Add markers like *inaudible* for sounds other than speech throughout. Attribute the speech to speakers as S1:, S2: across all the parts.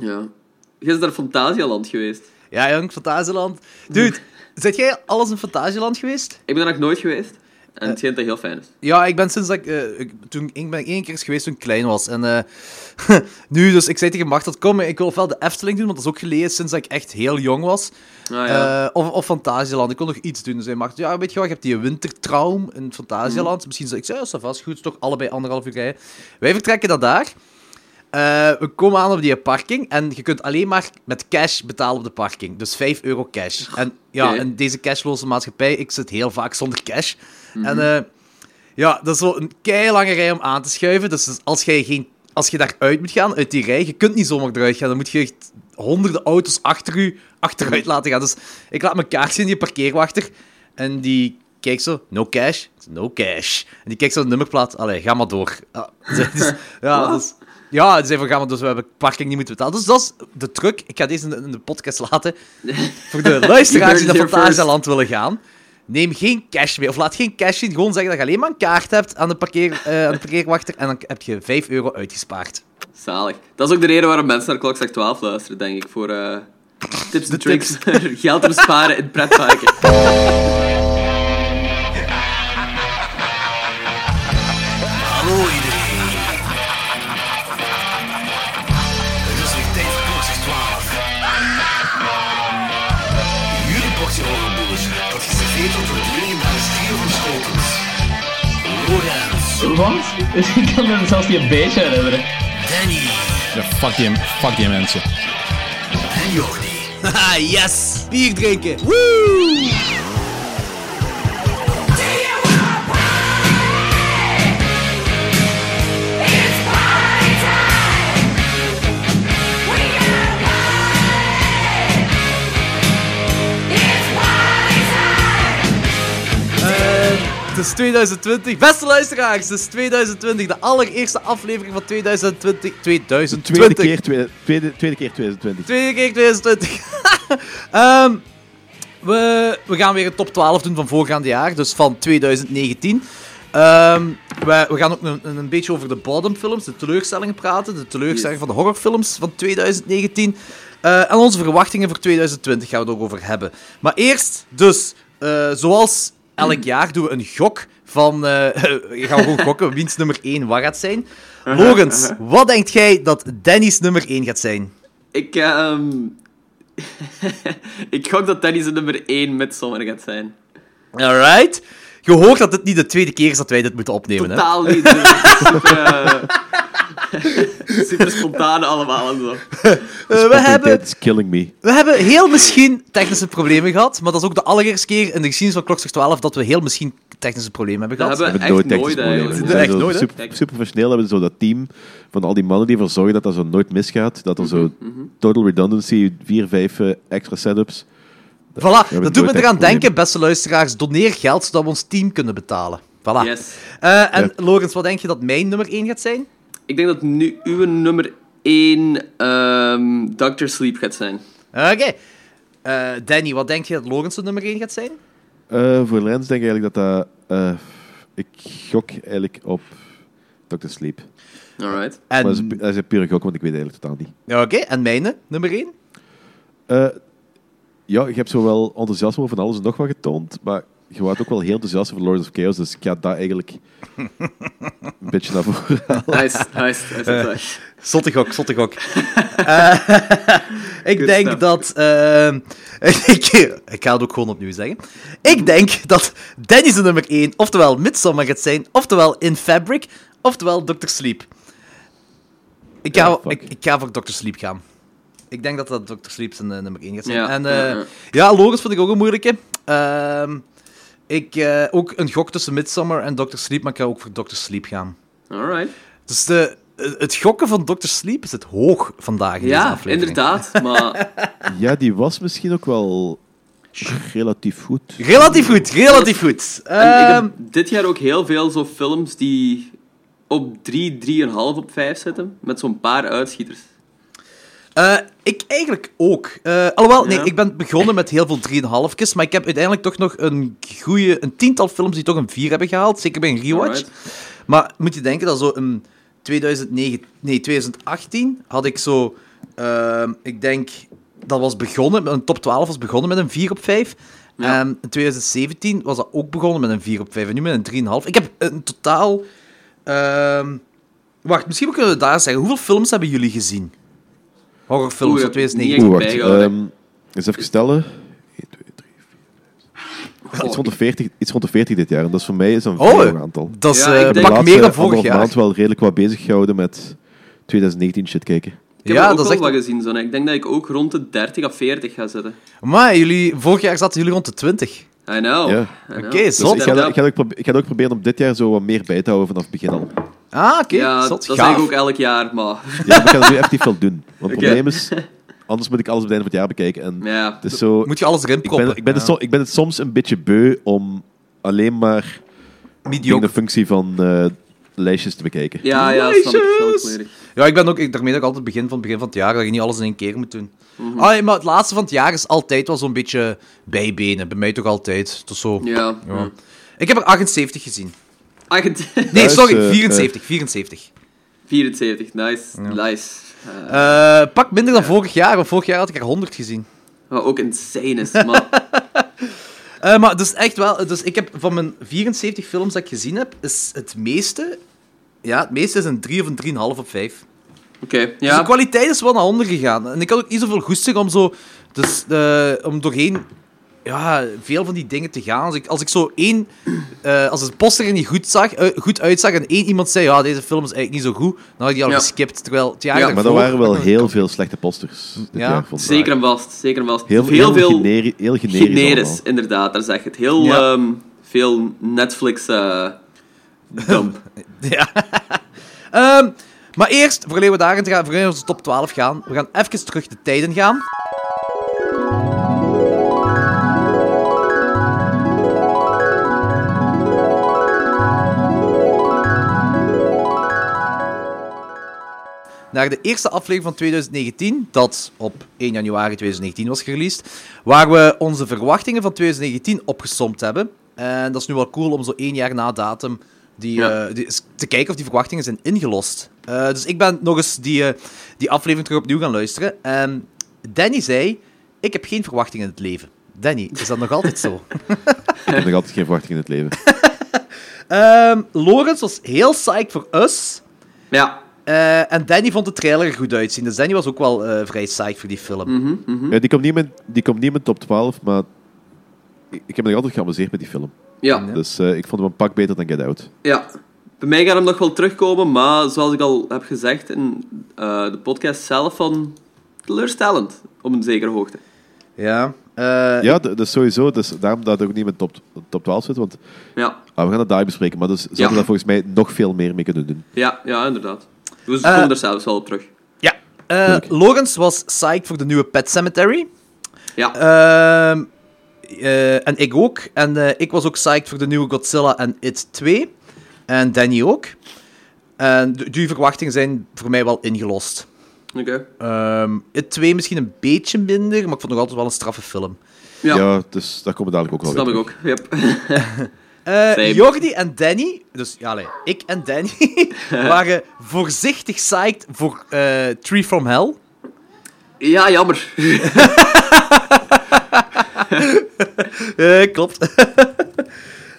S1: Ja. Jij bent naar Fantasialand geweest.
S2: Ja, jong, Fantasieland. Dude, zit jij alles in Fantasieland geweest?
S1: Ik ben er nog nooit geweest. En
S2: Eh,
S1: het schijnt dat heel fijn is.
S2: Ja, ik ben sinds dat ik, eh, ik- toen, ik ben één keer eens geweest toen ik klein was. En eh, *laughs* nu, dus ik zei tegen Macht dat kom, ik wil wel de Efteling doen, want dat is ook geleden sinds dat ik echt heel jong was.
S1: Ah, ja.
S2: Eh, of, of Fantasieland, ik wil nog iets doen. Dus hij maakt, ja, weet je wat, je hebt die wintertraum in Fantasieland. Misschien zei ik, ja, dat vast goed, is toch allebei anderhalf uur rijden. Wij vertrekken dat daar. Eh, we komen aan op die parking en je kunt alleen maar met cash betalen op de parking. Dus 5 euro cash. En ja,
S1: Oké.
S2: in deze cashloze maatschappij, ik zit heel vaak zonder cash. En eh, ja, dat is wel een keilange rij om aan te schuiven. Dus als jij geen, als je daaruit moet gaan, uit die rij, je kunt niet zomaar eruit gaan. Dan moet je echt honderden auto's achter u achteruit laten gaan. Dus ik laat mijn kaart zien, die parkeerwachter. En die kijkt zo, no cash, Ik zeg, no cash. En die kijkt zo de nummerplaat, allee, ga maar door. Ah, *laughs* dus, ja,
S1: Wat?
S2: dus, ja, die zei van, ga maar, dus we hebben parking niet moeten betalen. Dus dat is de truc. Ik ga deze in de, in de podcast laten. Voor de luisteraars die
S1: You heard it
S2: naar
S1: here
S2: Fantasieland willen gaan, neem geen cash mee. Of laat geen cash zien. Gewoon zeggen dat je alleen maar een kaart hebt aan de, parkeer, eh, aan de parkeerwachter. En dan heb je 5 euro uitgespaard.
S1: Zalig. Dat is ook de reden waarom mensen naar Klokzak 12 luisteren, denk ik. Voor
S2: *laughs*
S1: eh, tips en tricks. *laughs* Geld te besparen in pretparken.
S2: *laughs*
S3: Hallo iedereen. Het is weer tijd voor Boxers 12. Jullie boxen overboers, dat geserveerd wordt door het legendarische trio van Schotens. Lorenz,
S4: Want ik kan me zelfs niet een beetje herinneren.
S3: Danny
S5: Ja, fuck, die, fuck die mensen.
S3: en Jordi.
S2: Haha, yes! Bier drinken! Woo! Het is 2020. Beste luisteraars, het is 2020. De allereerste aflevering van 2020. 2020.
S6: Tweede keer, tweede, tweede, tweede keer 2020.
S2: Tweede keer 2020. *laughs* Ehm, we, we gaan weer een top 12 doen van voorgaande jaar, dus van 2019. Ehm, we, we gaan ook een, een een beetje over de bottomfilms, de teleurstellingen praten. De teleurstellingen van de horrorfilms van 2019. eh, en onze verwachtingen voor 2020 gaan we het ook over hebben. Maar eerst, dus, eh, zoals elk jaar doen we een gok van... eh, *laughs* gaan we gewoon gokken wiens nummer 1 wat gaat zijn. Logans, wat denkt jij dat Danny's nummer 1 gaat zijn?
S1: Ik, ehm *laughs* ik gok dat Danny zijn nummer 1 met zomer gaat zijn.
S2: Alright. Je hoort dat dit niet de tweede keer is dat wij dit moeten opnemen. Hè?
S1: Totaal
S2: *laughs*
S1: niet. eh, Super, eh, *laughs* super spontaan allemaal en zo.
S2: Eh, we, hebben,
S6: It's killing me.
S2: we hebben heel misschien technische problemen gehad, maar dat is ook de allereerste keer in de geschiedenis van Klokslag 12 dat we heel misschien technische problemen hebben
S1: Dat
S2: gehad.
S1: hebben we
S6: hebben
S1: echt
S6: nooit
S1: nooit
S6: technische problemen.
S1: eigenlijk.
S6: We
S2: Dat
S6: zijn
S2: echt
S6: zo
S2: nooit, hè?
S6: super, super professioneel hebben we zo dat team van al die mannen die ervoor zorgen dat dat zo nooit misgaat. Dat er zo
S2: Mhm,
S6: total redundancy, vier, vijf eh, extra setups.
S2: Voilà,
S6: hebben
S2: dat doet me
S6: nooit
S2: eraan
S6: echt
S2: denken, beste luisteraars. Doneer geld zodat we ons team kunnen betalen. Voilà.
S1: Yes.
S2: Eh, en Logans, wat denk je dat mijn nummer 1 gaat zijn?
S1: Ik denk dat nu uw nummer 1 ehm Dr. Sleep gaat zijn.
S2: Oké. Eh, Danny, wat denk je dat Logans zijn nummer 1 gaat zijn?
S6: Eh, voor Lens denk ik eigenlijk dat dat... eh, ik gok eigenlijk op Dr. Sleep.
S1: Alright.
S2: En,
S6: Maar dat is, een pu- dat is een pure gok, want ik weet eigenlijk totaal niet.
S2: Oké, en mijne, nummer 1?
S6: Eh, ja, ik heb zo wel enthousiasme over van alles en nog wat getoond, maar je was ook wel heel enthousiast over Lords of Chaos, dus ik ga dat
S2: *laughs*
S6: eigenlijk een beetje naar voren halen.
S1: Nice, nice, nice.
S2: Eh.
S1: nice.
S2: Zotte gok, zotte
S1: *laughs*
S2: gok. Eh, *laughs* ik
S1: Good
S2: denk
S1: stuff.
S2: dat... ehm, *laughs* ik, ik ga het ook gewoon opnieuw zeggen. Ik denk dat Danny zijn nummer 1, oftewel Midsommar gaat zijn, oftewel In Fabric, oftewel Dr. Sleep. Ik ga,
S6: Ja, fuck.
S2: ik, ik ga voor Dr. Sleep gaan. Ik denk dat dat Dr. Sleep zijn eh, nummer 1 gaat zijn.
S1: Ja,
S2: en,
S1: ja,
S2: eh,
S1: ja.
S2: ja, Loris vond ik ook een moeilijke. Ehm, ik, eh, ook een gok tussen Midsommar en Dr. Sleep, maar ik ga ook voor Dr. Sleep gaan.
S1: Alright.
S2: Dus de, het gokken van Dr. Sleep is het hoog vandaag in deze
S1: Ja,
S2: aflevering.
S1: inderdaad.
S2: *laughs*
S1: Maar
S6: Ja, die was misschien ook wel relatief goed.
S2: Relatief goed, relatief goed.
S1: En
S2: Ehm,
S1: ik heb dit jaar ook heel veel zo films die op 3, 3,5 op 5 zitten. Met zo'n paar uitschieters.
S2: eh, ik eigenlijk ook. Eh, alhoewel, nee,
S1: Ja.
S2: ik ben begonnen met heel veel 3,5's, maar ik heb uiteindelijk toch nog een, goeie, een tiental films die toch een 4 hebben gehaald. Zeker bij een rewatch. Maar moet je denken dat zo in 2009, nee, 2018 had ik zo Ehm, ik denk dat was begonnen, een top 12 was begonnen met een 4 op 5.
S1: Ja.
S2: En in 2017 was dat ook begonnen met een 4 op 5 en nu met een 3,5. Ik heb een totaal. ehm, wacht, misschien kunnen we daar zeggen. Hoeveel films hebben jullie gezien? Horrorfilms
S1: Oeh,
S2: van
S1: niet
S2: 2019.
S6: Oeh, wacht.
S1: bijgehouden.
S6: ehm, eens even stellen. 1, 2, 3, 4. Iets rond, de 40, iets rond de 40 dit jaar. En dat is voor mij is een
S2: Oh,
S6: veel aantal.
S2: Dat is
S1: Ja, ik
S2: eh,
S1: heb
S6: de
S1: denk-
S2: pak
S6: laatste
S2: meer dan vorig
S6: anderhalf
S2: jaar.
S6: maand wel redelijk wat bezig gehouden met 2019 shit kijken.
S1: Ik heb
S2: ja,
S1: er ook
S2: dat is
S1: wel
S2: echt-
S1: wat gezien. Zo. Ik denk dat ik ook rond de 30 of 40 ga zitten.
S2: Maar jullie, vorig jaar zaten jullie rond de 20.
S1: I know.
S6: Ja.
S1: I know.
S2: Oké, Dus
S6: Dus
S2: zot.
S6: ik
S1: Ja,
S6: ga, ik, ga ook probe- ik ga ook proberen om dit jaar zo wat meer bij te houden vanaf het begin al.
S2: Ah, oké.
S1: ja,
S2: zot,
S1: dat zeg
S2: gaaf.
S1: ik ook elk jaar, maar...
S6: Ja, maar ik ga er nu echt niet veel doen. Want het probleem is, anders moet ik alles op het einde van het jaar bekijken. En
S1: Ja.
S6: het is zo,
S2: Moet je alles erin
S6: ik, ben,
S2: proppen.
S6: ik, ben het
S2: Ja.
S6: so- ik ben het soms een beetje beu om alleen maar in
S2: Mediocre
S6: de functie van eh, lijstjes te bekijken.
S1: Ja, ja, snap ik wel volledig.
S2: Ja, ik ben ook, ik, daarmee dat ik altijd begin van het begin van het jaar, dat je niet alles in één keer moet doen.
S1: Mhm.
S2: Ah, ja, maar het laatste van het jaar is altijd wel zo'n beetje bijbenen. Bij mij toch altijd. Tot zo.
S1: Ja. Hm.
S2: Ja. Ik heb er 78 gezien.
S1: Ah, *laughs* je-
S2: Nee,
S6: Thuis,
S2: sorry,
S6: eh,
S2: 74. 74.
S1: 74, nice, nice. Eh,
S2: Eh, pak minder dan vorig jaar, want vorig jaar had ik er 100 gezien.
S1: wat ook insane is, maar... *laughs*
S2: Eh, maar dus echt wel, dus ik heb van mijn 74 films dat ik gezien heb, is het meeste. Ja, het meeste is een 3 of een 3,5 op 5.
S1: Oké,
S2: Dus de
S1: ja.
S2: kwaliteit is wel naar onder gegaan. En ik had ook niet zoveel goesting om zo... Dus, eh, om doorheen ja, veel van die dingen te gaan. Als ik, als ik zo één... eh, als het poster er niet goed, zag, eh, goed uitzag en één iemand zei... Ja, deze film is eigenlijk niet zo goed. Dan had ik die al
S1: Ja.
S2: geskipt. Terwijl het jaar
S1: Ja,
S6: Maar er
S2: daarvoor-
S6: waren wel heel veel slechte posters dit
S2: Ja.
S6: jaar. vond ik.
S1: Zeker en vast, zeker en vast.
S6: Heel,
S1: veel,
S6: heel,
S1: veel
S6: generi- heel generisch. allemaal.
S1: generisch, inderdaad, daar zeg je het. Heel
S2: Ja.
S1: ehm, veel Netflix... eh
S6: *laughs*
S1: dump.
S2: *laughs* Ja. Ehm, maar eerst, voordat we daarin te gaan, voordat we onze top 12 gaan... We gaan even terug de tijden gaan. naar de eerste aflevering van 2019, dat op 1 januari 2019 was gereleased, waar we onze verwachtingen van 2019 opgesomd hebben. En dat is nu wel cool om zo één jaar na datum die,
S1: Ja.
S2: eh, die- te kijken of die verwachtingen zijn ingelost. Eh, dus ik ben nog eens die, eh, die aflevering terug opnieuw gaan luisteren. En Danny zei, ik heb geen verwachtingen in het leven. Danny, is dat nog altijd zo?
S6: Ik heb nog altijd geen verwachting in het
S1: *laughs*
S6: leven.
S2: Ehm Lorenz was heel psyched voor Us.
S1: Ja,
S2: Eh, en Danny vond de trailer er goed uitzien. Dus Danny was ook wel eh, vrij psyched voor die film.
S1: mhm,
S6: Ja, die, komt niet in mijn, die komt niet in mijn top 12, maar ik, ik heb me nog altijd geamuseerd met die film.
S1: ja,
S6: Dus eh, ik vond hem een pak beter dan Get Out.
S1: ja. Bij mij gaat hem nog wel terugkomen, maar zoals ik al heb gezegd in eh, de podcast zelf, van teleurstellend, op een zekere hoogte.
S2: Ja. eh,
S6: Ja, d- dat is sowieso. Dus daarom dat het ook niet in mijn top, top 12 zit. Want
S1: Ja,
S6: ah, we gaan het daar bespreken. Maar dus ze hadden daar volgens mij nog veel meer mee kunnen doen.
S1: ja, ja inderdaad. Dus we
S2: Eh.
S1: komen er zelfs wel op terug.
S2: ja. Eh, Lawrence was psyched voor de nieuwe Pet Cemetery.
S1: Ja,
S2: Ehm, eh, en ik ook. En eh, ik was ook psyched voor de nieuwe Godzilla en It 2. En Danny ook. En d- die verwachtingen zijn voor mij wel ingelost.
S1: oké.
S2: Ehm, It 2 misschien een beetje minder, maar ik vond het nog altijd wel een straffe film.
S1: Ja.
S6: Ja, dus daar komen we dadelijk ook wel
S1: Snap
S6: weer
S1: ik
S6: terug.
S1: ook. Yep. *laughs*
S2: Eh,
S1: Same.
S2: Jordi en Danny, dus ja, allee, ik en Danny, *laughs* waren voorzichtig psyched voor eh, Tree from Hell.
S1: Ja, jammer. *laughs*
S2: Eh, klopt. *laughs*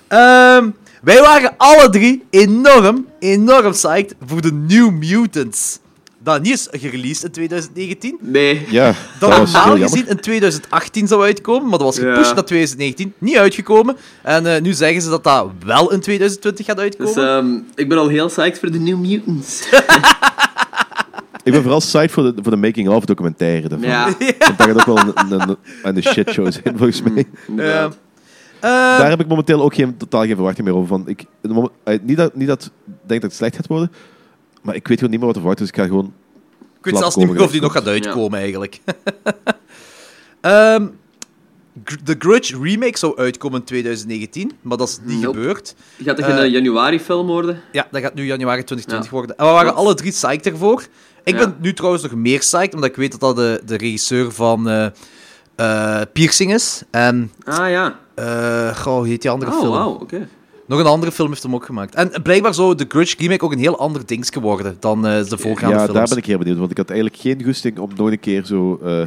S2: Ehm, wij waren alle drie enorm, enorm psyched voor de New Mutants. Dat niet is gereleased in 2019.
S1: Nee.
S6: Ja,
S2: Dat,
S6: dat was heel
S2: normaal
S6: jammer.
S2: gezien in 2018 zou uitkomen, maar dat was gepusht
S1: Ja.
S2: naar 2019. Niet uitgekomen. En eh, nu zeggen ze dat dat wel in 2020 gaat uitkomen.
S1: Dus ehm, ik ben al heel psyched voor de New Mutants.
S6: Ik ben vooral psyched voor de, voor de making-of documentaire daarvan. *laughs*
S1: ja,
S6: Want dat gaat ook wel een, een, een, een shitshow zijn, volgens
S2: *laughs*
S6: mij.
S1: inderdaad.
S2: Eh,
S6: Daar heb ik momenteel ook geen, totaal geen verwachting meer over. Van. Ik, in het moment- eh, niet, dat, niet dat ik denk dat het slecht gaat worden, maar ik weet gewoon niet meer wat te verwachten. Dus ik ga gewoon...
S2: Ik weet zelfs niet meer of die nog gaat uitkomen, eigenlijk. *laughs* Ehm, Gr- de Grudge remake zou uitkomen in 2019, maar dat is niet
S1: Nope.
S2: gebeurd.
S1: Gaat dat geen
S2: Eh.
S1: eh, januari-film worden?
S2: Ja, dat gaat nu januari 2020
S1: Ja.
S2: worden. En we waren
S1: Klopt.
S2: alle drie psyched ervoor. Ik
S1: Ja.
S2: ben nu trouwens nog meer psyched, omdat ik weet dat dat de, de regisseur van eh, eh, Piercing is. En,
S1: Ah ja.
S2: eh goh, hoe heet die andere
S1: Oh,
S2: film?
S1: wauw, oké.
S2: Nog een andere film heeft hem ook gemaakt. En blijkbaar zou The Grudge remake ook een heel ander ding geworden dan eh, de voorgaande
S6: ja,
S2: films.
S6: daar ben ik heel benieuwd. Want ik had eigenlijk geen goesting om nooit een keer zo... eh,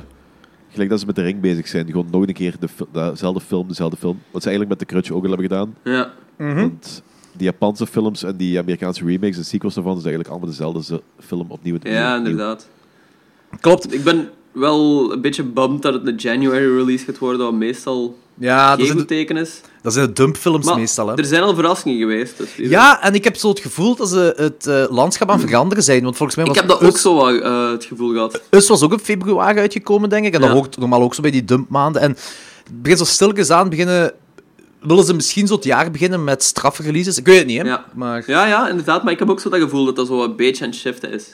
S6: gelijk dat ze met de ring bezig zijn. Gewoon nooit een keer de fil- dezelfde film, dezelfde film. Wat ze eigenlijk met de crutch ook al hebben gedaan.
S1: Ja.
S2: Hm?
S6: Want die Japanse films en die Amerikaanse remakes en sequels daarvan... zijn eigenlijk allemaal dezelfde ze- film opnieuw. en
S1: ja,
S6: opnieuw.
S1: inderdaad.
S2: Klopt.
S1: Ik ben wel een beetje bummed dat het een January release gaat worden, wat meestal
S2: Ja, dat
S1: geen
S2: zijn,
S1: goed
S2: de-
S1: teken is.
S2: Ah, dat zijn de dumpfilms
S1: Maar
S2: meestal. Hè.
S1: er zijn al verrassingen geweest. Dus wie weet.
S2: Ja, en ik heb zo het gevoel dat ze het eh, landschap
S1: *clears throat*
S2: aan het veranderen zijn. Want volgens mij
S1: ik
S2: was
S1: heb dat
S2: Us-
S1: ook zo wat, eh, het gevoel gehad.
S2: Us was ook in februari uitgekomen, denk ik. En
S1: Ja.
S2: dat hoort normaal ook zo bij die dumpmaanden. En het begint zo stilkens aan beginnen... Willen ze misschien zo het jaar beginnen met straffe releases? Ik weet het niet, hè.
S1: Ja.
S2: Maar...
S1: Ja, ja, inderdaad. Maar ik heb ook zo dat gevoel dat dat zo een beetje aan het shiften is.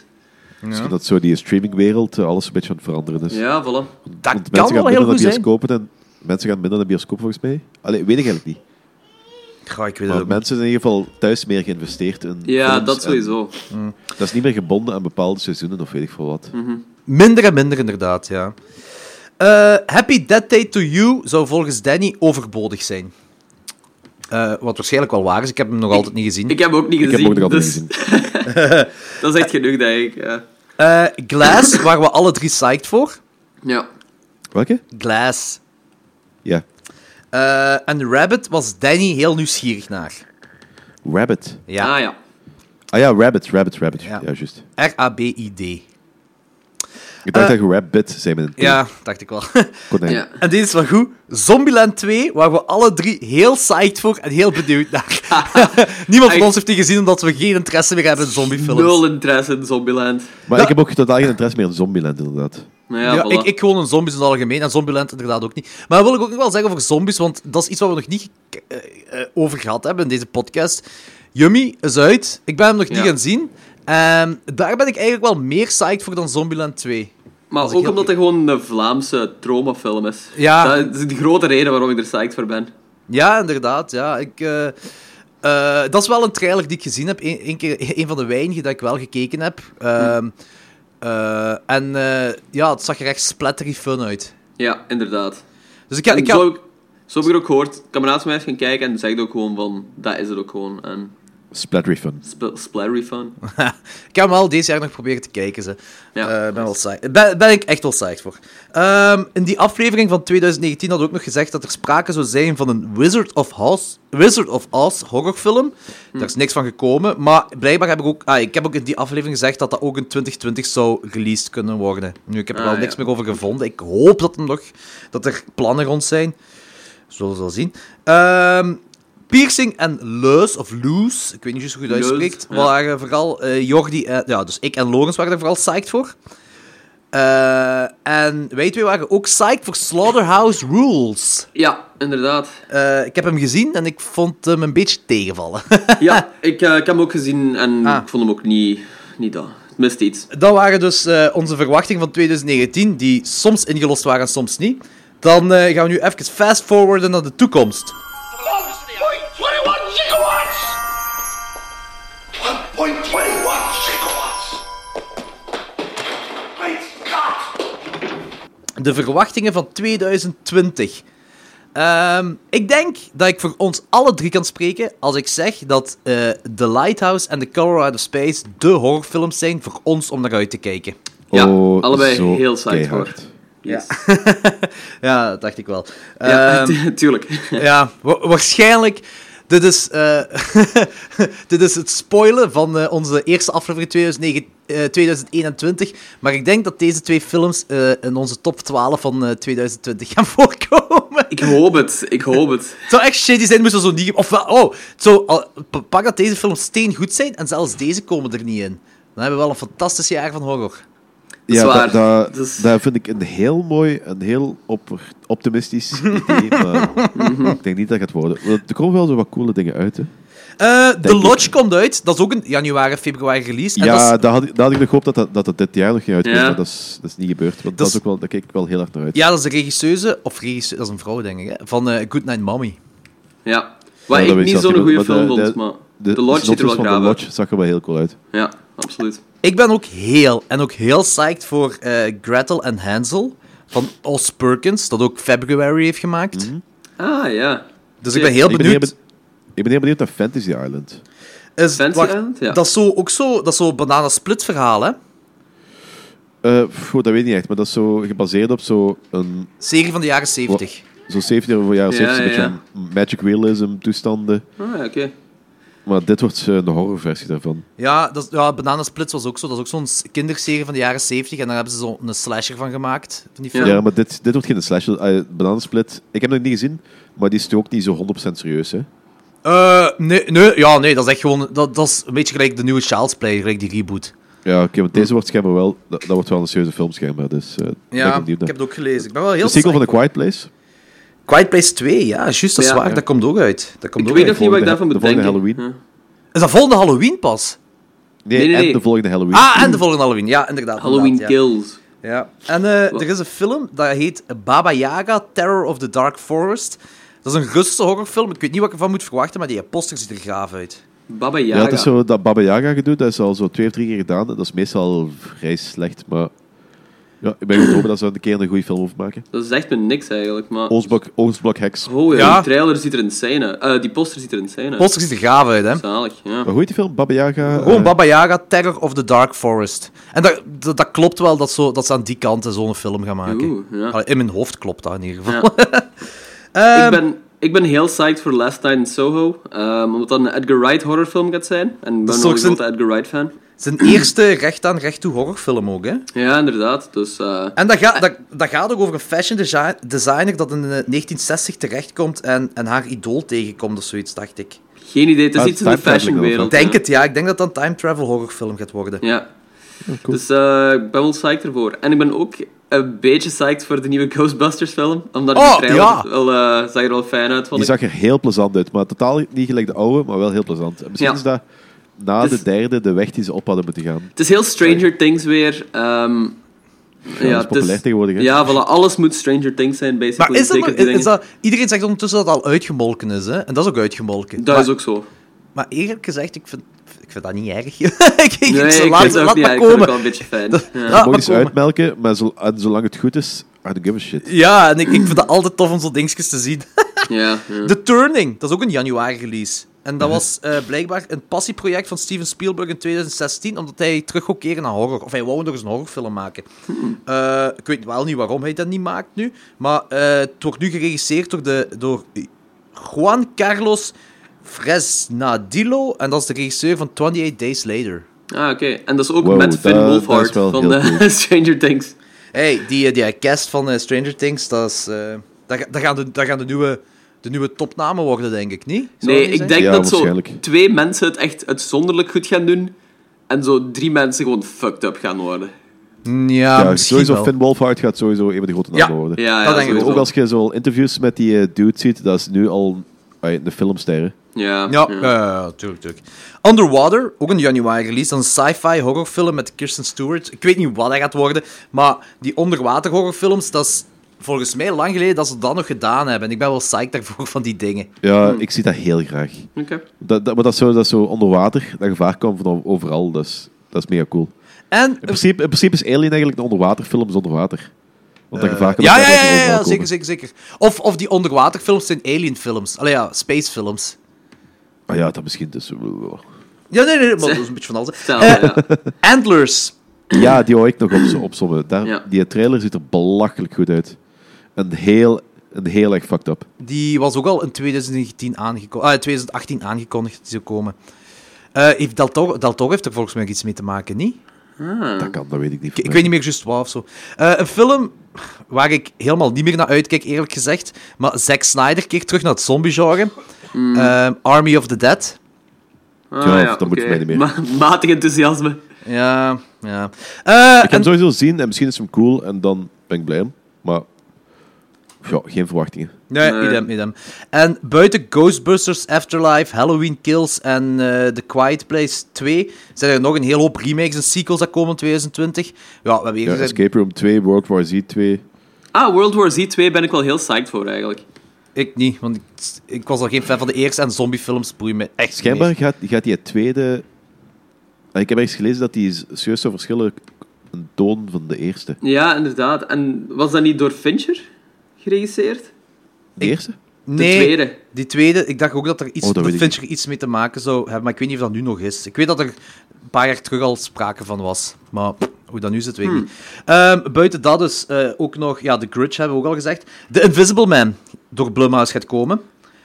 S6: Misschien Dus dat zo die streamingwereld eh, alles een beetje aan het veranderen is.
S1: Ja, voilà.
S2: Dat
S6: Want
S2: kan
S6: mensen gaan
S2: wel heel
S6: minder naar
S2: goed zijn.
S6: bioscopen en... Mensen gaan minder naar bioscoop, volgens mij. Allee, weet ik eigenlijk niet.
S2: Ja, ik weet het
S6: Maar
S2: ook niet.
S6: mensen zijn in ieder geval thuis meer geïnvesteerd in
S1: Ja,
S6: films
S1: dat
S6: en
S1: sowieso.
S2: Hm.
S6: Dat is niet meer gebonden aan bepaalde seizoenen of weet ik veel
S1: Mhm.
S6: wat.
S2: Minder en minder, inderdaad, ja. Eh, Happy Dead Day to You zou volgens Danny overbodig zijn. Eh, wat waarschijnlijk wel waar is. Ik heb hem nog altijd niet gezien.
S1: Ik heb ook niet
S6: Ik
S1: gezien.
S6: heb hem ook nog altijd
S1: dus
S6: niet gezien.
S1: *laughs* Dat is echt genoeg, denk ik. Ja.
S2: Eh, Glass, *laughs* waar we alle drie psyched voor.
S1: ja.
S6: Welke?
S2: Glass.
S6: Ja.
S2: Eh, en Rabbit was Danny heel nieuwsgierig naar.
S6: Rabbit.
S2: Ja.
S1: Ah ja.
S6: Ah ja, Rabbit, Rabbit, Rabbit.
S2: Ja.
S6: Ja, juist.
S2: R-A-B-I-D.
S6: Ik dacht
S2: Eh,
S6: dat je Rabbit zei met een T.
S2: Ja, dacht ik wel. *laughs*
S6: Kon hij-
S1: ja.
S2: en deze is wel goed. Zombieland 2, waar we alle drie heel psyched voor en heel benieuwd naar. *laughs* Niemand van
S1: Echt.
S2: ons heeft die gezien, omdat we geen interesse meer hebben in zombiefilms.
S1: Nul interesse in Zombieland.
S6: Maar
S2: Ja.
S6: ik heb ook totaal geen interesse meer in Zombieland, inderdaad.
S1: Nou
S2: Ja,
S1: ja, voilà.
S2: ik, ik gewoon een zombies in het algemeen. En Zombieland inderdaad ook niet. Maar wil ik ook nog wel zeggen over zombies, want dat is iets waar we nog niet gek- eh, eh, over gehad hebben in deze podcast. Yummy is uit. Ik ben hem nog niet
S1: Ja.
S2: gaan zien. Ehm, daar ben ik eigenlijk wel meer psyched voor dan Zombieland 2.
S1: Maar
S2: Als ik
S1: ook
S2: heel-
S1: omdat het gewoon een Vlaamse traumafilm is.
S2: Ja.
S1: Dat is de grote reden waarom ik er psyched voor ben.
S2: Ja, inderdaad. Ja. Ik, eh, eh, dat is wel een trailer die ik gezien heb. Eén één keer, een van de weinigen dat ik wel gekeken heb. Ehm, eh, en eh, ja, het zag er echt splattery fun uit.
S1: Ja, inderdaad.
S2: Dus ik ga...
S1: En
S2: Ik ga...
S1: zo, heb ik- zo heb ik er ook gehoord. Kameraad van mij heeft gaan kijken en zegt ook gewoon van... Dat is het ook gewoon. En
S6: Splattery fun.
S1: sp splattery
S2: *laughs*
S1: fun.
S2: Ik heb hem al deze jaar nog proberen te kijken. Ze.
S1: Ja.
S2: Eh, ben, wel psyched- ben, ben ik echt wel psyched voor. Ehm, in die aflevering van 2019 hadden we ook nog gezegd dat er sprake zou zijn van een Wizard of, House, Wizard of Oz horrorfilm.
S1: Hm.
S2: Daar is niks van gekomen. Maar blijkbaar heb ik ook... Ah, ik heb ook in die aflevering gezegd dat dat ook in 2020 zou released kunnen worden. Nu, ik heb er
S1: Ah,
S2: wel
S1: ja.
S2: niks meer over gevonden. Ik hoop dat, hem nog, dat er plannen rond zijn. Zullen we wel zien. Ehm, piercing en Leus, of Loes, ik weet niet juist hoe je dat
S1: Leus,
S2: uitspreekt,
S1: ja.
S2: waren vooral eh, Jordi... en- ja, dus ik en Logans waren er vooral psyched voor. Eh, en wij twee waren ook psyched voor Slaughterhouse Rules.
S1: Ja, inderdaad.
S2: Eh, ik heb hem gezien en ik vond hem een beetje tegenvallen. *laughs*
S1: Ja, ik, eh, ik heb hem ook gezien en
S2: Ah.
S1: ik vond hem ook niet... Niet dat. Het mist iets.
S2: Dat waren dus eh, onze verwachtingen van 2019, die soms ingelost waren en soms niet. Dan eh, gaan we nu even fast forwarden naar de toekomst.
S3: 1.21 gigawatts! 1.21 gigawatts! Great Scott!
S2: De verwachtingen van 2020. Ehm, ik denk dat ik voor ons alle drie kan spreken als ik zeg dat eh, The Lighthouse en The Color Out of Space de horrorfilms zijn voor ons om naar uit te kijken.
S1: Ja,
S6: Oh,
S1: allebei
S6: zo
S1: heel psyched voor.
S6: keihard.
S2: *laughs*
S1: Yes.
S2: Ja, dat dacht ik wel.
S1: Ja, *laughs*
S2: Ehm,
S1: tuurlijk.
S2: Ja, wa- waarschijnlijk. Dit is, eh, *laughs* dit is het spoilen van eh, onze eerste aflevering 2009, eh, 2021. Maar ik denk dat deze twee films eh, in onze top 12 van eh, 2020 gaan *laughs* voorkomen.
S1: Ik hoop het. Ik hoop het.
S2: Het zou echt shitty zijn, moesten we zo niet... Of wel, oh, het zou al- pa- pak dat deze films steengoed zijn en zelfs deze komen er niet in. Dan hebben we wel een fantastisch jaar van horror.
S1: is
S6: Ja,
S1: waar.
S6: dat, dat,
S1: Dus-
S6: dat vind ik een heel mooi, een heel op, optimistisch idee, maar ik denk niet dat het gaat worden. Want Er komen wel zo wat coole dingen uit, hè.
S2: Eh The
S6: ik.
S2: Lodge komt uit. Dat is ook een januari, februari release. En dat
S6: ja,
S2: is-
S6: daar had, ik- daar had ik nog gehoopt dat dat, dat dat dit jaar nog ging uitkomen,
S1: Ja.
S6: maar dat is, dat is niet gebeurd. Want dat,
S2: is-
S6: is ook wel, daar keek ik wel heel hard naar uit.
S2: ja, dat is de regisseuse... Of regisseuse, dat is een vrouw, denk ik, hè, van eh Good Night Mommy.
S1: Ja. Wat
S6: Ja, dat
S1: ik
S6: weet
S1: niet zo'n
S6: ik zelf
S1: goede
S6: niet, maar eh,
S1: film
S6: de-
S1: vond,
S6: de-
S1: maar...
S6: De,
S1: The Lodge ziet er wel
S6: synopsis van
S1: graag
S6: The
S1: uit.
S6: Lodge zag er wel heel cool uit.
S1: Ja, absoluut.
S2: Ik ben ook heel, en ook heel psyched voor eh, Gretel en Hansel van Os Perkins, dat ook February heeft gemaakt.
S1: Ah, ja.
S2: Dus ik ben heel
S6: Mhm. Ik ben,
S2: benieuwd.
S6: heel ben- Ik ben heel benieuwd naar Fantasy Island.
S2: Is,
S1: Fancy
S2: wacht,
S1: Island? Ja.
S2: Dat is zo, ook zo, dat is zo bananensplit verhaal, hè?
S6: Eh, pff, dat weet ik niet echt, maar dat is zo gebaseerd op zo'n
S2: Serie van de jaren 70.
S6: zo 70 van jaren
S1: Ja,
S6: 70, een beetje
S1: ja,
S6: een magic realism toestanden.
S1: Ah, oké.
S6: Maar dit wordt eh, de horrorversie daarvan.
S2: Ja, dat, is- ja, Bananensplit was ook zo. Dat is ook zo'n s- kinderserie van de jaren 70. En daar hebben ze zo'n slasher van gemaakt. Van die
S1: Ja.
S2: film.
S6: Ja, maar dit, dit wordt geen slasher. eh, bananensplit, ik heb het nog niet gezien, maar die is toch ook niet zo 100% serieus. Hè?
S2: Eh, nee, nee, ja, nee, dat is echt gewoon... Dat, dat is een beetje gelijk de nieuwe Child's Play, gelijk die reboot.
S6: Ja, oké, want
S1: Hm.
S6: deze wordt schijnbaar wel, dat, dat wordt wel een serieuze film schijnbaar. Dus, eh, ben ik benieuwd naar.
S2: het ook gelezen. Ik ben wel heel
S6: de sequel van The Quiet Place.
S2: Quiet Place 2, ja, juist, dat is
S1: Ja.
S2: waar. Dat komt ook uit. Dat komt
S1: Ik
S2: ook
S1: weet
S2: uit.
S1: nog niet wat ik
S6: de-
S1: daarvan
S6: de
S1: moet denken.
S6: volgende
S1: Ja.
S2: Is dat volgende Halloween pas?
S6: Nee,
S1: Nee, nee, nee.
S6: en de volgende Halloween.
S2: Ah, en de volgende Halloween. Ja, inderdaad.
S1: Halloween
S2: inderdaad, ja.
S1: Kills.
S2: Ja. En eh, er is een film, dat heet Baba Yaga, Terror of the Dark Forest. Dat is een Russische horrorfilm. Ik weet niet wat ik ervan moet verwachten, maar die poster ziet er gaaf uit.
S1: Baba
S6: ja,
S1: Yaga.
S6: het is zo dat Baba Yaga gedoe, dat is al zo twee of drie keer gedaan. Dat is meestal vrij slecht, maar ja, ik ben gewoon hopen dat ze er een keer een goede film over maken.
S1: Dat zegt me niks eigenlijk, maar...
S6: Oostblok, Oostblok Hex.
S1: Oh ja,
S2: Ja.
S1: die trailer ziet er insane uit. Eh, die poster ziet er insane
S2: De
S1: uit.
S2: poster ziet er gaaf uit, hè.
S1: Zalig, ja.
S6: Maar hoe heet die film? Baba Yaga?
S2: Gewoon
S6: eh,
S2: Oh, Baba Yaga, Terror of the Dark Forest. En dat, dat, dat klopt wel dat, zo, dat ze aan die kant zo'n film gaan maken.
S1: Oeh, ja.
S2: Allee, in mijn hoofd klopt dat in ieder geval.
S1: Ja.
S6: Ehm.
S1: ik, ben, ik ben heel psyched voor Last Night in Soho, ehm, omdat dat een Edgar Wright horrorfilm gaat zijn. En ik ben
S2: is
S1: wel een
S2: toch zijn-
S1: grote Edgar Wright fan.
S2: Zijn eerste recht aan recht toe horrorfilm ook, hè.
S1: Ja, inderdaad. Dus eh,
S2: En dat, ga- dat, dat gaat ook over een fashion desi- designer dat in eh, 1960 terechtkomt en, en haar idool tegenkomt of zoiets, dacht ik.
S1: geen idee, het is
S6: Ah,
S1: iets in de
S6: time traveling
S1: fashionwereld.
S2: Ik denk
S1: ja.
S2: het, ja. Ik denk dat dat een time travel horrorfilm gaat worden.
S1: Ja. Dus eh, ik ben wel psyched ervoor. En ik ben ook een beetje psyched voor de nieuwe Ghostbusters film, omdat
S2: Oh,
S1: die trailer
S2: ja.
S1: wel, eh, zag er wel fijn uit, vond
S6: Die
S1: ik.
S6: zag er heel plezant uit, maar totaal niet gelijk de oude, maar wel heel plezant. En Misschien
S1: Ja.
S6: is dat na
S1: Dus-
S6: de derde de weg die ze op hadden moeten gaan.
S1: Het is heel Stranger Things weer. ehm, ja,
S6: dat is
S1: het
S6: populair tegenwoordig, hè?
S1: Ja, voilà, alles moet Stranger Things zijn,
S2: Maar
S1: basically.
S2: is dat,
S1: Zeker
S2: nog-
S1: die
S2: is, is
S1: dingen.
S2: dat... Iedereen zegt ondertussen dat het al uitgemolken is, hè. En dat is ook uitgemolken.
S1: Dat
S2: maar,
S1: is ook zo.
S2: maar eerlijk gezegd, ik vind, ik vind dat niet erg. *laughs* ik, ik,
S1: Nee,
S2: zo,
S1: ik
S2: laat
S1: vind het
S2: laat
S1: ook niet,
S2: maar
S1: ik vind het ook
S2: komen.
S1: wel een beetje fijn.
S2: Dat-
S1: Ja.
S2: laat
S6: Mogen
S2: maar
S6: ze
S2: komen.
S6: uitmelken, maar zo, en zolang het goed is, I don't give a shit.
S2: Ja, en ik, ik vind dat altijd tof om zo'n dingetjes te
S1: *laughs*
S2: zien.
S1: Ja, ja.
S2: The Turning, dat is ook een januari release. En dat was eh, blijkbaar een passieproject van Steven Spielberg in 2016, omdat hij terug wou keren naar horror. Of hij wou nog eens een horrorfilm maken.
S1: Hmm.
S2: Eh, ik weet wel niet waarom hij dat niet maakt nu. Maar eh, het wordt nu geregisseerd door, de, door Juan Carlos Fresnadillo. En dat is de regisseur van 28 Days Later.
S1: Ah, oké. En dat is ook
S6: Wow,
S1: met Finn
S6: dat- dat
S1: Wolfhard
S6: is wel
S1: van
S6: heel
S1: de
S6: cool.
S1: *laughs* Stranger Things.
S2: hey, die, eh, die cast van eh, Stranger Things, dat is, eh, dat, ga- dat gaan, de, dat gaan de, nieuwe, de nieuwe topnamen worden, denk ik, niet? Zou dat
S1: Nee,
S2: niet
S1: ik
S2: zijn?
S1: denk
S6: Ja,
S1: dat zo
S6: waarschijnlijk.
S1: twee mensen het echt uitzonderlijk goed gaan doen. En zo drie mensen gewoon fucked up gaan worden.
S2: Mm, Ja,
S6: ja,
S2: misschien
S6: sowieso
S2: wel.
S6: Finn Wolfhard gaat sowieso een van de grote
S2: Ja.
S6: namen
S1: Ja,
S6: worden.
S1: ja
S2: Dat denk ik
S1: sowieso.
S6: Ook als je zo interviews met die eh, dude ziet, dat is nu al ay, de filmsterren.
S1: Ja,
S2: Ja,
S1: ja.
S2: ja, ja, tuurlijk, tuurlijk. Underwater, ook een januari release. Dan een sci-fi horrorfilm met Kirsten Stewart. Ik weet niet wat dat gaat worden, maar die onderwater horrorfilms, dat is volgens mij lang geleden dat ze dat nog gedaan hebben. En ik ben wel psyched daarvoor van die dingen.
S6: Ja, ik zie dat heel graag.
S1: Oké.
S6: Dat, dat, maar dat is, zo, dat is zo onder water, dat gevaar komt van o- overal, dat is, dat is mega cool.
S2: En...
S6: In principe, in principe is Alien eigenlijk een onderwaterfilm zonder water. Want dat gevaar kan
S2: Eh, Ja, ja,
S6: altijd
S2: ja, ja,
S6: overal
S2: ja,
S6: komen.
S2: zeker, zeker, zeker. Of, of die onderwaterfilms zijn alienfilms. Allee, ja, spacefilms.
S6: Maar ja, dat misschien dus... *clears throat*
S2: Ja, nee, nee, nee, maar dat is een beetje van alles.
S1: Stel,
S2: Eh,
S1: ja.
S2: Antlers.
S6: Ja, die wou ik nog op, opzommen. Daar,
S1: Ja.
S6: Die trailer ziet er belachelijk goed uit. En heel, en heel erg fucked up.
S2: Die was ook al in 2019 aangeko- ah, 2018 aangekondigd dat die zou komen. Eh, heeft Del, Toro, Del Toro heeft er volgens mij iets mee te maken, niet?
S6: Dat kan, dat weet ik niet.
S2: Ah. Ik, ik weet niet meer juist waar of zo. Eh, een film waar ik helemaal niet meer naar uitkijk, eerlijk gezegd. Maar Zack Snyder keert terug naar het zombie-genre.
S6: Hmm.
S2: Ehm, Army of the Dead.
S1: Ah,
S6: Ja,
S1: ja,
S6: dat moet je
S1: oké.
S6: mij niet meer.
S1: Ma- matig enthousiasme.
S2: Ja, ja. Eh,
S6: Ik
S2: en-
S6: heb hem sowieso zien en misschien is hem cool en dan ben ik blij om. Maar ja, geen verwachtingen.
S2: Nee,
S1: Nee.
S2: idem, idem. En buiten Ghostbusters, Afterlife, Halloween Kills en eh, The Quiet Place 2 zijn er nog een hele hoop remakes en sequels dat komen in 2020. Ja, we hebben
S6: Ja,
S2: eerder gezegd...
S6: Escape Room 2, World War Z 2.
S1: Ah, World War Z 2 ben ik wel heel psyched voor eigenlijk.
S2: Ik niet, want ik, ik was al geen fan van de eerste en zombiefilms boeien me echt niet
S6: Schijnbaar
S2: meer.
S6: gaat, gaat die tweede... Ah, Ik heb ergens gelezen dat die serieus zou verschillen een toon van de eerste.
S1: Ja, inderdaad. En was dat niet door Fincher geregisseerd?
S6: De eerste?
S2: nee,
S1: tweede.
S2: Die tweede, ik dacht ook dat er iets,
S6: Oh, dat
S2: dat
S6: weet ik
S2: Fincher iets mee te maken zou hebben, maar ik weet niet of dat nu nog is. Ik weet dat er een paar jaar terug al sprake van was, maar hoe dat nu zit, weet
S1: Hmm.
S2: ik niet. Ehm, buiten dat dus eh, ook nog, ja, The Grudge hebben we ook al gezegd. The Invisible Man, door Blumhouse gaat komen.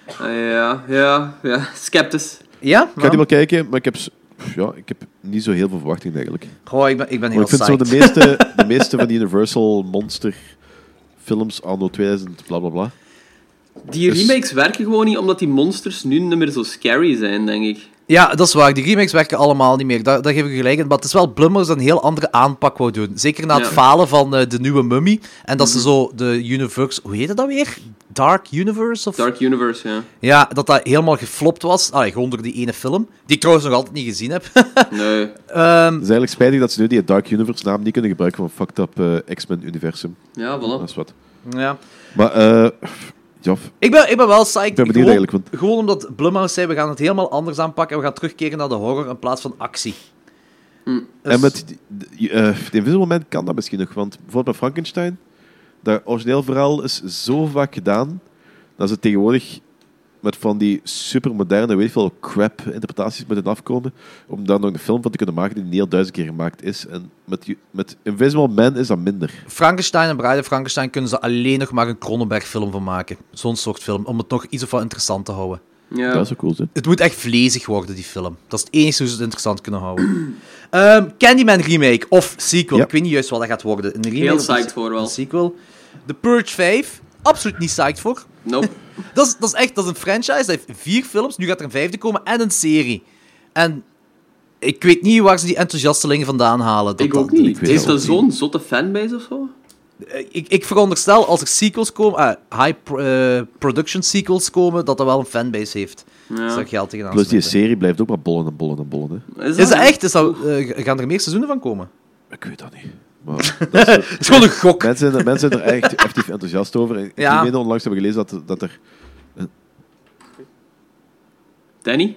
S1: Ah, ja, ja, ja. Sceptisch.
S2: Ja?
S6: Ik ga die
S2: Ja.
S6: wel kijken, maar ik heb, s- pff, ja, ik heb niet zo heel veel verwachtingen eigenlijk.
S2: Goh, ik ben, ik ben
S6: Maar
S2: heel
S6: Oh, ik vind
S2: saai.
S6: zo de meeste, de meeste van die Universal Monster films anno 2000, bla bla bla.
S1: Die
S6: Dus-
S1: remakes werken gewoon niet omdat die monsters nu niet meer zo scary zijn, denk ik.
S2: Ja, dat is waar. Die remakes werken allemaal niet meer. Daar, daar geef ik je gelijk in. Maar het is wel Blumhouse een heel andere aanpak wou doen. Zeker na het
S1: Ja. Mhm.
S2: falen van eh, de nieuwe Mummy. En dat ze zo de universe... Hoe heet dat weer? Dark Universe? Of...
S1: Dark Universe, ja.
S2: Ja, dat dat helemaal geflopt was. Allee, gewoon door die ene film. Die ik trouwens nog altijd niet gezien heb. *laughs*
S1: Nee.
S6: Het is eigenlijk spijtig dat ze nu die Dark Universe naam niet kunnen gebruiken van fucked up eh, X-Men universum.
S1: Ja,
S6: Dat
S1: voilà.
S6: is wat.
S2: ja.
S6: Maar, eh ja,
S2: Ik ben, ik ben wel psyched.
S6: ik ben benieuwd
S2: gewoon,
S6: eigenlijk, want
S2: gewoon omdat Blumhouse zei, we gaan het helemaal anders aanpakken. En we gaan terugkeren naar de horror in plaats van actie. Dus-
S6: En met die- die- eh, The Invisible Man kan dat misschien nog, want bijvoorbeeld bij Frankenstein, dat origineel verhaal is zo vaak gedaan, dat ze tegenwoordig met van die supermoderne, weet ik veel, crap interpretaties moeten afkomen, om daar nog een film van te kunnen maken die niet al duizend keer gemaakt is. En met, ju- met Invisible Man is dat minder.
S2: Frankenstein en Bride of Frankenstein kunnen ze alleen nog maar een Cronenberg-film van maken. Zo'n soort film, om het nog iets of wat interessant te houden.
S1: Ja.
S6: Dat is ook cool, hè?
S2: Het moet echt vlezig worden, die film. Dat is het enige hoe ze het interessant kunnen houden. *clears throat* Ehm, Candyman remake of sequel.
S6: Ja.
S2: Ik weet niet juist wat dat gaat worden. Een remake
S1: Heel
S2: of een
S1: psyched
S2: se-
S1: voor wel.
S2: Een sequel. The Purge 5. Absoluut niet psyched voor.
S1: Nope.
S2: Dat is, dat is echt dat is een franchise. Dat heeft vier films. Nu gaat er een vijfde komen en een serie. En ik weet niet waar ze die enthousiastelingen vandaan halen. Dat
S1: Ik
S2: dat-
S1: ook niet.
S6: weet
S1: Heeft
S6: dat
S1: dat
S6: ook
S1: zo'n zotte fanbase of zo?
S2: Eh, ik, ik veronderstel als er sequels komen, eh, high pro- eh, production sequels komen, dat dat wel een fanbase heeft. Dus daar geld tegenaan.
S6: Plus die
S2: smijten.
S6: serie blijft ook maar bollen en bollen en bollen, hè?
S2: Is dat echt? Is dat, eh, gaan er meer seizoenen van komen?
S6: Ik weet dat niet. Maar *laughs* dat is, eh,
S2: Het is gewoon een gok.
S6: mensen, zijn er- mensen zijn er echt effectief enthousiast over. En
S2: Ja.
S6: ja. onlangs hebben we gelezen dat, dat er
S1: Danny?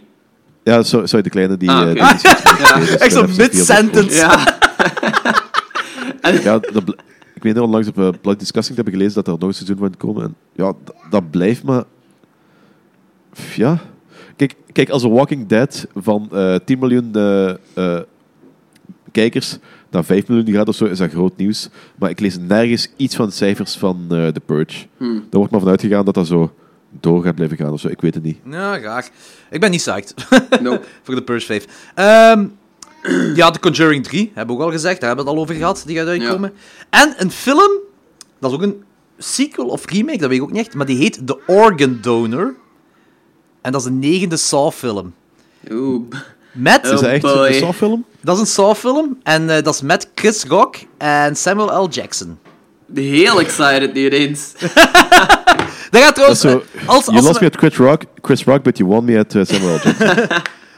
S6: Ja, sorry, sorry, de kleine die...
S1: Ah,
S6: eh,
S1: oké.
S6: die-
S1: *laughs*
S6: die- die- die- die-
S2: Echt zo'n
S6: dus die- die- die- die-
S2: mid-sentence.
S1: Ja.
S6: Ja, dat bl- ik weet nog onlangs op eh Blood Discussing hebben gelezen dat er nog een seizoen van komen. En ja, d- dat blijft maar... Pff, Ja. Kijk, kijk, als The Walking Dead van eh 10 miljoen eh, eh, kijkers naar 5 miljoen gaat of zo, is dat groot nieuws. Maar ik lees nergens iets van de cijfers van eh, The Purge.
S1: Hmm.
S6: Daar wordt maar van uitgegaan dat dat zo door gaat blijven gaan of zo. Ik weet het niet.
S2: Ja, graag. Ik ben niet psyched *laughs*
S1: *laughs* Nope.
S2: voor de Purge 5. Ehm, *clears throat* ja, The Conjuring 3, hebben we ook al gezegd. Daar hebben we het al over gehad, die gaat uitkomen. En een film, dat is ook een sequel of remake, dat weet ik ook niet echt, maar die heet The Organ Donor. En dat is een negende Saw-film.
S1: Oeh.
S2: Met...
S6: Is dat echt
S1: Oh, boy.
S6: een Saw-film?
S2: Dat is een Saw-film en eh, dat is met Chris Rock en Samuel L. Jackson.
S1: Heel excited nu ineens.
S2: Dat gaat
S6: Dat is
S2: trouwens...
S6: zo...
S2: eh, als,
S6: You
S2: als
S6: lost
S2: we-
S6: me at Chris Rock, Chris Rock, but you won me at eh, Samuel L. Jackson.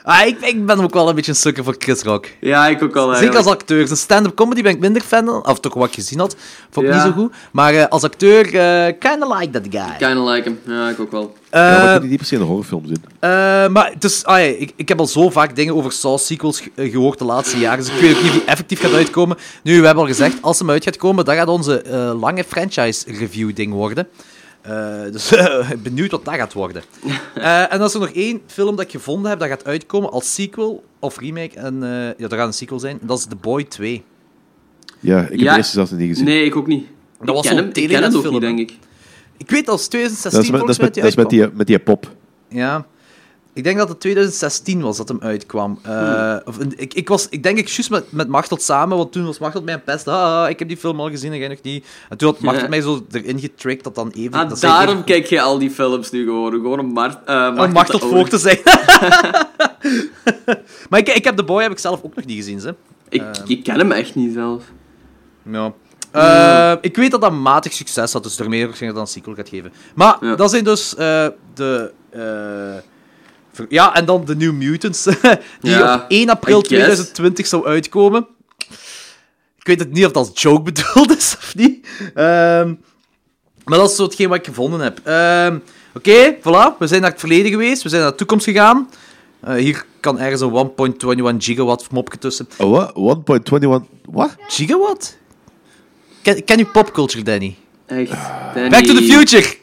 S2: ah, ik, ik ben ook wel een beetje een sukker voor Chris Rock.
S1: Ja, ik ook al.
S2: Zeker als
S1: eigenlijk.
S2: acteur. Zijn stand-up comedy ben ik minder fan van. Of toch wat ik gezien had. Vond ik
S1: Ja.
S2: niet zo goed. Maar eh, als acteur, eh kinda like that guy.
S1: Kinda like hem. Ja, ik ook wel.
S6: Ja, maar
S2: Eh,
S6: ik heb die niet per se in een horrorfilm zien.
S2: eh, maar het is, ah, ja, ik, ik heb al zo vaak dingen over Saw sequels ge- eh, gehoord de laatste jaren. Dus ik weet ook niet of die effectief gaat uitkomen. Nu, we hebben al gezegd, als hem uit gaat komen, dat gaat onze eh, lange franchise review ding worden. Eh, dus *laughs* eh, benieuwd wat dat gaat worden. Eh, en dan is er nog één film dat ik gevonden heb dat gaat uitkomen als sequel of remake. En, eh, ja, dat gaat een sequel zijn. En dat is The Boy 2.
S6: Ja, ik heb
S1: Ja.
S6: de eerste zelfs niet gezien.
S1: Nee, ik ook niet.
S2: Dat was
S1: ik ken
S2: zo'n
S1: hem, ik ken het ook
S2: Telenet-film,
S1: niet,
S2: hè?
S1: denk ik.
S2: Ik weet als
S6: dat is
S2: 2016
S6: met, dat is
S2: volgens
S6: met,
S2: mij
S6: dat is met,
S2: dat hij
S6: die, met die pop.
S2: uitkwam. Ja. Ik denk dat het 2016 was dat hem uitkwam. Eh,
S6: Hmm.
S2: of, een- ik, ik was, ik denk ik, juist met, met Machteld samen, want toen was Machteld mij een pest. Ah, ik heb die film al gezien en jij nog niet. En toen had Machteld
S1: Ja.
S2: mij zo erin getrickt dat dan even...
S1: Ah,
S2: dat zij
S1: daarom
S2: even-
S1: *laughs* kijk je al die films nu gewoon. Gewoon om Mart, eh
S2: Om
S1: Machteld
S2: Machteld
S1: te
S2: voor
S1: ownen.
S2: te zijn. *laughs* maar ik, ik heb The Boy heb ik zelf ook nog niet gezien, ze.
S1: Ik, ik ken hem echt niet zelf. Mm.
S2: Ja. Eh, Ik weet dat dat matig succes had, dus daarmee waarschijnlijk dat een sequel gaat geven. Maar
S1: Ja.
S2: dat zijn dus eh, de. eh, ver- ja, en dan de New Mutants, *laughs* die
S1: Ja,
S2: op 1 april
S1: I guess.
S2: 2020 zou uitkomen. Ik weet het niet of dat als joke *laughs* bedoeld is of niet. Ehm, maar dat is zo hetgeen wat ik gevonden heb. Ehm, Oké, voilà. We zijn naar het verleden geweest, we zijn naar de toekomst gegaan. Eh, hier kan ergens een 1.21 gigawatt mopje tussen.
S6: Oh, wat? 1.21... Wat?
S2: Gigawatt? Ken, ken je popculture, Danny? Eh,
S1: Echt. Danny.
S2: Back to the Future!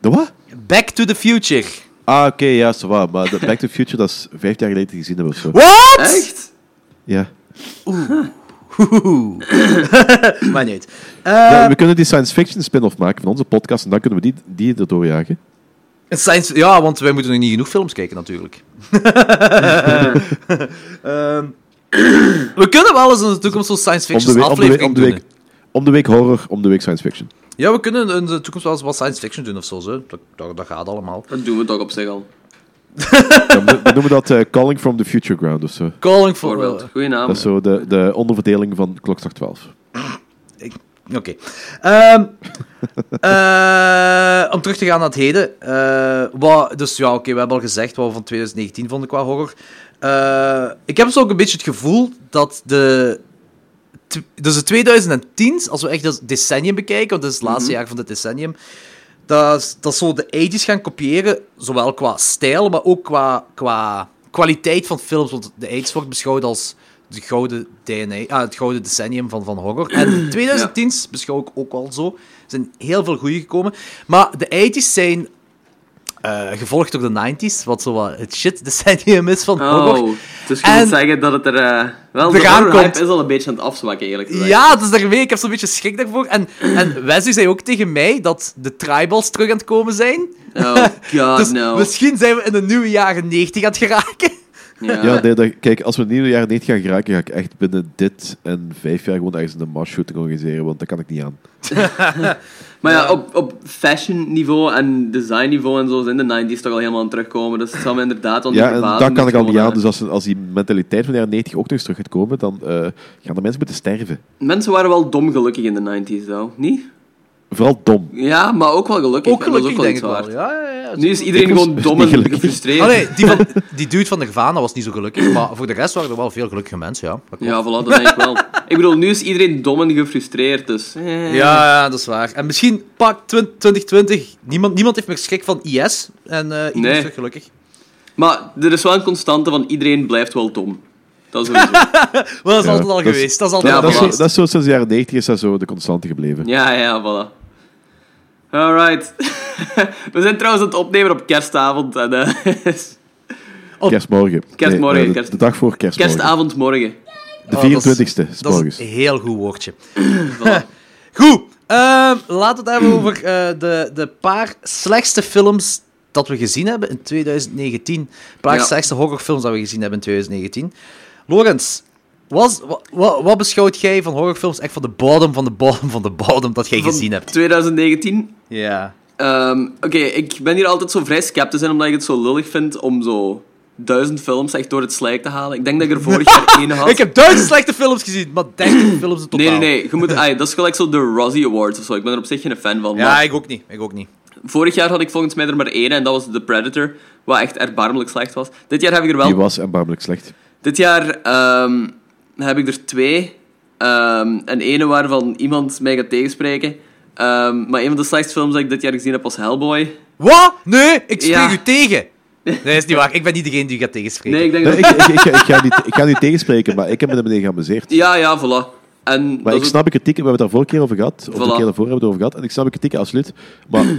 S6: De wat?
S2: Back to the Future.
S6: Ah, oké, ja, zo waar. Maar de Back to the Future, dat is vijf jaar geleden gezien hebben of zo.
S2: What?
S1: Echt?
S6: Ja.
S2: *coughs* Maar niet. Eh,
S6: Ja, we kunnen die science fiction spin-off maken van onze podcast en dan kunnen we die, die erdoor jagen.
S2: een science, ja, want wij moeten nog niet genoeg films kijken,
S6: *laughs*
S2: natuurlijk. Ehm, we kunnen wel eens in de toekomst zo'n science
S6: Om de,
S2: fiction
S6: we- om, de we- om,
S2: aflevering
S6: de
S2: doen.
S6: week, om de week horror, om de week science fiction.
S2: hè. Ja, we kunnen in de toekomst wel eens wat science fiction doen of zo. zo. Dat, dat, dat gaat allemaal.
S1: Dat doen we toch op zich al.
S6: Dan, no- dan noemen we dat eh, Calling from the Future Ground of zo.
S2: Calling for...
S1: Bijvoorbeeld. Goeie naam.
S6: Dat is zo de, de onderverdeling van klokslag 12.
S2: Oké. Ehm, eh, om terug te gaan naar het heden. eh, wat, dus ja, oké, we hebben al gezegd wat we van 2019 vonden qua horror. Eh, ik heb zo ook een beetje het gevoel dat de... tw- Dus de 2010, als we echt het decennium bekijken, want dat is het laatste jaar van het decennium, dat, is- dat zo de 80s gaan kopiëren, zowel qua stijl, maar ook qua, qua kwaliteit van films. Want de 80s wordt beschouwd als de gouden DNA, ah, het gouden decennium van, van horror. En de 2010s beschouw ik ook al zo. Er zijn heel veel goede gekomen. Maar de 80s zijn eh, gevolgd door de 90s, wat zo wat het shit decennium is van horror.
S1: Oh, dus je
S2: En-
S1: moet zeggen dat het er... eh, wel, de
S2: Eraan
S1: horrorhype
S2: komt.
S1: is al een beetje aan het afzwakken, eerlijk gezegd.
S2: Ja, dus daarmee, ik heb zo'n beetje schrik daarvoor. En, en Wesley zei ook tegen mij dat de tribals terug aan het komen zijn.
S1: Oh, god,
S2: dus
S1: no.
S2: misschien zijn we in de nieuwe jaren 90 aan het geraken.
S1: Ja.
S6: Ja, nee, dat- kijk, als we in de jaren 90 gaan geraken, ga ik echt binnen dit en vijf jaar gewoon ergens een marsshooting organiseren, want dat kan ik niet aan.
S1: Maar ja, op, op fashion niveau en design niveau en zo zijn de 90s toch al helemaal aan het terugkomen. Dus het zal me inderdaad wel niet
S6: Ja, en
S1: verbazen
S6: dat kan ik al niet
S1: gewoon,
S6: aan.
S1: eh,
S6: Dus als, als die mentaliteit van de jaren 90 ook nog eens terug gaat komen, dan eh, gaan de mensen moeten sterven.
S1: Mensen waren wel dom gelukkig in de 90s, zo. Niet?
S6: Vooral dom.
S1: Ja, maar ook wel gelukkig.
S2: Ook gelukkig,
S1: dat is
S2: denk
S1: ook wel
S2: ik
S1: iets
S2: wel.
S1: waard.
S2: Ja, ja, ja.
S1: Nu is iedereen
S6: Ik was
S1: gewoon dom en
S6: niet gelukkig.
S1: gefrustreerd.
S2: Allee, die, van, die dude van Nirvana was niet zo
S1: *clears throat*
S2: gelukkig, maar voor de rest waren er wel veel gelukkige mensen, ja. Dat klopt.
S1: Ja, voilà, dat denk ik wel. Ik bedoel, nu is iedereen dom en gefrustreerd, dus... eh.
S2: Ja, ja, dat is waar. En misschien pak 20- 2020, niemand, niemand heeft meer schrik van IS. En eh, iedereen
S1: Nee.
S2: is terug gelukkig.
S1: Maar er is wel een constante van iedereen blijft wel dom. Dat is sowieso.
S2: Maar dat is
S6: Ja,
S2: altijd al
S6: dat is-
S2: geweest. Dat is altijd
S1: Ja,
S2: al
S6: dat, is zo,
S1: voilà.
S2: geweest.
S6: dat is zo sinds de jaren 90 is dat zo de constante gebleven.
S1: ja, ja, voilà. Alright. *laughs* We zijn trouwens aan het opnemen op kerstavond. En, eh, *laughs*
S6: Kerstmorgen. Nee,
S1: Kerstmorgen,
S6: eh, de,
S1: kerst-
S6: de dag voor kerstmorgen.
S1: kerstavond morgen.
S6: De
S2: Oh, dat is-
S6: 24ste, is
S2: Dat is een
S6: morgens.
S2: heel goed
S1: *clears throat*
S2: woordje. *laughs*
S1: Voilà.
S2: Goed, ehm, laten we het hebben over eh, de, de paar slechtste films dat we gezien hebben in 2019. Een paar
S1: Ja.
S2: slechtste horrorfilms dat we gezien hebben in 2019. Lorenz, was, wa, wa- wat beschouwt jij van horrorfilms echt van de bodem, van de bodem, van de bodem dat jij
S1: Van
S2: gezien hebt?
S1: 2019.
S2: Ja.
S1: Ehm, Oké, ik ben hier altijd zo vrij sceptisch in, omdat ik het zo lullig vind om zo duizend films echt door het slijk te halen. Ik denk
S2: *laughs*
S1: dat ik er vorig jaar één had.
S2: Ik heb duizend slechte films gezien, maar
S1: *clears throat*
S2: 30 films in totaal.
S1: Nee, nee, nee. Je moet, ai, dat is gelijk zo de Razzie Awards of zo. Ik ben er op zich geen fan van.
S2: Ja,
S1: maar
S2: ik ook niet. Ik ook niet.
S1: vorig jaar had ik volgens mij er maar één en dat was The Predator, wat echt erbarmelijk slecht was. Dit jaar heb ik er wel
S6: Die was erbarmelijk slecht.
S1: Dit jaar ehm, heb ik er twee. Ehm en ene waarvan iemand mij gaat tegenspreken. Ehm, maar een van de slechtste films dat ik dit jaar gezien heb was Hellboy.
S2: Wat? Nee, ik spreek
S1: Ja.
S2: u
S1: *laughs*
S2: tegen. Nee, is niet waar. Ik ben niet degene die u gaat tegenspreken.
S1: Nee, ik denk
S6: Nee,
S1: dat...
S6: ik, ik, ik, ik ga niet, ik ga niet tegenspreken, maar ik heb me ermee geamuseerd.
S1: Ja, ja, voilà. En dat
S6: Maar
S1: is ook-
S6: ik snap de kritieken, we hebben het daar vorige keer over gehad. Of de
S1: Voilà.
S6: keer daarvoor hebben we het over gehad. En ik snap de kritieken, absoluut. Maar
S1: *clears throat*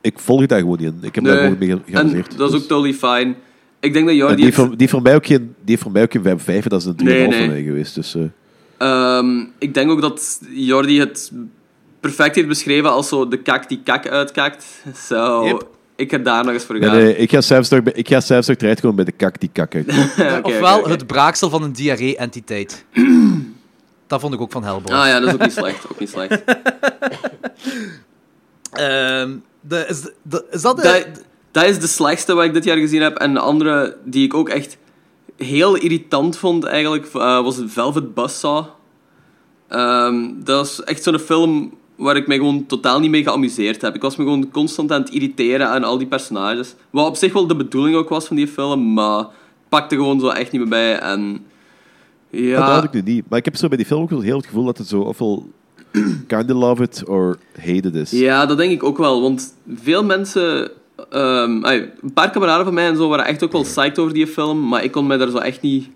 S6: ik volg daar gewoon niet in. Ik heb daar gewoon mee ge-
S1: en
S6: geamuseerd.
S1: dat is
S6: Dus-
S1: ook totally fine. Ik denk dat
S6: En
S1: Jordi...
S6: die,
S1: heeft-
S6: heeft voor, die, heeft voor mij ook geen, die heeft voor mij ook geen 5 5, dat is een 3,5
S1: Nee, nee.
S6: van mij geweest. Dus, eh,
S1: Ehm, ik denk ook dat Jordi het perfect heeft beschreven als zo de kak die kak uitkakt. *laughs* Zo,
S2: Yep.
S1: ik heb daar nog eens voor
S6: nee,
S1: gegaan.
S6: nee, ik ga zelfs nog, bij- ik ga zelfs nog terecht komen bij de kak die kak uit.
S1: Ja, *laughs* oké,
S2: Ofwel
S1: oké, oké.
S2: het braaksel van een
S1: *clears throat*
S2: diarree-entiteit. dat vond ik ook van Hellboy.
S1: Ah ja, dat is ook niet slecht. Ook niet slecht.
S2: Ehm, de, is, de- is dat de...
S1: dat, dat is de slechtste wat ik dit jaar gezien heb. En de andere die ik ook echt heel irritant vond eigenlijk, eh, was Velvet Buzzsaw. Ehm, dat is echt zo'n film waar ik me gewoon totaal niet mee geamuseerd heb. Ik was me gewoon constant aan het irriteren aan al die personages. Wat op zich wel de bedoeling ook was van die film, maar het pakte gewoon zo echt niet meer bij. En *laughs*
S6: Dat
S1: ja,
S6: had ik nu niet. Maar ik heb zo bij die film ook wel heel het gevoel dat het zo ofwel *clears throat* kind of love it or hate it is.
S1: Ja, dat denk ik ook wel. Want veel mensen. ehm, ai, een paar kameraden van mij en zo waren echt ook wel psyched over die film. Maar ik kon mij daar zo echt niet.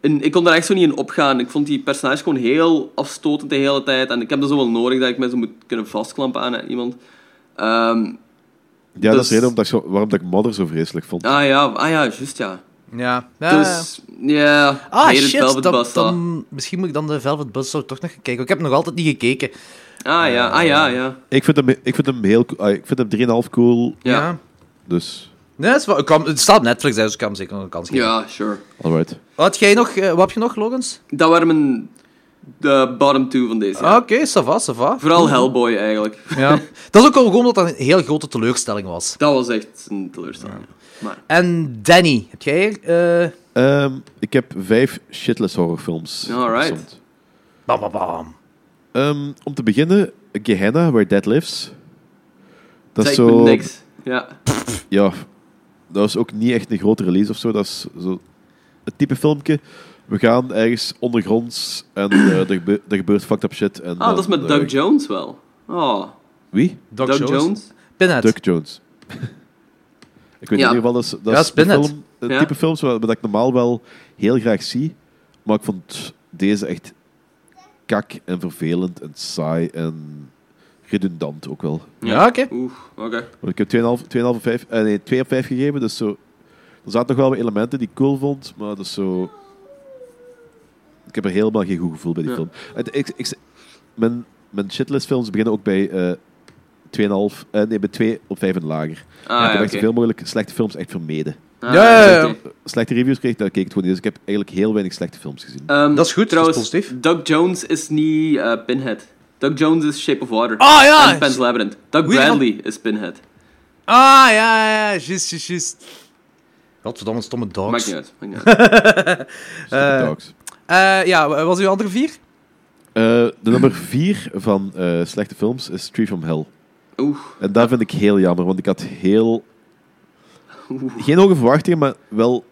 S1: In, ik kon daar echt zo niet in opgaan. Ik vond die personage gewoon heel afstotend de hele tijd. En ik heb dat zo wel nodig dat ik me zo moet kunnen vastklampen aan iemand. Ehm,
S6: Ja, dat is
S1: Dus-
S6: de reden omdat ik zo- waarom dat ik Mother zo vreselijk vond.
S1: Ah ja, ah, ja juist ja.
S2: Ja. ja.
S1: Dus, ja,
S2: ah,
S1: Hated
S2: shit.
S1: Velvet
S2: Dan,
S1: Buzzsaw.
S2: dan- misschien moet ik dan de Velvet Buzzsaw toch nog gaan kijken. Ik heb nog altijd niet gekeken.
S1: Ah ja, ah ja, ja.
S6: Ik, vind hem, ik vind hem heel co- ah, ik vind hem 3,5 cool.
S1: Ja, ja.
S2: Ja.
S6: Dus,
S2: Nee, dat is wel- ik kan, het staat op Netflix, dus ik kan hem zeker nog een kans geven.
S1: sure.
S6: alright.
S2: Wat, had jij nog, eh, wat heb je nog, Logans?
S1: Dat waren mijn de bottom two van deze. ja.
S2: Ah, Oké, ça va, ça va.
S1: Vooral Hellboy eigenlijk.
S2: Ja.
S1: *laughs*
S2: dat is ook al gewoon omdat dat een heel grote teleurstelling was.
S1: Dat was echt een teleurstelling. Maar,
S2: En Danny, heb jij... eh
S6: Ehm, ik heb vijf shitless horrorfilms.
S1: Alright.
S6: opgezond.
S2: bam, bam, bam.
S6: Ehm, om te beginnen, Gehenna, Where Dead Lives. Dat is
S1: zeg me
S6: zo...
S1: niks. Ja. Ah,
S6: Ja, dat is ook niet echt een grote release of zo. Dat is zo het type filmpje. We gaan ergens ondergronds en eh, er, gebe- er gebeurt fucked up shit. En eh,
S1: Ah, dat is met Doug Jones wel. Oh,
S6: Wie?
S2: Doc,
S1: Doug
S2: Jones.
S1: Jones.
S2: Pinhead.
S6: Doug
S1: *laughs*
S6: Jones. ik weet
S1: Ja.
S6: in ieder geval, dat is, dat
S2: Ja,
S6: is de
S2: Spinhead.
S6: film, het
S1: Ja.
S6: type films wat, wat ik normaal wel heel graag zie. Maar ik vond deze echt kak en vervelend en saai en redundant ook wel.
S2: Ja, oké.
S1: Oeh, oké. Ah,
S6: Want ik heb 2,5 2,5 op 5, eh, nee, 2 op 5 gegeven, dus zo... Er zaten nog wel wat elementen die ik cool vond, maar dat is zo... Ik heb er helemaal geen goed gevoel bij die
S1: Ja.
S6: film. Het- ik, ik, mijn, mijn shitlist films beginnen ook bij eh 2,5... eh, nee, bij 2 op 5 en lager. ik
S1: Ah,
S6: heb
S1: ja,
S6: echt
S1: oké.
S6: zoveel mogelijk slechte films echt vermeden.
S1: Ah,
S2: Ja, ja, ja.
S1: oké.
S6: Slechte reviews kreeg ik, daar keek ik het gewoon niet. Dus ik heb eigenlijk heel weinig slechte films gezien.
S1: Ehm,
S2: Dat is goed,
S1: Trouwens,
S2: dat is positief.
S1: Doug Jones is niet eh, Pinhead. Doug Jones is Shape of Water.
S2: Ah, ja!
S1: En Pan's Labyrinth. Doug
S2: Hoe je
S1: Bradley is Pinhead.
S2: Ah, ja, ja, ja, juist, juist, juist. Godverdomme, stomme
S1: Maakt
S2: dogs.
S1: niet uit.
S6: *laughs*
S1: Maakt niet uit.
S6: Stupid Dogs.
S2: Eh, ja, wat was uw andere vier?
S6: Eh, de nummer 4 van eh, slechte films is Tree from Hell.
S1: Oeh.
S6: En dat vind ik heel jammer, want ik had heel...
S1: Oeh.
S6: Geen hoge verwachtingen, maar wel...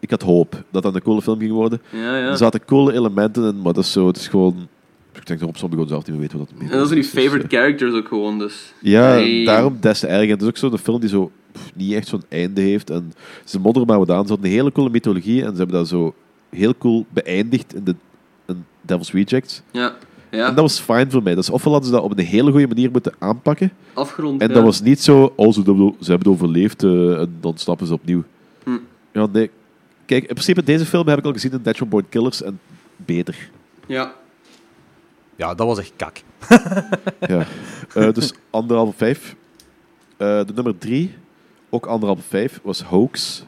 S6: Ik had hoop dat dat een coole film ging worden.
S1: Ja, ja.
S6: Er zaten coole elementen in, maar dat is zo... Het is gewoon... Ik denk dat Rob Zombie gewoon zelf niet meer Dus, eh, weet wat dat
S1: En dat zijn die favorite characters ook gewoon, dus...
S6: Ja,
S1: Nee.
S6: daarom des te erger. Het is ook zo'n film die zo pff, niet echt zo'n einde heeft. En ze modderen maar wat aan. Ze hadden een hele coole mythologie en ze hebben dat zo heel cool beëindigd in de in Devil's Rejects.
S1: Ja.
S6: En
S1: Ja,
S6: dat was fijn voor mij. Dus ofwel hadden ze dat op een hele goede manier moeten aanpakken.
S1: afgerond.
S6: En
S1: ja.
S6: dat was niet zo, oh, ze, hebben- ze hebben het overleefd eh, en dan stappen ze opnieuw.
S1: Hm.
S6: Ja, nee. Kijk, in principe, deze film heb ik al gezien in Natural Born Killers en beter.
S1: Ja.
S2: Ja, dat was echt kak.
S6: Ja. Eh, dus anderhalf op vijf. Eh, de nummer drie, ook anderhalf op vijf, was Hoax.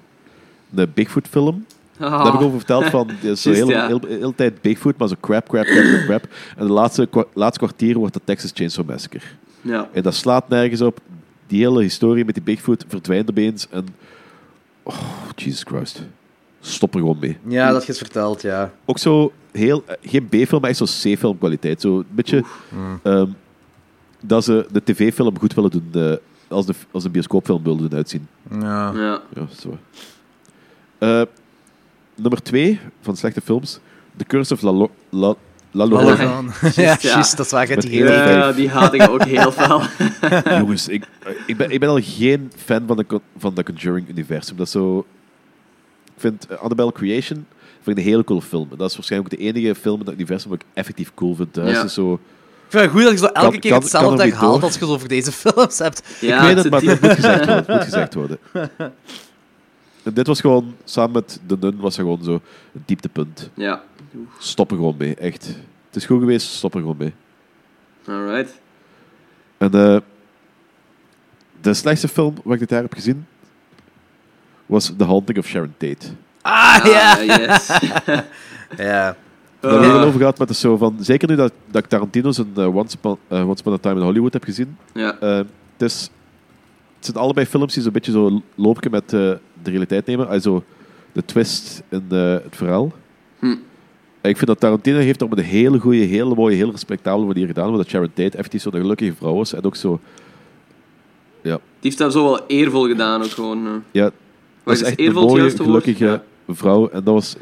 S6: De Bigfoot film.
S1: Haha.
S6: Daar heb ik over verteld
S1: *laughs*
S6: van, het is de
S1: Ah. Juist,
S6: hele,
S1: ja.
S6: heel, heel tijd Bigfoot, maar zo crap, crap, crap, crap, crap. En de laatste, kwa- laatste kwartier wordt de Texas Chainsaw Massacre.
S1: Ja.
S6: En dat slaat nergens op. Die hele historie met die Bigfoot verdwijnt opeens. En. Oh, Jesus Christ. Stop er gewoon mee.
S2: Ja, dat je het verteld, ja.
S6: Ook zo heel. eh, Geen B-film, maar echt zo'n C-film kwaliteit. Zo een beetje. ehm, dat ze de tv-film goed willen doen. eh, als, de, als een bioscoopfilm willen doen uitzien.
S2: Ja.
S1: Ja.
S6: Ja, zo. Eh, nummer 2 van slechte films: The Curse of La, Lo- La, La Llorona.
S1: Llorona.
S2: Ja, *laughs* ja, juist, dat is waar. Je hebt die
S6: Met
S2: hele
S6: heel-
S1: Ja, die haat ik ook
S6: *laughs*
S1: heel fel.
S6: Jongens, ik, eh, ik, ben, ik ben al geen fan van de, Con- van de Conjuring-universum. Dat is zo... Ik vind eh, Annabelle Creation vind ik een hele coole film. En Dat is waarschijnlijk ook de enige film in dat universum dat ik effectief cool vind. Dat
S1: Ja.
S6: is dus zo...
S2: Ik vind het goed dat je zo elke
S6: Kan-
S2: keer
S6: kan-
S2: hetzelfde
S6: kan er niet
S2: herhaalt
S6: door.
S2: als je het over deze *laughs* films hebt.
S1: Ja,
S6: ik weet het,
S1: zit
S6: maar
S1: die-
S6: het moet gezegd worden. Het moet gezegd worden. En *laughs* dit was gewoon, samen met The Nun, was dat gewoon zo het dieptepunt.
S1: Ja,
S6: Stop er gewoon mee, echt. Het is goed geweest, stop er gewoon mee. *laughs*
S1: alright.
S6: En eh, de slechtste film wat ik dit jaar heb gezien was The Haunting of Sharon Tate.
S2: Ah, ja.
S1: Ah, yes. *laughs*
S2: Ja.
S6: Daar hebben we
S1: Eh,
S6: het over gehad, maar het is zo van... Zeker nu dat, dat ik Tarantino's en eh, Once, Upon, eh, Once Upon a Time in Hollywood heb gezien.
S1: ja.
S6: eh, het, is, het zijn allebei films die zo'n beetje zo loopje met eh, de realiteit nemen. Also, de twist in eh, het verhaal.
S1: Hm.
S6: En ik vind dat Tarantino heeft dat op een hele goede, hele mooie, heel respectabele manier gedaan. Omdat Sharon Tate effectief zo'n gelukkige vrouw is. En ook zo...
S1: Die heeft dat zo wel eervol gedaan ook gewoon. eh.
S6: Ja, dat
S1: Wacht,
S6: is
S1: is
S6: echt een
S1: eervol het
S6: mooie,
S1: juiste woord?
S6: gelukkige vrouw. En dat was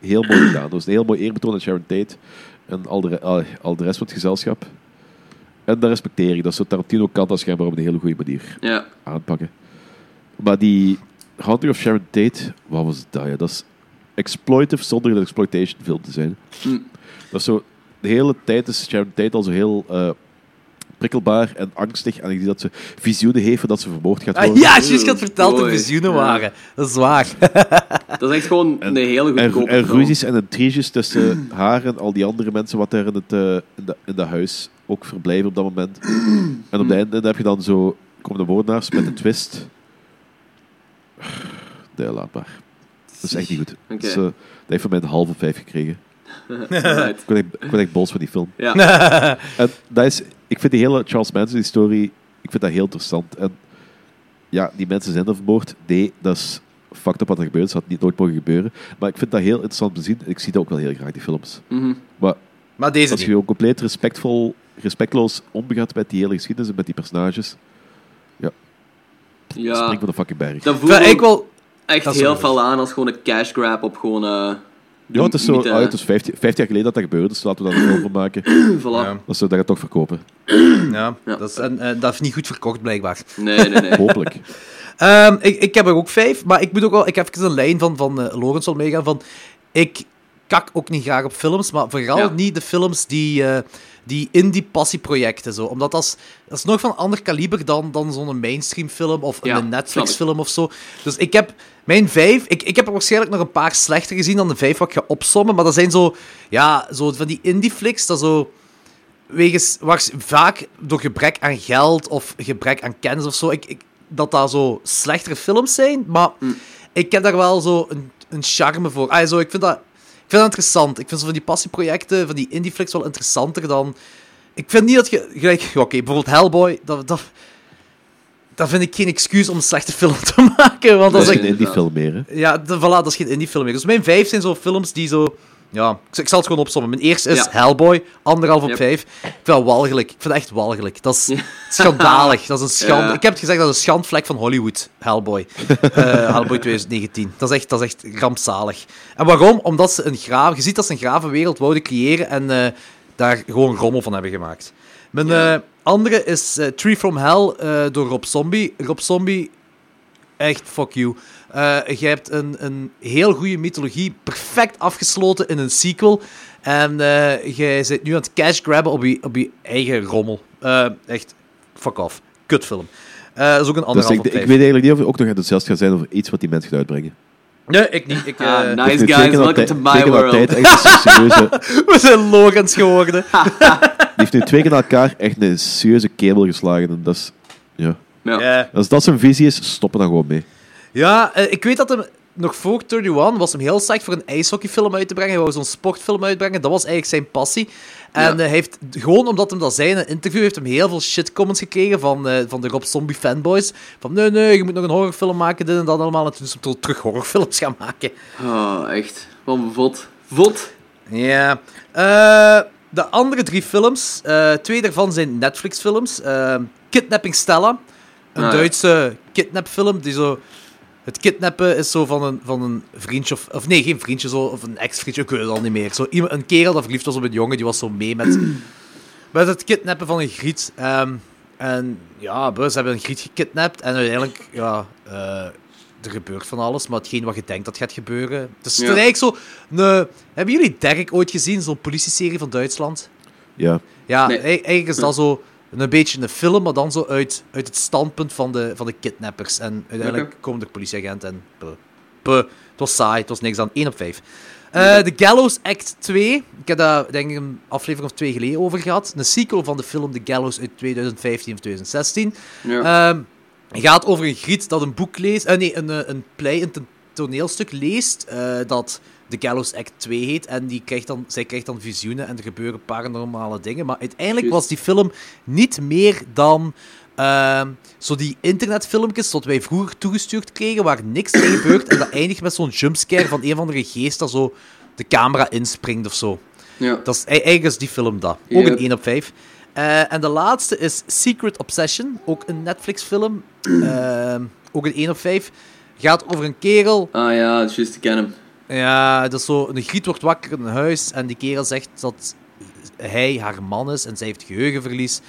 S6: heel mooi gedaan. Dat was een heel mooi eerbetoon aan Sharon Tate. En al de, re- al, al de rest van het gezelschap. En dat respecteer ik. Dat is zo Tarantino kan dat schijnbaar op een hele goede manier
S1: Ja.
S6: aanpakken. Maar die Haunting of Sharon Tate, wat was dat? Ja? Dat is exploitive zonder een exploitation film te zijn.
S1: Hm.
S6: Dat is zo, de hele tijd is Sharon Tate al zo heel eh, prikkelbaar en angstig. En ik zie dat ze visioenen heeft dat ze vermoord gaat worden.
S2: Ah, ja, juist, ik had verteld dat
S1: Mooi.
S2: we zoenen
S1: Ja.
S2: waren. Dat is waar. *laughs*
S1: Dat is echt gewoon een hele
S6: En,
S1: goedkope
S6: en
S1: film.
S6: ruzies en intriges tussen haar en al die andere mensen wat daar in het eh, in de, in dat huis ook verblijven op dat moment. en op het einde heb je dan zo, komen de moordenaars met een twist. Nee, laat maar. Dat is echt niet goed.
S1: Oké.
S6: Dus, eh, dat heeft van mij een halve vijf gekregen.
S1: Right.
S6: *laughs* Ik word echt, ik word echt boos van die film.
S1: Ja.
S6: En dat is, ik vind die hele Charles Manson-historie, ik vind dat heel interessant. En ja, die mensen zijn er vermoord. Nee, dat is fucked up wat er gebeurt. Dat had niet nooit mogen gebeuren. Maar ik vind dat heel interessant om te zien. En Ik zie dat ook wel heel graag, die films.
S1: Mhm.
S6: Maar
S2: Maar deze
S6: als je
S2: niet.
S6: gewoon compleet respectvol, respectloos omgaat met die hele geschiedenis en met die personages,
S1: ja.
S6: spring van de fucking berg.
S1: Dat voelt
S2: Enfin, ik
S1: ook
S2: wel...
S1: echt
S2: dat is
S1: heel
S2: wel
S1: fel aan als gewoon een cash grab op gewoon... eh
S6: ja, het is zo,
S1: niet, eh,
S6: ah, het is 15, 15 jaar geleden dat dat gebeurde, dus laten we daar een film van maken.
S1: voilà.
S2: Ja,
S6: Dat ze dat gaan toch verkopen.
S2: ja.
S1: Ja.
S2: Dat, is, en, eh, dat heeft niet goed verkocht, blijkbaar.
S1: Nee, nee,
S6: *laughs*
S1: nee.
S2: *laughs*
S6: Hopelijk.
S2: Ehm, ik, ik heb er ook vijf, maar ik moet ook wel... Ik heb even een lijn van, van eh Lorenz al meegaan van... Ik kak ook niet graag op films, maar vooral
S1: Ja.
S2: niet de films die, eh, die indie passieprojecten zo. Omdat dat is, dat is nog van ander kaliber dan, dan zo'n mainstream film of
S1: Ja,
S2: een Netflix
S1: snap ik.
S2: film of zo. Dus ik heb mijn vijf, ik, ik heb er waarschijnlijk nog een paar slechter gezien dan de vijf wat ik ga opsommen, maar dat zijn zo, ja, zo van die indie flicks, dat zo wegens, waars- vaak door gebrek aan geld of gebrek aan kennis of zo, ik, ik, dat dat zo slechtere films zijn, maar
S1: Hm.
S2: ik heb daar wel zo een, een charme voor. Ah, zo, ik vind dat ik vind dat interessant. Ik vind zo van die passieprojecten, van die indieflex wel interessanter dan... Ik vind niet dat je... Gelijk, oké, bijvoorbeeld Hellboy, dat, dat, dat vind ik geen excuus om een slechte film te *laughs* maken, want
S6: Dat
S2: dat
S6: is
S2: is echt...
S6: geen indie film meer, hè.
S2: Ja, de, voilà, dat is geen indiefilm meer. Dus mijn vijf zijn zo films die zo... Ja, ik, zal- ik zal het gewoon opzommen. Mijn eerste is
S1: Ja.
S2: Hellboy, anderhalf op
S1: Yep.
S2: vijf. Ik vind dat walgelijk. Ik vind dat echt walgelijk. Dat is *laughs* schandalig. Dat is een schande.
S1: Ja.
S2: Ik heb het gezegd, dat is een schandvlek van Hollywood,
S1: *laughs*
S2: Hellboy. Eh, Hellboy 2019. Dat is, echt, dat is echt rampzalig. En waarom? Omdat ze een graven... Je ziet dat ze een gravenwereld wouden creëren en eh, daar gewoon rommel van hebben gemaakt. Mijn
S1: Ja.
S2: eh, andere is eh, Tree from Hell eh, door Rob Zombie. Rob Zombie, echt fuck you. Eh je hebt een, een heel goede mythologie, perfect afgesloten in een sequel. En eh, jij zit nu aan het cash grabben op je, op je eigen rommel. Eh, echt, fuck off. Kutfilm. Eh dat is ook een
S6: Dus
S2: anderhalf
S6: ik,
S2: op
S6: ik
S2: vijf.
S6: weet eigenlijk niet of ik ook nog enthousiast ga zijn over iets wat die mensen gaat uitbrengen.
S2: Nee, ik niet. Ik, eh,
S1: Ah,
S6: Ik
S1: nice
S6: vind
S1: guys,
S6: zeker dat
S1: welcome
S6: tij-
S1: to my
S6: zeker dat tijd
S1: world.
S6: echt een serieuze
S2: *laughs* We zijn Logans geworden.
S1: Ah.
S6: Die heeft nu twee keer na elkaar echt een serieuze kebel geslagen. En dat is, ja.
S1: Ja.
S2: Ja.
S6: Als dat zijn visie is, stoppen dan gewoon mee.
S2: Ja, eh, ik weet dat hem nog voor 31 was hem heel psyched voor een ijshockeyfilm uit te brengen. Hij wou zo'n sportfilm uitbrengen. Dat was eigenlijk zijn passie. En
S1: Ja.
S2: eh, hij heeft, gewoon omdat hem dat zei in een interview, heeft hem heel veel shitcomments gekregen van, eh, van de Rob Zombie fanboys. Van nee, nee, je moet nog een horrorfilm maken, dit en dat allemaal. En toen is hij toch terug horrorfilms gaan maken.
S1: Oh, echt. Wat een vod. Vod?
S2: Ja. Eh, de andere drie films, eh, twee daarvan zijn Netflix-films. Eh, Kidnapping Stella,
S1: Ah,
S2: een
S1: ja.
S2: Duitse kidnapfilm die zo... Het kidnappen is zo van een, van een vriendje of... Of nee, geen vriendje, zo, of een ex-vriendje, ik weet het al niet meer. Zo, iemand, een kerel dat verliefd was op een jongen, die was zo mee met, met het kidnappen van een griet. Ehm, en ja, we- ze hebben een griet gekidnapt en uiteindelijk, ja... eh, er gebeurt van alles, maar hetgeen wat je denkt dat gaat gebeuren. Dus het is
S1: Ja.
S2: eigenlijk zo... een- hebben jullie Derek ooit gezien? Zo'n politieserie van Duitsland?
S6: Ja.
S2: Ja,
S1: Nee.
S2: e- eigenlijk is dat zo een beetje een film, maar dan zo uit, uit het standpunt van de, van de kidnappers. En uiteindelijk
S1: Oké.
S2: komen er politieagenten en... Puh, puh. Het was saai, het was niks aan. 1 op 5. The Gallows Act 2. Ik heb daar denk ik een aflevering of twee geleden over gehad. Een sequel van de film The Gallows uit 2015 of 2016.
S1: Ja.
S2: Ehm, het gaat over een griet dat een boek leest. eh, nee, een, eh, een play, een to- toneelstuk leest. eh, dat The Gallows Act 2 heet. En die krijgt dan, zij krijgt dan visioenen en er gebeuren paranormale dingen. Maar uiteindelijk
S1: Juist.
S2: was die film niet meer dan. ehm, zo die internetfilmpjes dat wij vroeger toegestuurd kregen, waar niks mee gebeurt. En dat eindigt met zo'n jumpscare van een van de geest dat zo de camera inspringt of zo.
S1: ja.
S2: Dat is ei- eigenlijk is die film dat. Ook
S1: Yep.
S2: een 1 op 5. Eh, en de laatste is Secret Obsession. Ook een
S1: *clears throat*
S2: Netflix-film. Ehm, ook een 1 op 5. Gaat over een kerel.
S1: Ah ja, dat is juist, ik ken hem.
S2: Ja, dat is zo. Een griet wordt wakker in een huis. En die kerel zegt dat hij haar man is. En zij heeft geheugenverlies.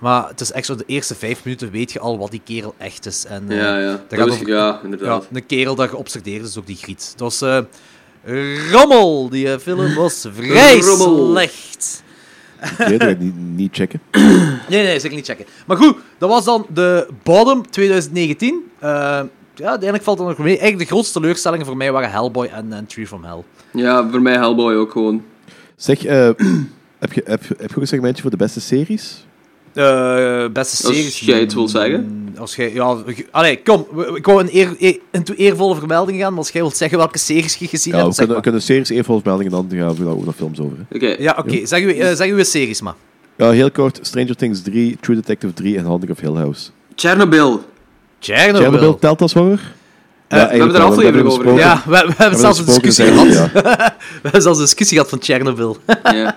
S2: Maar het is echt zo: de eerste vijf minuten weet je al wat die kerel echt is. En, eh,
S1: Ja, ja.
S2: daar
S1: Dat
S2: gaat
S1: was-
S2: nog-
S1: ja,
S2: ja,
S1: inderdaad.
S2: een kerel dat geobsedeerd is door die griet. Dat was eh, rommel. Die eh, film was vrij
S1: Rommel.
S2: slecht.
S6: Nee, dat ga ik niet, niet checken.
S2: Nee, nee, zeker niet checken. Maar goed, dat was dan de Bottom 2019. Eh, ja, uiteindelijk valt dat nog mee. Eigenlijk de grootste teleurstellingen voor mij waren Hellboy en, en Tree from Hell.
S1: Ja, voor mij Hellboy ook gewoon.
S6: Zeg, eh, heb, je, heb, je- heb je ook een segmentje voor de beste series?
S2: Eh, beste
S1: Als
S2: series.
S1: jij het wil zeggen.
S2: Mm, Als jij, ja, ge- allee, kom, we- we- ik wou een, eer, e- een toe- eervolle vermelding gaan, maar als jij wilt zeggen welke series je gezien
S6: Ja,
S2: hebt,
S6: we
S2: zeg
S6: kunnen, we
S2: maar.
S6: kunnen series één volgens meldingen en dan gaan we daar ook nog films over. hè.
S1: Oké.
S2: Ja, oké, zeg, uw- eh, zeg uw series maar.
S6: Ja, heel kort, Stranger Things 3, True Detective 3 en Haunting of Hill House.
S1: Chernobyl.
S2: Chernobyl.
S6: Chernobyl telt als horror?
S2: we hebben
S6: eigenlijk
S1: er
S6: wel,
S1: aflevering
S6: we
S1: over
S6: besproken.
S2: Ja, we, we hebben
S6: We
S2: zelfs een
S6: besproken,
S2: discussie
S6: dus
S2: gehad.
S6: eigenlijk, ja.
S2: We hebben zelfs een discussie gehad van Chernobyl.
S1: *laughs* Ja.
S2: *laughs*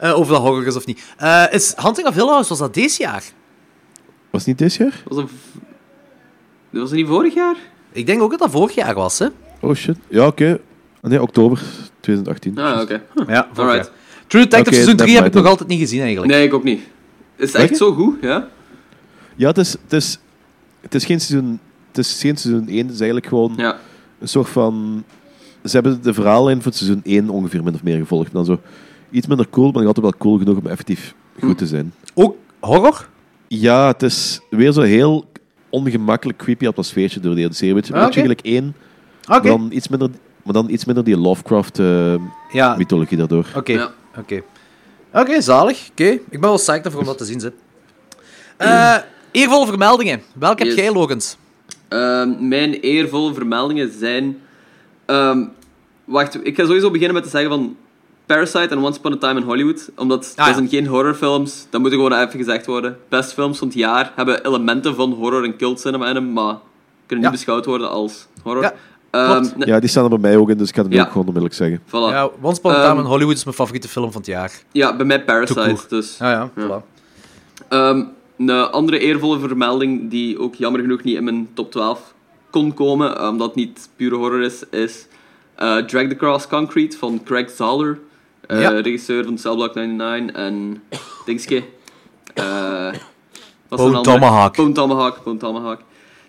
S2: Eh, over dat horror is of niet. Eh, is Hunting of Hill House, was dat deze jaar?
S6: Was het niet dit jaar?
S1: Was dat... v- Was dat niet vorig jaar?
S2: Ik denk ook dat dat vorig jaar was, hè?
S6: Oh shit. Ja, oké. Ah, Nee, oktober 2018.
S1: Ah, oké.
S2: Ja,
S1: vorig Alright.
S2: Hm. True Detective
S6: Oké,
S2: seizoen 3 heb ik
S6: nevermind
S2: nog
S6: dan.
S2: altijd niet gezien, eigenlijk.
S1: Nee, ik ook niet. Is het echt
S6: Echt?
S1: zo goed? Ja?
S6: Ja, het is, het is, het is geen seizoen... Het is geen seizoen 1, het is eigenlijk gewoon
S1: Ja.
S6: een soort van... Ze hebben de verhaallijn van seizoen 1 ongeveer min of meer gevolgd. En dan zo iets minder cool, maar nog altijd wel cool genoeg om effectief goed
S1: Hm.
S6: te zijn.
S2: Ook horror?
S6: Ja, het is weer zo'n heel ongemakkelijk creepy atmosfeertje door de hele serie. Weet je,
S2: Ah, oké.
S6: beetje gelijk één,
S2: Oké.
S6: maar, dan iets minder, maar dan iets minder die Lovecraft-mythologie
S2: Ja,
S1: Ah.
S2: oké.
S6: daardoor.
S1: Ja.
S2: Oké, Oké, zalig. Oké, ik ben wel psyched voor om dat te zien, ze. Eh eervolle vermeldingen. Welke
S1: Yes.
S2: heb jij, Logans?
S1: Ehm, mijn eervolle vermeldingen zijn... ehm, wacht, ik ga sowieso beginnen met te zeggen van... Parasite en Once Upon a Time in Hollywood. Omdat
S2: Ah,
S1: dat
S2: ja.
S1: zijn geen horrorfilms. Dat moet gewoon even gezegd worden. Best films van het jaar hebben elementen van horror en cult cinema in hem. Maar kunnen niet
S2: Ja.
S1: beschouwd worden als horror.
S2: Ja,
S1: Ehm,
S2: klopt.
S1: ne-
S6: Ja, die staan er bij mij ook in, dus ik ga het
S1: Ja.
S6: ook gewoon onmiddellijk zeggen.
S1: voilà.
S2: Ja, Once Upon a Time
S1: Ehm,
S2: in Hollywood is mijn favoriete film van het jaar.
S1: Ja, bij mij Parasite.
S2: Toekoor.
S1: Dus.
S2: Ja, ja, voilà.
S1: Ehm, een andere eervolle vermelding die ook jammer genoeg niet in mijn top 12 kon komen, eh, omdat het niet pure horror is, is eh, Drag the Cross Concrete van Craig Zahler, eh,
S2: Ja.
S1: regisseur van Cell Block 99 en Dingske. eh, wat
S2: Bone
S1: is een andere?
S2: Tomahawk.
S1: Bone Tomahawk, Bone Tomahawk.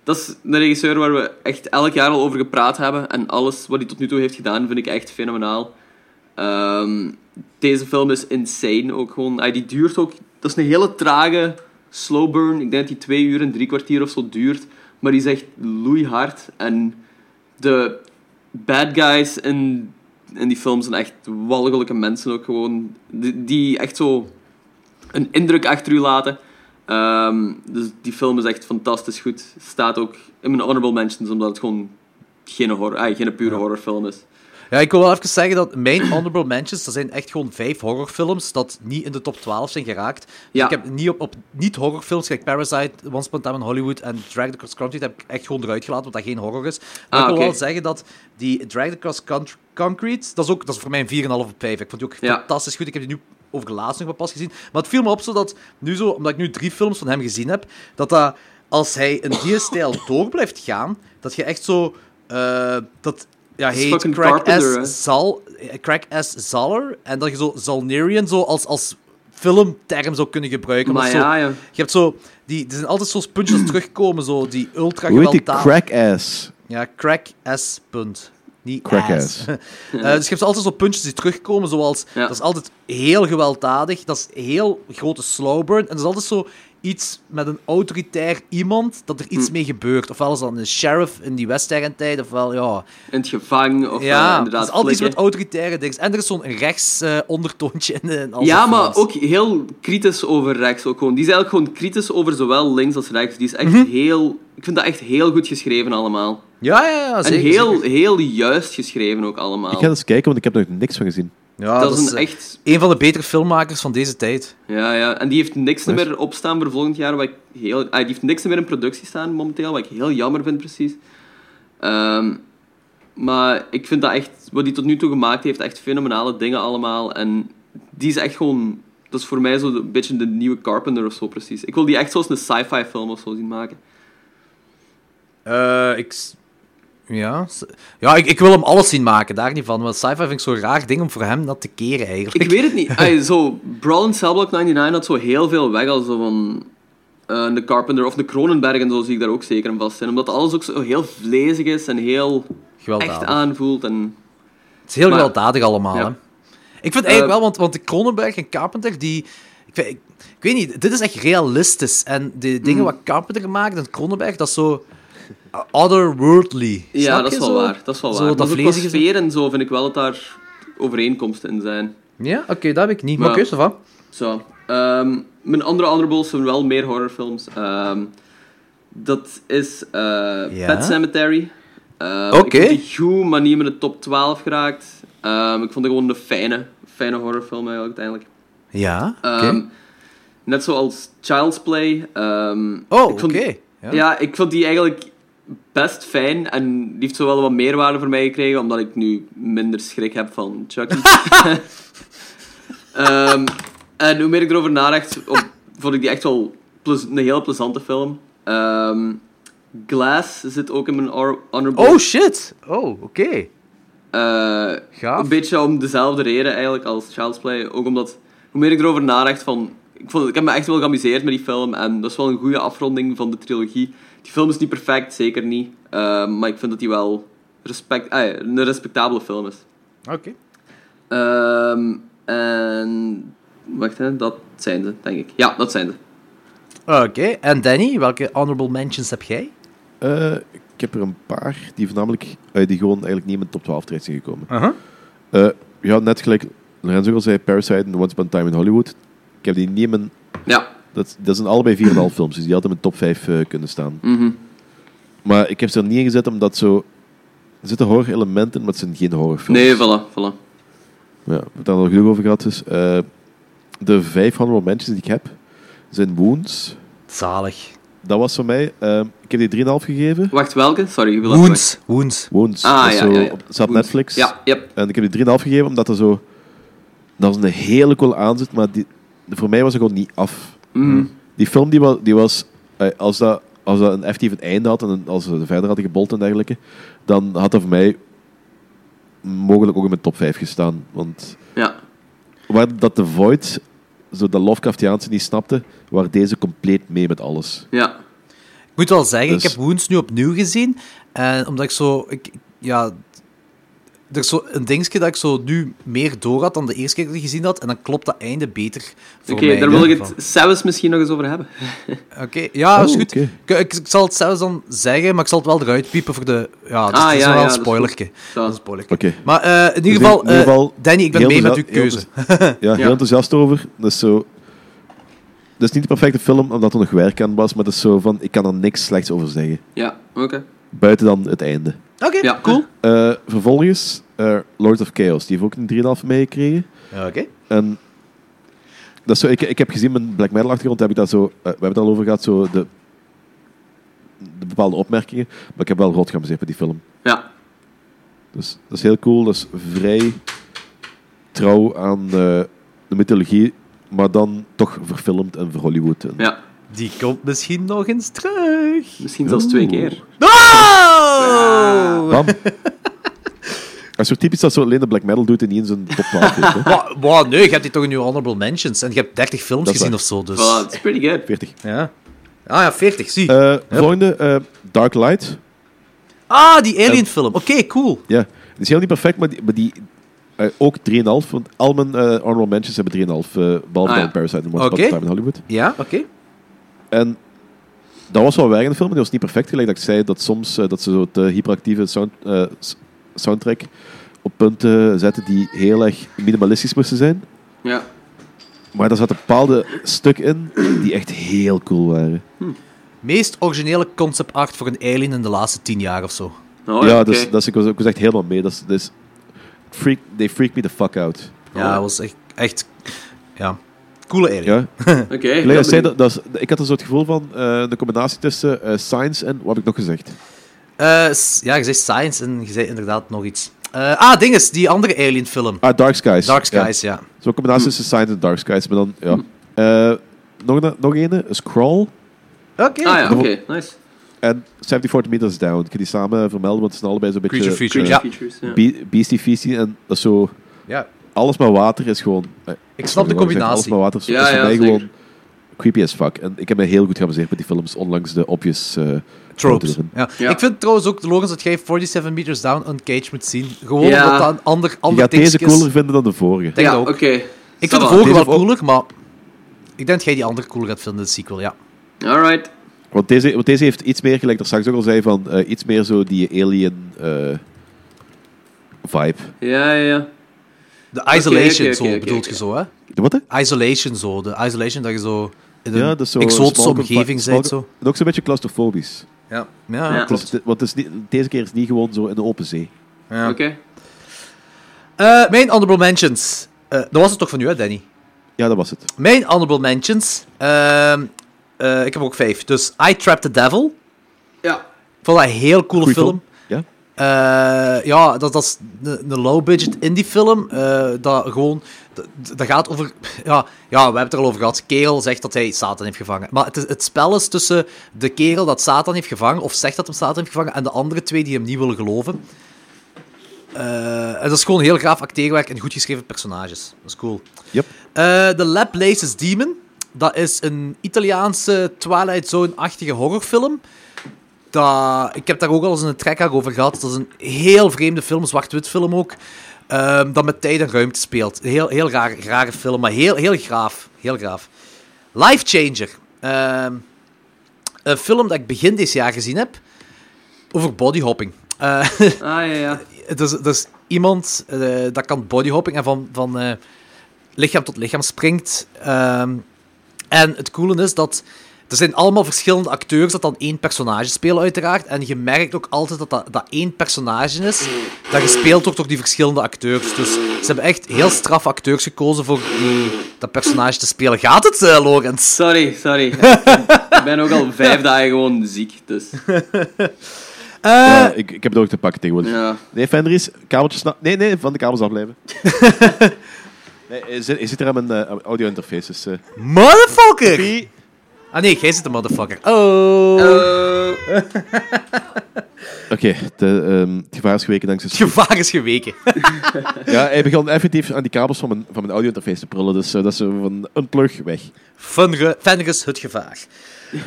S1: Dat is een regisseur waar we echt elk jaar al over gepraat hebben en alles wat hij tot nu toe heeft gedaan vind ik echt fenomenaal. Ehm, deze film is insane ook gewoon. Ay, die duurt ook. Dat is een hele trage slow burn. Ik denk dat die twee uur en drie kwartier of zo duurt. Maar die is echt loeihard. En de bad guys in, in die film zijn echt walgelijke mensen ook gewoon. Die, die echt zo een indruk achter u laten. Ehm, dus die film is echt fantastisch goed. Staat ook in mijn honorable mentions, omdat het gewoon geen, horror, ay, geen pure horrorfilm is.
S2: Ja, ik wil wel even zeggen dat mijn honorable mentions, dat zijn echt gewoon vijf horrorfilms dat niet in de top 12 zijn geraakt. Dus
S1: Ja.
S2: ik heb niet op, op niet-horrorfilms, kijk Parasite, Once Upon a Time in Hollywood en Drag the Cross Concrete, heb ik echt gewoon eruit gelaten, omdat dat geen horror is. Maar
S1: Ah,
S2: ik wil
S1: oké.
S2: wel zeggen dat die Drag the Cross Con- Concrete, dat is, ook, dat is voor mij een 4,5 op 5. Ik vond die ook
S1: Ja.
S2: fantastisch goed. Ik heb die nu over laatst nog maar pas gezien. Maar het viel me op zodat, nu zo, omdat ik nu drie films van hem gezien heb, dat dat, als hij in die stijl door blijft gaan, dat je echt zo... eh, dat, ja,
S1: is
S2: heet
S1: Dus fucking
S2: Crack
S1: Carpenter, hè?
S2: S. Zal, eh, Crack S. Zaller. En dat je zo Zalnerian zo als, als filmterm zou kunnen gebruiken.
S1: Maar
S2: Maar zo,
S1: ja, ja.
S2: Je hebt zo... Die, er zijn altijd zo'n
S1: *clears throat*
S2: puntjes dat terugkomen, zo, die ultra
S6: Hoe heet die
S2: gewelddadig...
S6: crack-ass?
S2: Ja, crack S. Punt. Niet
S6: Crack
S2: ass. *laughs*
S6: ass.
S2: Eh, dus je hebt altijd zo puntjes die terugkomen, zoals...
S1: Ja.
S2: Dat is altijd heel gewelddadig, dat is heel grote slow burn. En dat is altijd zo iets met een autoritair iemand, dat er
S1: Mm.
S2: iets mee gebeurt. Ofwel is dat een sheriff in die Western-tijd, ofwel, ja...
S1: In het gevang of eh,
S2: Ja,
S1: inderdaad
S2: dat is altijd iets met
S1: flikken.
S2: autoritaire dingen. En er is zo'n rechts eh, ondertoontje in. de- in al
S1: Ja,
S2: zijn
S1: maar
S2: films.
S1: ook heel kritisch over rechts. Ook gewoon. Die is eigenlijk gewoon kritisch over zowel links als rechts. Die is echt
S2: Mhm.
S1: heel... Ik vind dat echt heel goed geschreven allemaal.
S2: Ja, ja, ja, zeker.
S1: en heel,
S2: zeker.
S1: heel juist geschreven ook allemaal.
S6: Ik ga eens kijken, want ik heb er nog niks van gezien.
S2: Ja,
S1: dat, is een
S2: eh,
S1: echt...
S2: een van de betere filmmakers van deze tijd.
S1: Ja, ja. En die heeft niks meer opstaan voor volgend jaar. Wat ik heel... ah, die heeft niks meer in productie staan momenteel, wat ik heel jammer vind precies. Ehm, maar ik vind dat echt... Wat hij tot nu toe gemaakt heeft, echt fenomenale dingen allemaal. En die is echt gewoon... Dat is voor mij zo een beetje de nieuwe Carpenter of zo precies. Ik wil die echt zoals een sci-fi film of zo zien maken.
S2: Eh, ik... s- Ja, s- ja ik, ik wil hem alles zien maken, daar niet van. Want sci-fi vind ik zo'n raar ding om voor hem dat te keren, eigenlijk.
S1: Ik weet het niet. Ay, zo, Brawl in Cell Block 99 had zo heel veel weg als zo van eh, de Carpenter of de Cronenberg en zo zie ik daar ook zeker in vast zijn. Omdat alles ook zo heel vlezig is en heel
S2: Gewelddadig.
S1: echt aanvoelt. En,
S2: Het is heel
S1: maar-
S2: gewelddadig allemaal,
S1: Ja.
S2: hè. Ik vind eigenlijk
S1: Eh,
S2: wel, want, want de Cronenberg en Carpenter, die... Ik, weet- ik, ik weet niet, dit is echt realistisch. En de dingen
S1: Mhm.
S2: wat Carpenter maakt en Cronenberg, dat is zo uh, otherworldly. Snap
S1: Ja, dat
S2: je
S1: is wel
S2: zo?
S1: waar. Dat is wel
S2: Zo
S1: waar.
S2: dat
S1: Dat is ook qua
S2: vlezige-
S1: sfeer en zo vind ik wel dat daar overeenkomsten in zijn.
S2: Ja, oké, dat heb ik niet. Maar
S1: Maar-
S2: oké, zo van.
S1: Zo. ehm, mijn andere honorables zijn wel meer horrorfilms. Ehm, dat is eh,
S2: Ja.
S1: Pet Cemetery. Ehm,
S2: Oké.
S1: Ik vond die goed, maar niet met de top 12 geraakt. Ehm, ik vond het gewoon een fijne, fijne horrorfilm eigenlijk uiteindelijk.
S2: Ja, oké.
S1: Ehm, Net zoals Child's Play. ehm,
S2: oh,
S1: ik
S2: oké.
S1: vond-
S2: Ja.
S1: ja, ik vond die eigenlijk best fijn en die heeft zowel wat meerwaarde voor mij gekregen, omdat ik nu minder schrik heb van
S2: *laughs*
S1: Chucky. *laughs* Ehm, en hoe meer ik erover nadacht, op- vond ik die echt wel plez- een heel plezante film. Ehm, Glass zit ook in mijn hor- honorable.
S2: Oh, shit. Oh, oké.
S1: Eh,
S2: Gaaf.
S1: Een beetje om dezelfde reden eigenlijk als Child's Play. Ook omdat, hoe meer ik erover nadacht van... Ik, vond, ik heb me echt wel geamuseerd met die film. En dat is wel een goede afronding van de trilogie. Die film is niet perfect, zeker niet. eh, maar ik vind dat die wel respect, ah ja, een respectabele film is.
S2: Oké.
S1: Ehm, en... Wacht, hè, dat zijn ze, denk ik. Ja, dat zijn ze.
S2: Oké, en Danny, welke honorable mentions heb jij?
S6: Eh, ik heb er een paar die voornamelijk eh, die gewoon eigenlijk niet in mijn top 12 terecht zijn gekomen.
S2: Uh-huh.
S6: Eh, ja, net gelijk Lorenzo al zei, Parasite en Once Upon a Time in Hollywood. Ik heb die niet in mijn...
S1: Ja.
S6: Dat, dat zijn allebei 4,5 films, dus die hadden in mijn top 5 eh, kunnen staan.
S1: mhm.
S6: Maar ik heb ze er niet in gezet omdat zo... Er zitten horror-elementen, maar het zijn geen horrorfilms.
S1: Nee, voilà, voilà.
S6: Ja, we hebben het daar al genoeg over gehad. Dus, eh, de vijf honorable mentions die ik heb, zijn Wounds.
S2: Zalig.
S6: Dat was voor mij... eh, ik heb die 3,5 gegeven.
S1: Wacht, welke? Sorry, ik wil even weg.
S2: Woens, woens.
S6: Wounds. dat
S1: Ah,
S6: is
S1: ja,
S6: zo
S1: ja, ja.
S6: op- staat op
S1: Woens.
S6: Netflix.
S1: Ja, yep.
S6: En ik heb die 3,5 gegeven omdat er zo... Dat is een hele cool aanzet, maar die, voor mij was er gewoon niet af.
S1: Mhm.
S6: Die film die was... Die was eh, als, dat, als dat een effectief een einde had en een- als ze verder hadden gebold en dergelijke, dan had dat voor mij mogelijk ook in mijn top 5 gestaan. Want
S1: Ja.
S6: waar dat The Void, zo dat Lovecraftiaanse niet snapte, waar deze compleet mee met alles.
S1: Ja.
S2: Ik moet wel zeggen,
S6: Dus-
S2: ik heb Woens nu opnieuw gezien. En omdat ik zo... Ik, ja, er is zo een dingetje dat ik zo nu meer door had dan de eerste keer dat ik het gezien had. En dan klopt dat einde beter voor
S1: Oké,
S2: mij
S1: daar
S2: in
S1: wil ik
S2: ieder
S1: het zelfs misschien nog eens over hebben.
S2: geval. Oké, ja, is
S6: Oh,
S2: goed.
S6: oké.
S2: Ik, ik, ik zal het zelfs dan zeggen, maar ik zal het wel eruit piepen voor de... Ja, dus
S1: Ah,
S2: het is
S1: ja, ja,
S2: wel een
S1: dat is goed.
S2: spoilerke.
S1: Zo.
S2: Dat is een spoilerke.
S6: Oké.
S2: Maar eh, in
S6: Dus
S2: ieder geval,
S6: in ieder
S2: eh,
S6: geval
S2: Danny, ik ben
S6: heel
S2: mee met uw
S6: enthousiast-
S2: keuze.
S6: Ja, heel
S1: Ja.
S6: enthousiast over. Dat is zo... Dat is niet de perfecte film, omdat er nog werk aan was, maar dat is zo van, ik kan er niks slechts over zeggen.
S1: Ja, oké.
S6: Buiten dan het einde.
S2: Oké,
S1: Ja.
S2: cool.
S6: Eh, vervolgens, eh, Lord of Chaos, die heeft ook een 3,5 meegekregen.
S2: Oké.
S6: En dat is zo, ik, ik heb gezien mijn black metal achtergrond, heb ik dat zo, eh, we hebben het al over gehad, zo de, de bepaalde opmerkingen, maar ik heb wel rot geamuseerd met die film.
S1: Ja.
S6: Dus dat is heel cool. Dat is vrij trouw aan eh, de mythologie, maar dan toch verfilmd en voor Hollywood. En
S1: Ja,
S2: Die komt misschien nog eens terug.
S1: misschien zelfs twee
S6: Oeh.
S1: keer.
S2: Oh!
S1: Ah!
S6: Bam! Dat is zo typisch dat zo alleen de black metal doet en niet in zijn top 12 heeft, hè.
S2: Wa- wa- nee, je hebt die toch in je honorable mentions. En je hebt 30 films
S6: Dat is
S2: gezien
S6: waar.
S2: of zo, dus...
S1: Voilà, it's pretty good.
S6: 40.
S2: Ja. Ah ja, 40, zie.
S6: Eh, Volgende, eh, Dark Light.
S2: ah, die Alien-film.
S6: eh,
S2: Oké, cool.
S6: Ja, die is heel niet perfect, maar die, maar die eh, ook 3,5. Want al mijn eh honorable mentions hebben 3,5, eh behalve
S1: Ah, ja.
S6: dan Parasite en Once Upon a
S2: Oké.
S6: Time in Hollywood.
S2: Ja, oké.
S6: En dat was wel werk in de film, maar die was niet perfect. Gelijk dat ik zei dat soms eh, dat ze zo de hyperactieve sound, eh, s- soundtrack op punten zetten die heel erg minimalistisch moesten zijn.
S1: Ja.
S6: Maar daar zat een bepaalde stuk in die echt heel cool waren.
S2: Meest originele concept art voor een alien in de laatste 10 jaar of zo.
S1: Oh,
S6: ja,
S1: oké.
S6: dus, dat is- ik, was, ik was echt helemaal mee. Dat is, dat is- freak, they freak me the fuck out.
S2: Ja, dat was echt... echt ja. Coole alien.
S6: Oh. Ja?
S1: Oké.
S6: Gelijk dat ik, zei,
S1: dat...
S6: dat, dat is- ik had er zo het gevoel van eh, de combinatie tussen eh, science en wat heb ik nog gezegd?
S2: Eh, s- ja, je zei science en je zei inderdaad nog iets. Eh, ah, dinges, die andere alien-film.
S6: Ah, Dark Skies.
S2: Dark
S6: Ja.
S2: Skies,
S1: Ah,
S2: ja.
S6: Zo'n combinatie
S1: Hm.
S6: tussen Science en Dark Skies. Maar dan, ja. Eh, nog, een- nog een, Scroll
S2: Oké.
S1: Ah ja, oké, nice.
S6: en 74 Meters Down. Ik kan die samen vermelden, want het zijn allebei zo'n beetje...
S2: Creature Feature,
S6: eh,
S2: ja.
S1: Features, ja.
S6: Be- Beastie Feastie en dat is zo...
S2: ja.
S6: Alles maar water is gewoon... eh,
S2: Ik snap de
S6: wat ik zeg, Alles
S2: combinatie.
S6: maar water is,
S1: Ja,
S6: is voor
S1: ja,
S6: mij
S1: zeker.
S6: gewoon creepy as fuck. En ik heb me heel goed geamuseerd met die films, onlangs de obvious... eh,
S2: Tropes.
S6: punten erin.
S2: Ja.
S1: Ja.
S2: Ik vind trouwens ook, Logans, dat jij 47 Meters Down Uncaged moet zien. Gewoon
S1: Ja.
S2: omdat dat een ander,
S6: Je
S2: ander
S6: gaat deze
S2: dingetje is.
S6: cooler vinden dan de vorige.
S2: denk
S1: ja,
S2: dat ook.
S1: oké.
S2: Ik
S1: Ça
S2: vind de
S1: va.
S2: vorige wel
S6: Deze ook.
S2: cooler, maar ik denk dat jij die andere cooler gaat vinden, de sequel, ja.
S1: Alright.
S6: Want deze, want deze heeft iets meer, gelijk er straks ook al zei, van eh, iets meer zo die alien eh, vibe.
S1: Ja, ja, ja.
S2: De Isolation,
S1: oké,
S2: zo
S1: oké, oké,
S2: bedoelt
S1: oké.
S2: je zo, hè?
S6: De wat? hè?
S2: Isolation zo. De isolation dat je zo in een
S6: Ja, dat is zo
S2: exotische
S6: small compa-
S2: omgeving
S6: small
S2: bent.
S6: co-
S2: Zo.
S6: En ook zo'n beetje claustrofobisch.
S2: Ja. Ja,
S1: Ja.
S6: Het is-
S2: klopt.
S6: want het is niet, deze keer is het niet gewoon zo in de open zee.
S2: Ja.
S1: Oké.
S2: Eh, mijn honorable mentions. Eh, dat was het toch van u, hè, Danny?
S6: Ja, dat was het.
S2: Mijn honorable mentions. ehm, eh, ik heb ook vijf. Dus I Trapped the Devil.
S1: Ja.
S2: Ik vond dat een heel coole
S6: Goeie
S2: film.
S6: Ja?
S2: Eh, ja, dat, dat is een, een low-budget indie-film. eh, dat gewoon... Dat, dat gaat over... Ja, ja, we hebben het er al over gehad. Kerel zegt dat hij Satan heeft gevangen. Maar het, is- het spel is tussen de kerel dat Satan heeft gevangen, of zegt dat hem Satan heeft gevangen, en de andere twee die hem niet willen geloven. Eh, en dat is gewoon heel gaaf acteerwerk en goed geschreven personages. Dat is cool.
S6: Yep.
S2: Eh, The Lab Laces Demon. Dat is een Italiaanse Twilight Zone-achtige horrorfilm. Dat, ik heb daar ook al eens een trekker over gehad. Dat is een heel vreemde film, zwart-wit film ook. ehm, dat met tijd en ruimte speelt. Heel, heel raar, rare film, maar heel, heel graaf. Heel graaf. Life Changer. Ehm, een film dat ik begin dit jaar gezien heb. Over bodyhopping. Eh, *laughs*
S1: Ah, ja, ja.
S2: het is, dat is iemand eh, dat kan bodyhopping en van, van eh, lichaam tot lichaam springt. Ehm, en het coole is dat er zijn allemaal verschillende acteurs dat dan één personage spelen uiteraard. En je merkt ook altijd dat dat, dat één personage is dat gespeeld wordt door die verschillende acteurs. Dus ze hebben echt heel straf acteurs gekozen voor die- dat personage te spelen. Gaat het, eh Lorenz?
S1: Sorry, sorry. *laughs* ik ben ook al vijf dagen gewoon ziek, dus...
S2: Eh.
S6: Ja, ik, ik heb het ook te pakken tegenwoordig.
S1: Ja.
S6: Nee, Fenris, kabeltjes... na- Nee, nee, van de kabels afblijven. nee, je zit, je zit er aan mijn eh, audio-interface, dus... eh,
S2: Motherfucker! Ah nee, jij zit de motherfucker. Oh!
S1: Eh,
S6: Oké, de, ehm, het gevaar is geweken dankzij...
S2: Het gevaar is geweken.
S6: Ja, hij begon effectief aan die kabels van mijn, van mijn audio-interface te prullen, dus eh, dat is zo van een plug weg. *laughs*
S2: Fenri- Fenris, het gevaar.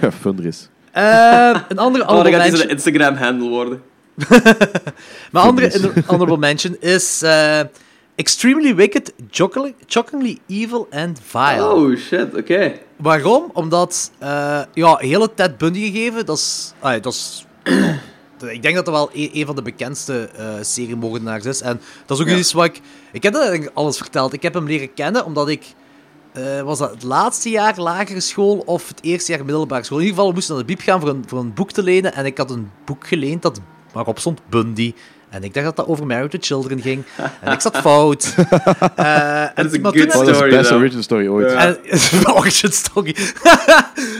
S6: Ja, Fenris.
S2: Eh, een andere
S1: oh, dat
S2: honorable
S1: gaat iets een
S2: mention,
S1: Instagram-handle worden.
S2: mijn
S1: *laughs*
S2: andere honorable mention is eh, Extremely Wicked, Shockingly, shockingly Evil and Vile.
S1: Oh, shit,
S2: Eh,
S1: oké.
S2: Waarom? Omdat, eh ja, hele Ted Bundy gegeven, dat is... ah ja, dat is *clears throat* ik denk dat dat wel e-, een, een van de bekendste eh seriemoordenaars is. En dat is ook iets wat ik... Ik heb dat eigenlijk alles verteld. Ik heb hem leren kennen omdat ik... eh, was dat het laatste jaar lagere school of het eerste jaar middelbare school? In ieder geval, we moesten naar de bieb gaan voor een, voor een boek te lenen. En ik had een boek geleend dat waarop stond Bundy. En ik dacht dat dat over Married to Children ging. En ik zat fout. Eh, en
S1: is een
S2: maar
S1: good
S2: toen heb
S6: Oh,
S1: story.
S2: ik-
S6: dat is de beste
S1: though.
S6: origin story ooit.
S1: Ja.
S2: en, *laughs* Oh, origin story. *laughs*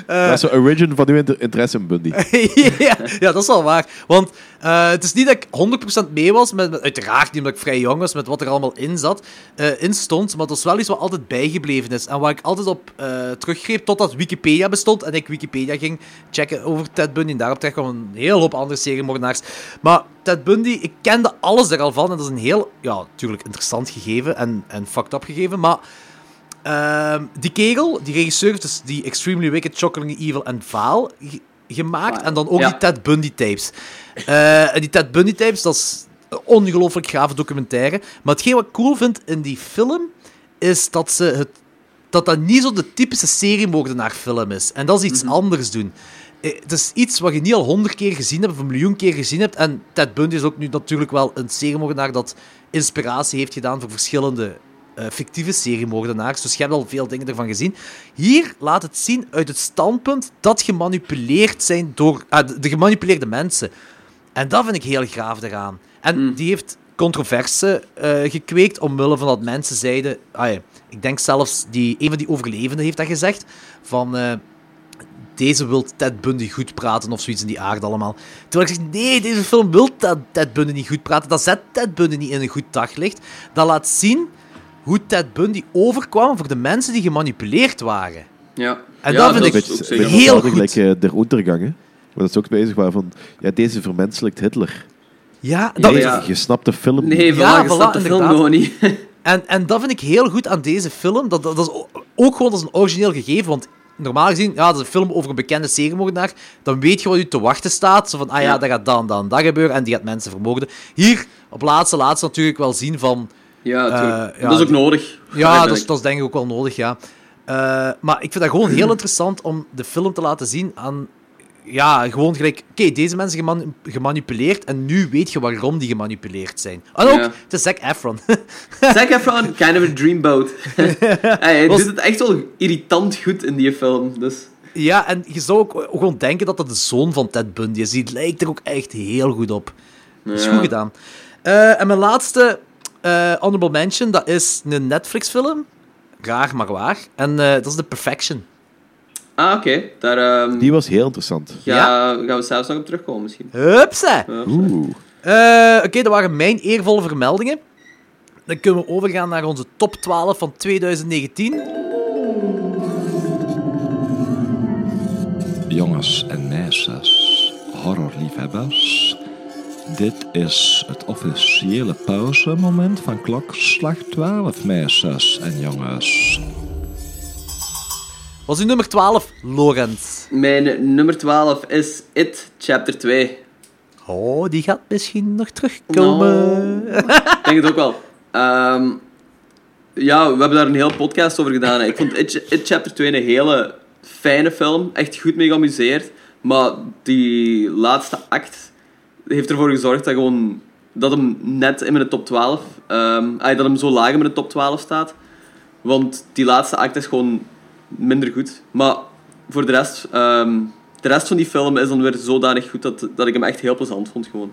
S6: Dat is de origin van uw inter- interesse in Bundy.
S2: *laughs* ja, ja, dat is wel waar. Want eh, het is niet dat ik 100% mee was, met, met- uiteraard niet omdat ik vrij jong was, met wat er allemaal in zat, eh, in stond, maar dat is wel iets wat altijd bijgebleven is. En waar ik altijd op eh, teruggreep totdat Wikipedia bestond en ik Wikipedia ging checken over Ted Bundy. En daarop terecht kwam een heel hoop andere seriemoordenaars. Maar Ted Bundy, ik kende alles daar al van en dat is een heel, ja, natuurlijk interessant gegeven en, en fucked up gegeven, maar... Ehm, die kegel, die regisseur, heeft dus die Extremely Wicked, Shockingly Evil en Vaal ge- gemaakt.
S1: Vaal,
S2: En dan ook
S1: ja.
S2: die Ted Bundy-tapes. Eh, en die Ted Bundy-tapes, dat is een ongelooflijk gave documentaire. Maar hetgeen wat ik cool vind in die film, is dat ze het dat dat niet zo de typische seriemoordenaarfilm is. En dat is iets anders doen. Eh, Het is iets wat je niet al honderd keer gezien hebt of een miljoen keer gezien hebt. En Ted Bundy is ook nu natuurlijk wel een seriemoordenaar dat inspiratie heeft gedaan voor verschillende eh, fictieve seriemoordenaars. Dus je hebt al veel dingen ervan gezien. Hier laat het zien uit het standpunt dat gemanipuleerd zijn door ah, de- de gemanipuleerde mensen. En dat vind ik heel graaf eraan. En die heeft controverse eh, gekweekt omwille van dat mensen zeiden... Ah ja, ik denk zelfs, die, een van die overlevenden heeft dat gezegd, van... eh, deze wil Ted Bundy goed praten of zoiets in die aard allemaal. Terwijl ik zeg, nee, deze film wil Ted, Ted Bundy niet goed praten. Dat zet Ted Bundy niet in een goed daglicht. Dat laat zien hoe Ted Bundy overkwam voor de mensen die gemanipuleerd waren.
S1: Ja.
S2: En
S1: ja,
S2: dat vind
S1: is
S2: ik
S1: ook
S6: Beetje-
S1: zeker
S6: beetje
S1: waar.
S2: heel
S6: hetzelfde
S2: goed.
S6: gelijk eh, der Untergang, hè. Maar dat is ook bezig waar van... Ja, deze vermenselijkt Hitler.
S2: Ja, dat,
S6: nee,
S1: ja.
S6: je snapt de film niet.
S1: Nee, voilà,
S2: Ja,
S1: je
S2: voilà,
S1: snapt de film
S2: inderdaad.
S1: gewoon niet.
S2: En, en dat vind ik heel goed aan deze film. Dat, dat, dat is o- ook gewoon als een origineel gegeven. Want normaal gezien, ja, dat is een film over een bekende seriemoordenaar. Dan weet je wat u te wachten staat. Zo van, ah ja,
S1: Ja.
S2: dat gaat dan, dan, dat gebeuren. En die gaat mensen vermoorden. Hier, op laatste, laatste natuurlijk wel zien van...
S1: Ja, tuurlijk.
S2: Eh, ja,
S1: dat is ook
S2: die-
S1: nodig.
S2: Ja, dat is,
S1: Eigenlijk.
S2: dat is denk ik ook wel nodig, ja. Eh, maar ik vind dat gewoon heel interessant om de film te laten zien aan... Ja, gewoon gelijk... Oké, deze mensen geman- gemanipuleerd en nu weet je waarom die gemanipuleerd zijn. En ook,
S1: Ja.
S2: het is Zac Efron. *laughs*
S1: Zac Efron, kind of a dreamboat. *laughs* hey, hij
S2: Was-
S1: doet het echt wel irritant goed in die film. Dus.
S2: ja, en je zou ook gewoon denken dat dat de zoon van Ted Bundy is. Die lijkt er ook echt heel goed op. Dat is
S1: Ja.
S2: goed gedaan. Eh, en mijn laatste eh, honorable mention, dat is een Netflix-film. Raar, maar waar. En eh, dat is The Perfection.
S1: Ah, oké. Daar ehm,
S6: Die was heel interessant.
S1: ga-
S2: ja.
S1: gaan we zelfs nog op terugkomen misschien.
S2: Hupsa!
S1: Ja.
S6: Oeh.
S2: Eh, Oké, dat waren mijn eervolle vermeldingen. Dan kunnen we overgaan naar onze top 12 van 2019.
S7: Jongens en meisjes, horrorliefhebbers. Dit is het officiële pauzemoment van klokslag 12, meisjes en jongens.
S2: Was uw nummer 12, Lorenz?
S1: Mijn nummer 12 is It, chapter 2.
S2: Oh, die gaat misschien nog
S1: Nou.
S2: terugkomen.
S1: Ik denk het ook wel. Ehm, ja, we hebben daar een heel podcast over gedaan. hè. Ik vond It, It Chapter 2 een hele fijne film. Echt goed mee geamuseerd. Maar die laatste act heeft ervoor gezorgd dat, gewoon, dat hem net in mijn top 12... ehm, ay, dat hem zo laag in mijn top 12 staat. Want die laatste act is gewoon minder goed. Maar voor de rest... ehm, de rest van die film is dan weer zodanig goed dat, dat ik hem echt heel plezant vond. Gewoon.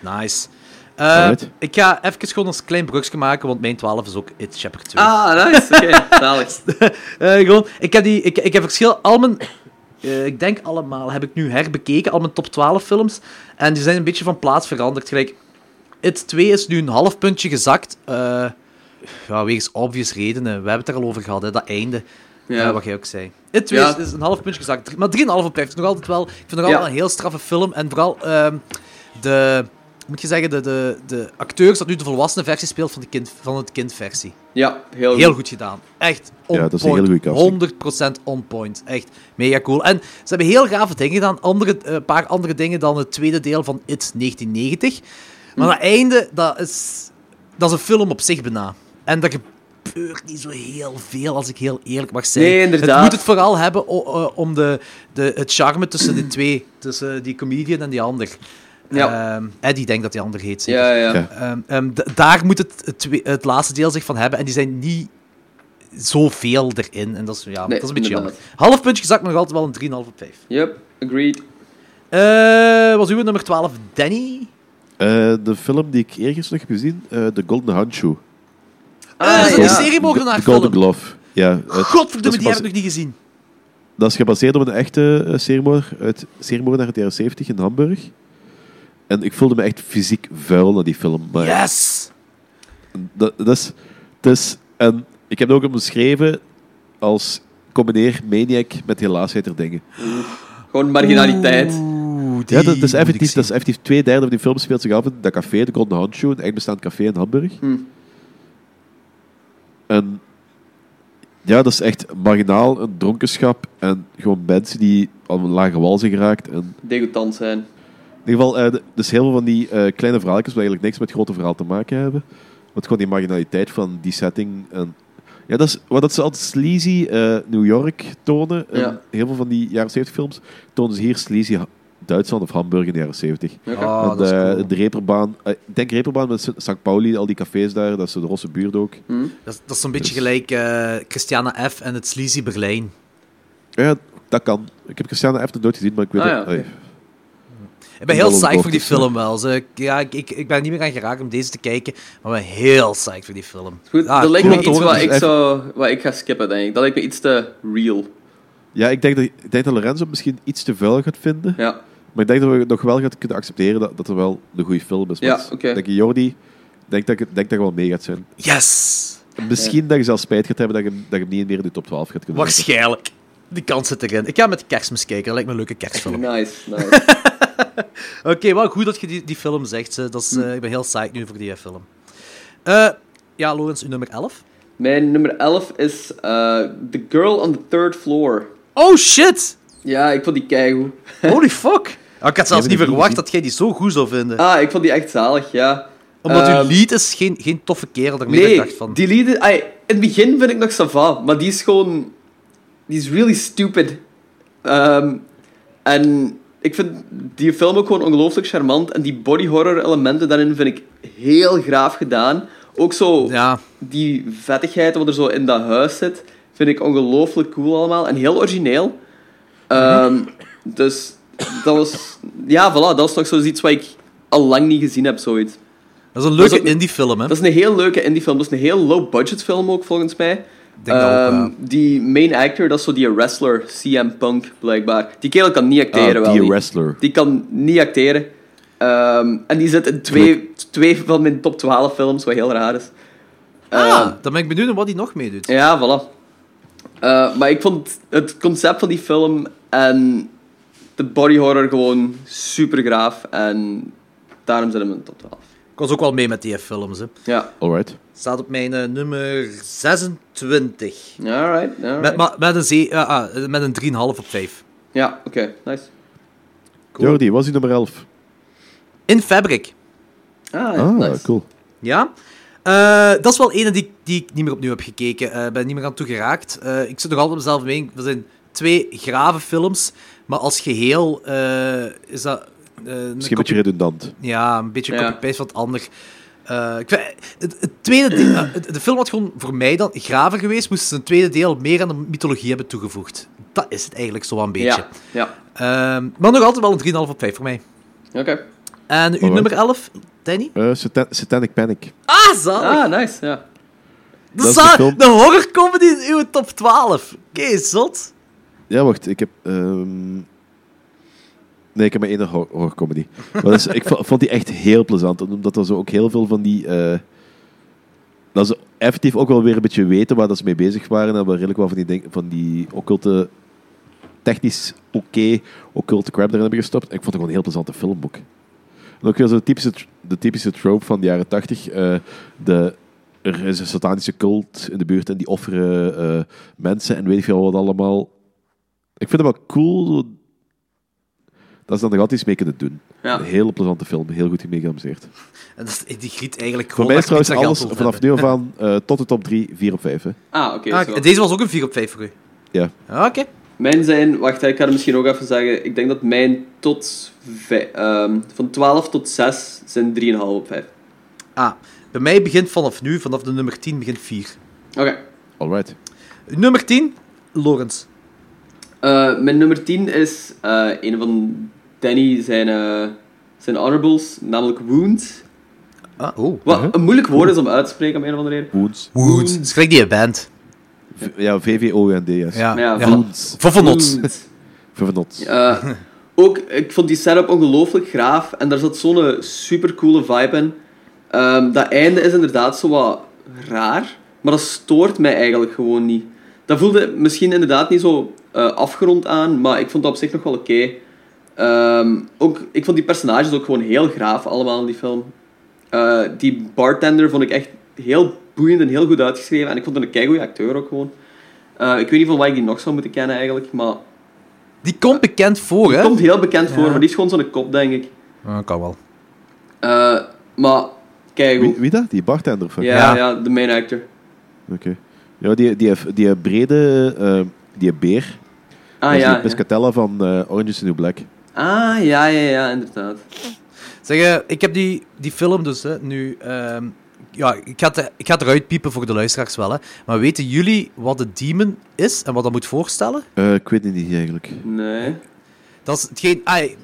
S2: Nice. Eh,
S6: Alright.
S2: ik ga even gewoon een klein brugje maken, want mijn 12 is ook It Chapter 2.
S1: Ah, nice. Oké, zalig.
S2: *laughs* Eh, gewoon, ik heb, die, ik, ik heb verschil... Al mijn, eh, ik denk allemaal, heb ik nu herbekeken, al mijn top 12 films. En die zijn een beetje van plaats veranderd. Gelijk, It 2 is nu een half puntje gezakt. eh, ja, wegens obvious redenen. We hebben het er al over gehad, hè, dat einde.
S1: Ja.
S2: Eh, wat jij ook zei. It 2
S1: Ja.
S2: is- is een half puntje gezakt. Drie- Maar 3,5 op vijf is nog altijd wel... Ik vind het nog
S1: Ja.
S2: altijd wel een heel straffe film. En vooral ehm, de... Moet je zeggen, de, de, de acteurs dat nu de volwassene versie speelt van de, kind, van het kindversie.
S1: Ja, heel goed.
S2: Heel goed gedaan. Echt on
S6: Ja, dat is een
S2: point.
S6: hele goede
S2: 100% on point. Echt mega cool. En ze hebben heel gave dingen gedaan. Andere, eh, een paar andere dingen dan het tweede deel van It 1990. Maar dat einde, dat is, dat is een film op zich bijna. En dat gebeurt niet zo heel veel, als ik heel eerlijk mag zijn.
S1: Nee, inderdaad.
S2: Het moet het vooral hebben o- eh, om de, de, het charme tussen de twee. Tussen die comedian en die ander.
S1: Ja.
S2: Ehm, Eddie, denk dat die ander heet. zeker?
S1: Ja, ja.
S6: Ja.
S2: Ehm, ehm, d- daar moet het, het, twe- het laatste deel zich van hebben. En die zijn niet zoveel erin. En dat is, ja, dat is een beetje
S1: inderdaad.
S2: jammer. Half puntje gezakt, maar nog altijd wel een 3,5 op 5.
S1: Yep, agreed.
S2: Eh was uw nummer 12 Danny?
S6: Eh, de film die ik eergisteren heb gezien, eh The Golden Handshoe.
S2: Eh, is dat
S1: Ah, ja.
S2: een serie mogen naar
S6: The Golden
S2: film?
S6: Glove. Ja, het- dat
S2: Godverdomme,
S6: is
S2: die heb ik
S6: gebase-
S2: nog niet gezien.
S6: Dat is gebaseerd op een echte uh, seriemoordenaar uit seriemoordenaar uit de jaren 70 in Hamburg. En ik voelde me echt fysiek vuil na die film. Maar
S2: Yes!
S6: dat, dat is, het is- en ik heb het ook hem beschreven als combineer maniac met helaasheid er dingen.
S1: Gewoon marginaliteit.
S2: Oeh, die
S6: Ja, dat, dat is
S2: moet ik
S6: effectief,
S2: zien.
S6: dat is effectief twee derde van die film speelt zich af in dat café, de Golden Handshoe, een echt bestaand café in Hamburg.
S1: Hm.
S6: En ja, dat is echt marginaal, een dronkenschap en gewoon mensen die al een lage wal zijn geraakt. En
S1: Degoutant zijn.
S6: in ieder geval, eh, d- dus heel veel van die eh, kleine verhaaltjes die eigenlijk niks met grote verhaal te maken hebben. Want gewoon die marginaliteit van die setting. En, ja, dat is wat dat ze altijd sleazy eh, New York tonen. in
S1: Ja.
S6: Heel veel van die jaren 70 films tonen ze hier sleazy Ha- Duitsland of Hamburg in de jaren 70.
S1: Oké.
S2: Ah,
S6: En,
S2: dat is
S6: eh,
S2: cool.
S6: de Reperbaan, eh, ik denk Reperbaan met St. Pauli, al die cafés daar, dat is de Rosse buurt ook.
S1: Hm.
S2: Dat is- dat is zo'n
S6: Dus-
S2: beetje gelijk eh, Christiana F. en het Sleazy Berlijn.
S6: Ja, dat kan. Ik heb Christiane F. nog nooit gezien, maar ik weet
S1: Ah,
S6: dat-
S1: ja, oké.
S6: allee.
S2: Ik ben heel
S6: Wel
S2: psyched voor die
S6: bochtjes,
S2: film wel. Ze- ik- ja, ik, ik, ik ben er niet meer aan geraakt om deze te kijken, maar ik ben heel psyched voor die film.
S1: Goed,
S2: Ah,
S1: dat lijkt me
S2: cool.
S1: iets
S6: horen,
S1: wat
S6: dus
S1: ik,
S6: even-
S1: zou, wat ik ga skippen, denk ik. Dat lijkt me iets te real.
S6: Ja, ik denk, dat, ik denk dat Lorenzo het misschien iets te vuil gaat vinden.
S1: Ja,
S6: Maar ik denk dat we nog wel gaan kunnen accepteren dat, dat er wel een goede film is.
S1: Ja,
S6: Want
S1: oké.
S6: Denk je, Jordi, ik denk dat, ik- denk dat je wel mee gaat zijn.
S2: Yes!
S6: Misschien dat je zelfs spijt gaat hebben dat je, dat je hem niet meer in de top 12 gaat kunnen zetten.
S2: Waarschijnlijk. Die kans zit erin. Ik ga met kerstmis kijken, dat lijkt me een leuke kerstfilm.
S1: nice, nice.
S2: *laughs* Oké, wel goed dat je die, die film zegt. eh, Dat
S1: Hm.
S2: is, eh, ik ben heel psyched nu voor die eh, film. Eh, ja, Lorenz, uw nummer 11.
S1: Mijn nummer 11 is eh, The Girl on the Third Floor.
S2: Oh shit!
S1: Ja, ik vond die keigoed. *laughs*
S2: Holy fuck! Ah, ik had zelfs niet
S6: die heb ik
S2: verwacht
S6: niet
S2: dat jij die zo goed zou vinden.
S1: Ah, ik vond die echt zalig, ja.
S2: Omdat uw
S1: ehm,
S2: lied is geen, geen toffe kerel, daarmee dat
S1: Nee,
S2: ik dacht van...
S1: die lieden... ai, in het begin vind ik nog Sava, maar die is gewoon... Die is really stupid. Ehm, en ik vind die film ook gewoon ongelooflijk charmant. En die body horror elementen daarin vind ik heel graaf gedaan. Ook zo
S2: Ja,
S1: die vettigheid wat er zo in dat huis zit, vind ik ongelooflijk cool allemaal. En heel origineel. Ehm, dus dat was... Ja, voilà, dat was nog zoiets wat ik al lang niet gezien heb, zoiets.
S2: dat is een leuke
S1: Dat is ook-
S2: indie film, hè.
S1: Dat is een heel leuke indie film. Dat is een heel low budget film ook, volgens mij.
S2: Ik denk dat ook,
S1: Ehm,
S2: ja.
S1: Die main actor, dat is zo die wrestler, CM Punk, blijkbaar. Die kerel kan niet
S2: Ah,
S1: acteren, wel
S6: Ah, die
S1: niet.
S6: wrestler.
S1: Ah, Die kan niet acteren. Ehm, en die zit in twee, twee van mijn top 12 films, wat heel raar is. Ehm,
S2: Ah, dan ben ik benieuwd naar wat hij nog meedoet.
S1: Ja, voilà. Eh, maar ik vond het concept van die film en de body horror gewoon super graaf. En daarom zit hem in de top 12.
S2: Ik was ook wel mee met die eh, films, hè.
S1: Ja,
S6: Alright.
S2: Staat op mijn eh, nummer 26.
S1: alright, alright.
S2: Met, maar- met een, ze- ah, ah, met een 3,5 op 5.
S1: Ja, oké, nice.
S2: Cool.
S6: Jordi, was die nummer 11?
S2: In Fabric.
S1: Ah,
S6: ah,
S1: nice.
S6: cool.
S2: Ja. Eh, dat is wel ene die, die ik niet meer opnieuw heb gekeken. Eh ben niet meer aan toegeraakt. Eh ik zit nog altijd op mezelf mening. Dat zijn twee grave films. Maar als geheel eh, is dat... eh, een
S6: Misschien een
S2: copy-
S6: beetje redundant.
S2: Ja, een beetje
S1: Ja.
S2: copy-paste van het ander. Eh, ik vind- het, het tweede deel, eh, het- de film had gewoon voor mij dan graver geweest, moesten ze een tweede deel meer aan de mythologie hebben toegevoegd. Dat is het eigenlijk zo wel een beetje.
S1: Ja, ja.
S2: Ehm, maar nog altijd wel een 3,5 op 5 voor mij.
S1: Oké.
S2: En uw
S6: Alright.
S2: nummer 11, Danny?
S6: Eh, Satan- Satanic Panic.
S2: Ah, zalig!
S1: Ah, nice, ja.
S2: De,
S6: Dat is
S2: za-
S6: de film.
S2: de horrorcomedy in uw top 12. Oké, zot.
S6: Ja, wacht, ik heb... ehm, Nee, ik heb maar één hor- horrorcomedy. Maar dat is- ik vo- vond die echt heel plezant, omdat er zo ook heel veel van die... eh, dat ze effectief ook wel weer een beetje weten waar dat ze mee bezig waren. En we redelijk wel van die, ding- van die occulte... Technisch oké, occulte crap erin hebben gestopt. Ik vond het gewoon een heel plezante filmboek. En ook weer zo de typische, tr- de typische trope van de jaren tachtig. eh, de... Er is een satanische cult in de buurt en die offeren eh, mensen en weet ik veel wat allemaal. Ik vind het wel cool dat ze dan nog altijd iets mee kunnen doen.
S1: Ja.
S6: Een hele plezante film, heel goed gemegamuseerd.
S2: En dat is- die griet eigenlijk
S6: Voor
S2: gewoon...
S6: mij is
S2: dat ik
S6: trouwens
S2: extra
S6: alles
S2: geld wil
S6: vanaf nu af aan eh, tot de top 3, 4 op 5. Hè.
S1: Ah, oké.
S2: hebben.
S1: zo.
S2: Ah, deze was ook een 4 op 5 voor u. Ah,
S6: Ja.
S2: Oké.
S1: Mijn zijn, wacht, ik ga het misschien ook even zeggen. Ik denk dat mijn tot vij- ehm, van 12 tot 6 zijn 3,5 op 5.
S2: Ah, bij mij begint vanaf nu, vanaf de nummer 10 begint 4.
S1: Oké.
S6: Alright.
S2: Nummer 10, Lorenz.
S1: Eh, mijn nummer 10 is eh, een van Danny zijn, eh, zijn honorables, namelijk Wound.
S2: Ah, oh.
S1: Wat een moeilijk woord is om uit te spreken, om een of andere reden.
S6: Woens.
S2: Wound. Dat is gelijk die band.
S6: V- ja, VVOUND, yes.
S2: Ja.
S1: Ja,
S2: ja.
S1: van-
S6: Woens.
S2: Voffelnots.
S1: Wound.
S6: Vervenots.
S1: Eh, ook, ik vond die setup ongelooflijk graaf en daar zat zo'n supercoole vibe in. Ehm, dat einde is inderdaad zo wat raar, maar dat stoort mij eigenlijk gewoon niet. Dat voelde misschien inderdaad niet zo eh, afgerond aan, maar ik vond dat op zich nog wel oké. Ehm, ook, ik vond die personages ook gewoon heel graaf allemaal in die film. Eh, die bartender vond ik echt heel boeiend en heel goed uitgeschreven. En ik vond hem een keigoeie acteur ook gewoon. Eh, ik weet niet van waar ik die nog zou moeten kennen eigenlijk, maar
S2: Die komt bekend voor, hè?
S1: komt heel bekend voor,
S2: Ja.
S1: maar die is gewoon zo'n kop, denk ik.
S2: Ah, kan wel.
S1: Eh, maar, kijk
S6: Wie,
S1: hoe.
S6: wie dat? Die bartender? Fuck.
S1: Ja,
S2: Ja.
S1: ja, de main actor.
S6: Oké. Ja, die, die, die brede... eh, die beer.
S1: Ah
S6: dat is
S1: ja,
S6: die Piscatella van eh, Orange is the New Black.
S1: ja. Ah ja, ja, ja, inderdaad.
S2: Zeg, eh, ik heb die, die film dus hè, nu... ehm, ja, ik ga, het, ik ga het eruit piepen voor de luisteraars wel, hè. Maar weten jullie wat de demon is en wat dat moet voorstellen?
S6: Eh, ik weet het niet eigenlijk.
S1: Nee.
S2: Dat is hetgeen... ai,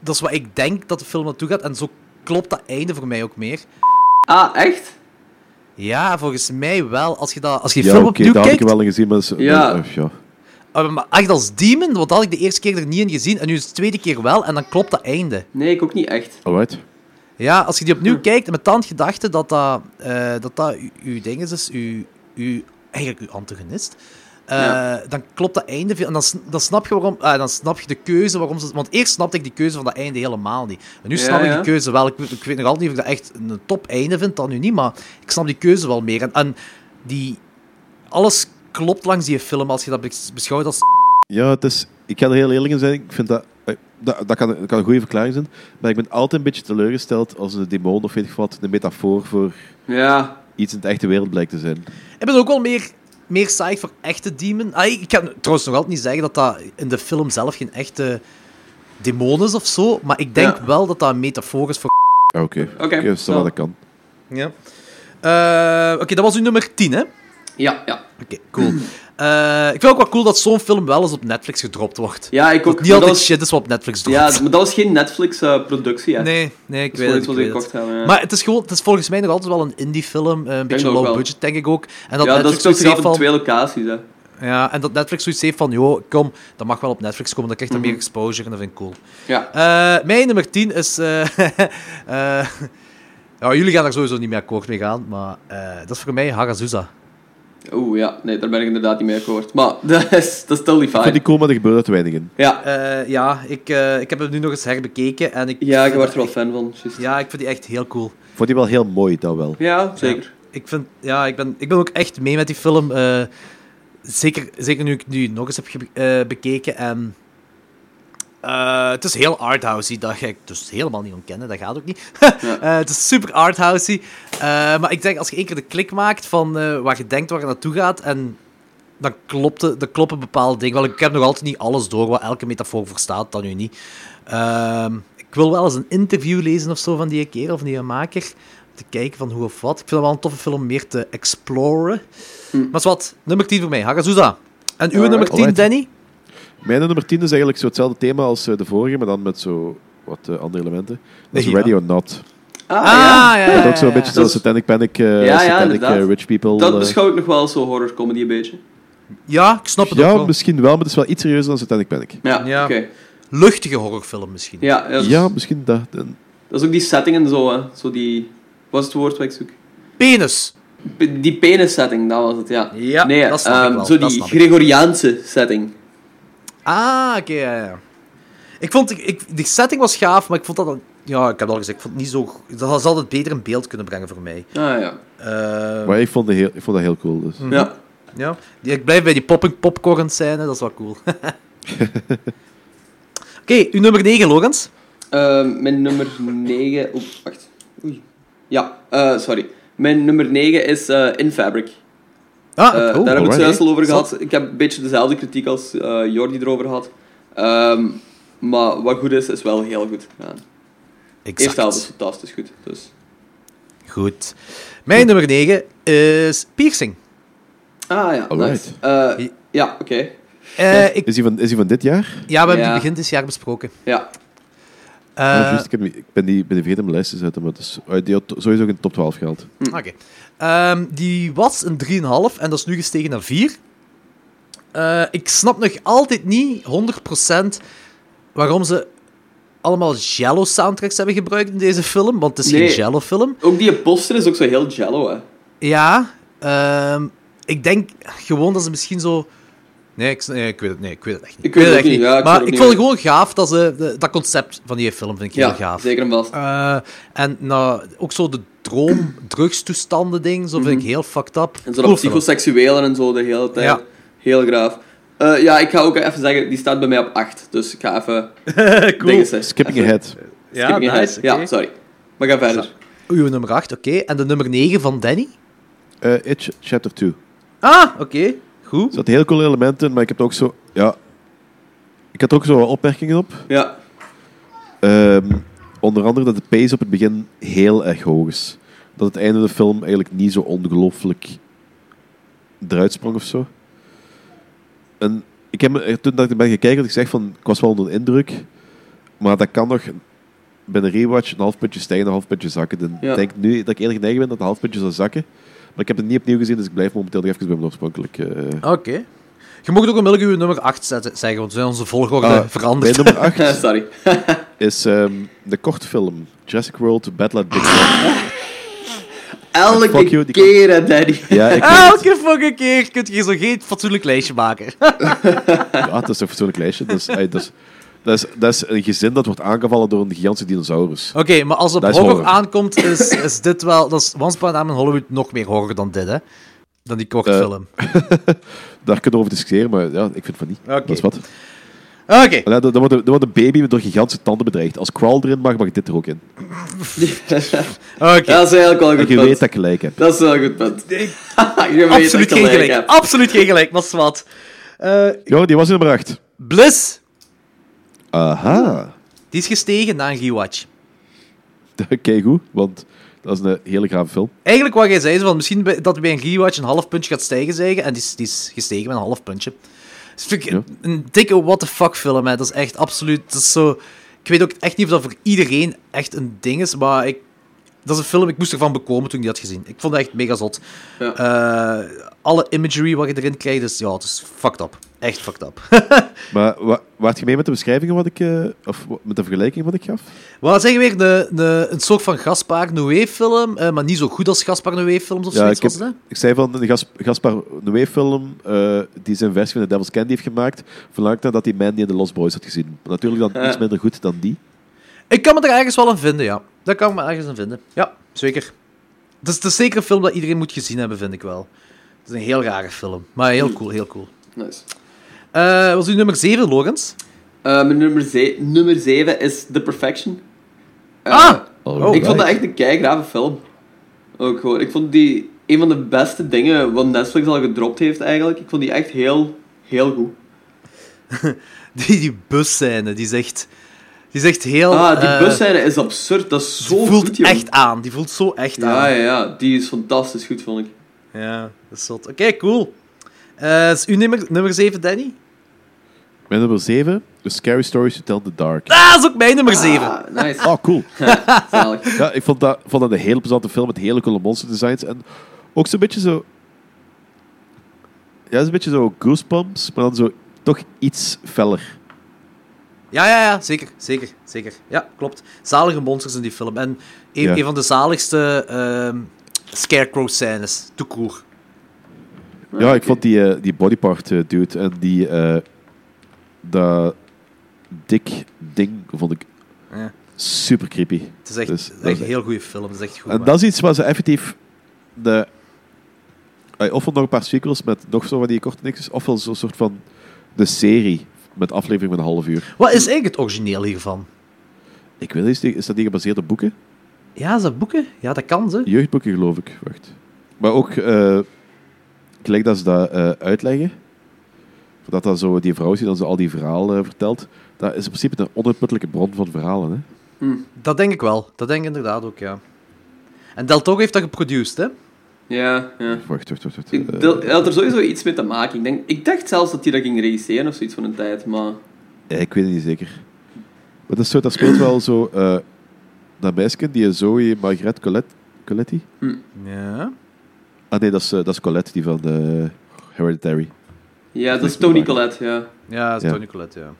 S2: dat is wat ik denk dat de film naartoe gaat. En zo klopt dat einde voor mij ook meer.
S1: Ah, echt?
S2: Ja, volgens mij wel. Als je, dat, als je die
S6: ja,
S2: film
S6: oké,
S2: opnieuw
S6: dat had ik
S2: kijkt...
S6: wel eens gezien, maar... dat is-
S1: Ja.
S6: eh, ja.
S2: eh, maar echt als demon, want dat had ik de eerste keer er niet in gezien. En nu is het de tweede keer wel. En dan klopt dat einde.
S1: Nee, ik ook niet echt.
S6: Alright.
S2: Ja, als je die
S1: Hm.
S2: opnieuw kijkt, met dan het gedachte dat dat, eh, dat, dat uw, uw ding is, dus uw, uw, eigenlijk uw antagonist, eh,
S1: Ja.
S2: dan klopt dat einde veel. En dan, sn- dan, snap je waarom, eh, dan snap je de keuze waarom ze... Want eerst snapte ik die keuze van dat einde helemaal niet. En nu
S1: Ja,
S2: snap ik
S1: ja.
S2: die keuze wel. Ik, weet- ik weet nog altijd niet of ik dat echt een top einde vind, dan nu niet, maar ik snap die keuze wel meer. En, en die... Alles klopt langs die film als je dat bes- beschouwt als
S6: Ja, het is, ik ga er heel eerlijk in zijn. Ik vind dat, eh, dat, dat, kan, dat kan een goede verklaring zijn. Maar ik ben altijd een beetje teleurgesteld als een demon of weet ik wat een metafoor voor
S1: Ja.
S6: iets in de echte wereld blijkt te zijn.
S2: Ik ben ook wel meer, meer saai voor echte demon. Ah, ik kan trouwens nog altijd niet zeggen dat dat in de film zelf geen echte demon is of zo. Maar ik denk
S1: Ja.
S2: wel dat dat een metafoor is voor.
S6: Ah, Oké, oké,
S1: Oké,
S6: dus dat
S1: ja.
S6: dat kan.
S2: Ja. Eh, Oké, dat was uw nummer 10, hè? Oké,
S1: Ja, ja. *laughs*
S2: cool. Eh, ik vind ook wel cool dat zo'n film wel eens op Netflix gedropt wordt.
S1: Ja, ik ook.
S2: Niet
S1: maar
S2: altijd
S1: dat was,
S2: shit is wat op Netflix dropt.
S1: ja, maar dat was geen Netflix-productie, hè.
S2: Nee, nee, ik
S1: Dat is
S2: weet
S1: gewoon
S2: het.
S1: iets wat
S2: ik
S1: ze gekocht
S2: weet het.
S1: hebben. ja.
S2: Maar het is, gewoon, het is volgens mij nog altijd wel een indie-film. eh, Een beetje
S1: dat ook
S2: low
S1: wel.
S2: budget, denk ik ook. En dat
S1: ja, dat
S2: Netflix
S1: speelt zich
S2: zoiets
S1: af
S2: heeft
S1: op
S2: van-
S1: twee locaties, hè.
S2: Ja, en dat Netflix zoiets heeft van, joh, kom, dat mag wel op Netflix komen, dan krijgt er meer
S1: Mhm.
S2: exposure en dat vind ik cool.
S1: Ja.
S2: Eh, mijn nummer 10 is... eh, *laughs* eh, ja, jullie gaan daar sowieso niet meer akkoord mee gaan, maar eh, dat is voor mij Harazusa.
S1: Oeh, ja. Nee, daar ben ik inderdaad niet mee akkoord. Maar *laughs* dat is, dat is totally
S6: Ik vind
S1: fine.
S6: die cool, maar er gebeurt uit weinig in.
S1: Ja.
S2: Eh, ja, ik, eh, ik heb hem nu nog eens herbekeken en ik...
S1: Ja, ik
S2: vind
S1: word
S2: dat
S1: er wel
S2: echt-
S1: fan van. juist.
S2: Ja, ik vind die echt heel cool.
S6: Ik vond die wel heel mooi, dat wel.
S1: Ja, zeker.
S2: Ik, vind, ja, ik, ben, ik ben ook echt mee met die film. eh, zeker, zeker nu ik nu nog eens heb ge- eh, bekeken. En, eh, het is heel arthousey. Dat ga ik dus helemaal niet ontkennen. Dat gaat ook niet. *laughs* Eh, het is super arthousey. Eh maar ik denk, als je één keer de klik maakt van eh, waar je denkt waar je naartoe gaat... En dan, klopt, de- dan kloppen bepaalde dingen. Wel, ik heb nog altijd niet alles door wat elke metafoor voor staat. Dat nu niet. Ehm, ik wil wel eens een interview lezen of zo van die kerel of die maker. Om te kijken van hoe of wat. Ik vind het wel een toffe film om meer te exploren. Maar is wat, nummer 10 voor mij, Hagazusa. En uw
S1: Alright.
S2: nummer 10,
S6: Alright.
S2: Danny?
S6: Mijn nummer 10 is eigenlijk zo hetzelfde thema als eh, de vorige, maar dan met zo wat eh, andere elementen. Dat is
S2: Ja.
S6: Ready or Not.
S1: Ah,
S2: Ah, ja, ja,
S6: Dat
S2: ja,
S6: is ook zo'n
S2: ja.
S6: beetje
S1: Dat
S6: zo'n
S1: is-
S6: Satanic Panic, eh,
S1: ja,
S6: Satanic
S1: inderdaad.
S6: eh, Rich People.
S1: Dat
S6: eh.
S1: beschouw ik nog wel als zo'n horrorcomedy een beetje.
S2: Ja, ik snap het ook
S6: ja,
S2: wel.
S6: misschien wel, maar het is wel iets serieuzer dan Satanic Panic.
S1: Ja,
S2: Ja.
S1: oké.
S2: Luchtige horrorfilm misschien.
S1: Ja, dat is,
S6: Ja, misschien dat. en-
S1: dat is ook die setting en zo, hè. Zo die... Wat is het woord wat ik zoek?
S2: Penis.
S1: P- die penis-setting, dat was het, ja.
S2: Ja,
S1: nee,
S2: dat snap ik
S1: ehm,
S2: wel,
S1: Zo
S2: dat
S1: die
S2: snap ik.
S1: Gregoriaanse setting.
S2: Ah, oké, ja, ja. Ik vond, ik, ik- die setting was gaaf, maar ik vond dat... dan- Ja, ik heb het al gezegd, ik vond het niet zo... go- Dat had het beter in beeld kunnen brengen voor mij.
S1: Ah, ja.
S2: Eh,
S6: Maar ik vond, de heel, ik vond dat heel cool. Dus.
S1: Mhm. Ja.
S2: Ja, die- ik blijf bij die popping popcorn scène, dat is wel cool. *laughs* Oké, uw nummer 9, Logans.
S1: Ehm, mijn nummer 9... Oeh, wacht. Oei. Ja, eh, sorry. Mijn nummer 9 is eh, In Fabric.
S2: Ah,
S1: Eh,
S2: oh,
S1: daar heb ik
S6: alright.
S1: het zelfs al over
S2: Zot.
S1: gehad. Ik heb een beetje dezelfde kritiek als eh, Jordi erover had. Ehm, maar wat goed is, is wel heel goed gedaan.
S2: exact.
S1: Eerste helft is fantastisch goed. Dus.
S2: Goed. Mijn nummer 9 is piercing.
S1: Ah ja, nice.
S6: Alright.
S1: Eh, ja, oké.
S2: Eh, ik,
S6: Is, die van, is die van dit jaar?
S2: ja, we hebben
S1: Ja.
S2: die begin dit jaar besproken.
S1: Ja,
S2: Eh,
S6: Ja, juist, ik, heb die- ik ben die ben die vergeten mijn lijst te zetten, maar het is, eh, die had to- sowieso ook in de top 12 gehaald.
S2: *laughs* Oké. Ehm, die was een 3,5 en dat is nu gestegen naar 4. Eh, ik snap nog altijd niet 100% waarom ze allemaal Jello soundtracks hebben gebruikt in deze film, want het is
S1: Nee.
S2: geen Jello film.
S1: ook die poster is ook zo heel jello, hè.
S2: Ja, ehm, ik denk gewoon dat ze misschien zo. Nee, ik, s- nee, ik weet het, nee, ik weet het echt niet.
S1: Ik weet het
S2: echt
S1: ook niet, ja, ik
S2: maar
S1: weet het
S2: ik
S1: ook
S2: vond het
S1: niet.
S2: gewoon gaaf dat ze. de- dat concept van die film vind ik
S1: Ja,
S2: heel gaaf.
S1: zeker en vast.
S2: Eh, en nou, ook zo de droom, *clears throat* drugstoestanden ding, zo vind ik heel fucked up.
S1: En zo
S2: Cool
S1: dat
S2: film.
S1: psychoseksuele en zo de hele tijd.
S2: Ja.
S1: Heel graaf. Eh, ja, ik ga ook even zeggen, die staat bij mij op 8. Dus ik ga even dingen zeggen.
S6: Skipping
S1: Even-
S6: ahead.
S2: Ja,
S1: Skipping ahead.
S2: nice. oké.
S1: Ja, sorry. Maar ga verder.
S2: Uw nummer 8, oké. En de nummer 9 van Danny?
S6: Eh, It Chapter 2. Er
S2: Ah, oké. Goed.
S6: zaten heel coole elementen in, maar ik heb er ook zo... Ja, ik had er ook zo wat opmerkingen op.
S1: Ja, *laughs*
S6: Ehm, onder andere dat de pace op het begin heel erg hoog is. Dat het einde van de film eigenlijk niet zo ongelooflijk eruit sprong of zo. En ik heb, me- eh, toen dat ik ben gekeken, had ik zeg van, ik was wel onder de indruk. Maar dat kan nog bij een rewatch een half puntje stijgen, een half puntje zakken. Dan
S1: Ja.
S6: denk ik nu dat ik eerder geneigd ben dat een half puntje zal zakken. Maar ik heb het niet opnieuw gezien, dus ik blijf momenteel nog even bij mijn oorspronkelijk. eh.
S2: Oké. Je mocht ook onmiddellijk uw nummer 8 zetten, zeggen, want we zijn onze volgorde
S6: Ah, Mijn
S2: veranderd.
S6: nummer
S1: *laughs*
S6: 8
S1: sorry.
S6: is ehm, de kortfilm Jurassic World Battle at Big Sur.
S1: Elke
S6: fuck you, die
S1: keer, hè, Daddy.
S6: Ja, ik weet
S1: Oh,
S2: *laughs*
S6: het.
S2: Elke fucking keer kun je hier zo geen fatsoenlijk lijstje maken. *laughs*
S6: *laughs* Ja, dat is een fatsoenlijk lijstje. Dat is, ey, dat, is, dat, is, dat is een gezin dat wordt aangevallen door een gigantische dinosaurus.
S2: Oké, maar als het
S6: Dat
S2: op
S6: is
S2: horror
S6: horror.
S2: aankomt, is, is dit wel... Dat is Once Upon a Time in Hollywood nog meer horror dan dit, hè? dan die kortfilm.
S6: Daar kunnen we over discussiëren, maar ja, ik vind van niet.
S2: Oké.
S6: Dat is wat.
S2: Oké.
S6: Allee, Dan dan wordt, een- dan wordt een baby door gigantische tanden bedreigd. Als Crawl erin mag, mag dit er ook in.
S2: Oké.
S1: dat is eigenlijk wel een
S6: En
S1: goed
S6: je weet
S1: punt.
S6: dat ik gelijk heb.
S1: Dat is wel een goed punt. *laughs* Je weet
S2: Absoluut
S1: dat
S2: geen
S1: ik
S2: gelijk.
S1: heb.
S2: Absoluut geen gelijk, maar zwart. Eh
S6: Ja, die was in nummer 8.
S2: Bliss,
S6: Aha. *laughs*
S2: die is gestegen na een rewatch.
S6: Kijk goed, want dat is een hele grave film.
S2: Eigenlijk wat jij zei, is van misschien bij- dat bij een rewatch een half puntje gaat stijgen, zeggen. En die is, die is gestegen met een half puntje. Dus vind ik
S6: Ja.
S2: een dikke what the fuck film, hè. Dat is echt absoluut... Dat is zo... Ik weet ook echt niet of dat voor iedereen echt een ding is, maar ik... Dat is een film, ik moest ervan bekomen toen ik die had gezien. Ik vond het echt mega zot.
S1: Ja.
S2: Eh, alle imagery wat je erin krijgt, dus ja, het is fucked up. Echt fucked up. *laughs*
S6: Maar wa waart je mee met de beschrijvingen wat ik... eh, of wa- met de vergelijking wat ik gaf?
S2: Wat zeggen weer? De, de, een soort van Gaspar Noé-film, eh, maar niet zo goed als Gaspar Noé-films of zoiets.
S6: ik, heb-
S2: was het, hè?
S6: ik zei van de Gas Gaspar Noé-film, eh, die zijn versie van The Devil's Candy heeft gemaakt, verlangt nadat hij Mandy en The Lost Boys had gezien. Natuurlijk dan
S1: Ja.
S6: iets minder goed dan die.
S2: Ik kan me er ergens wel aan vinden, ja. Dat kan ik me ergens aan vinden. Ja, zeker. Het is, het is zeker een film dat iedereen moet gezien hebben, vind ik wel. Het is een heel rare film, maar
S1: Hm.
S2: heel cool, heel cool.
S1: Nice.
S2: Eh was nu nummer 7, Logans? *laughs*
S1: Eh, mijn nummer, ze- nummer 7 is The Perfection. Eh,
S2: Ah!
S6: Oh,
S1: ik
S2: Alright.
S1: vond dat echt een keigrave film. Ook gewoon. Ik vond die een van de beste dingen wat Netflix al gedropt heeft eigenlijk. Ik vond die echt heel, heel goed.
S2: Die, die busscène, die zegt... Die zegt heel...
S1: ah, die
S2: eh,
S1: busscène is absurd. Dat is zo
S2: die voelt
S1: goed, jongen.
S2: echt aan. Die voelt zo echt
S1: Ja,
S2: aan.
S1: ja, ja. Die is fantastisch goed, vond ik.
S2: Ja, dat is zot. Oké, cool. Eh, is uw nummer, nummer 7, Danny?
S6: Mijn nummer 7, The Scary Stories You Tell in the Dark.
S2: Ah, dat is ook mijn nummer 7.
S1: Ah, nice.
S6: Oh, cool.
S2: *laughs*
S1: Zalig.
S6: Ja, ik vond dat, vond dat een hele plezante film met hele coole monster designs. En ook zo'n beetje zo... Ja, zo'n beetje zo Goosebumps, maar dan zo toch iets feller.
S2: Ja, ja, ja, zeker, zeker, zeker. Ja, klopt. Zalige monsters in die film. En een,
S6: Ja.
S2: een van de zaligste ehm, scarecrow-scènes, tout court.
S6: Ja, ik vond die, eh, die bodypart eh, dude en die... eh, dat dik ding vond ik
S2: Ja.
S6: super creepy.
S2: Het is echt,
S6: Dus,
S2: echt
S6: dat is
S2: een heel goede film, het is echt goed.
S6: en
S2: man.
S6: dat is iets waar ze effectief... De, eh, ofwel nog een paar sequels met nog zo van die korte niks, ofwel zo'n soort van de serie met aflevering van een half uur.
S2: Wat is eigenlijk het origineel hiervan?
S6: Ik weet niet, is die- is dat die gebaseerd op boeken?
S2: Ja, is dat boeken? Ja, dat kan ze.
S6: Jeugdboeken, geloof ik. Wacht. Maar ook, eh, gelijk dat ze dat eh, uitleggen, dat dat zo die vrouw ziet, dat ze al die verhalen eh, vertelt, dat is in principe een onuitputtelijke bron van verhalen. Hè?
S2: Dat denk ik wel. Dat denk ik inderdaad ook, ja. En Del Toro heeft dat geproduceerd, hè?
S1: Ja, ja.
S6: Wacht, wacht, wacht. wacht.
S1: Ik
S6: Eh,
S1: dat- hij had er sowieso iets mee te maken. Ik, denk, ik dacht zelfs dat hij dat ging regisseren of zoiets van een tijd, maar...
S6: ik weet het niet zeker. Maar dat, is zo, dat speelt wel zo... eh, dat meisje, die Zoe Margret Colette, Coletti?
S2: Ja.
S6: Ah nee, dat is, eh, dat is Colette, die van eh, Hereditary.
S1: Ja, dat
S6: niks
S1: is Tony
S6: mee te
S1: Collette, ja. Ah,
S2: Ja, dat is
S6: Ja.
S2: Tony Collette, ja.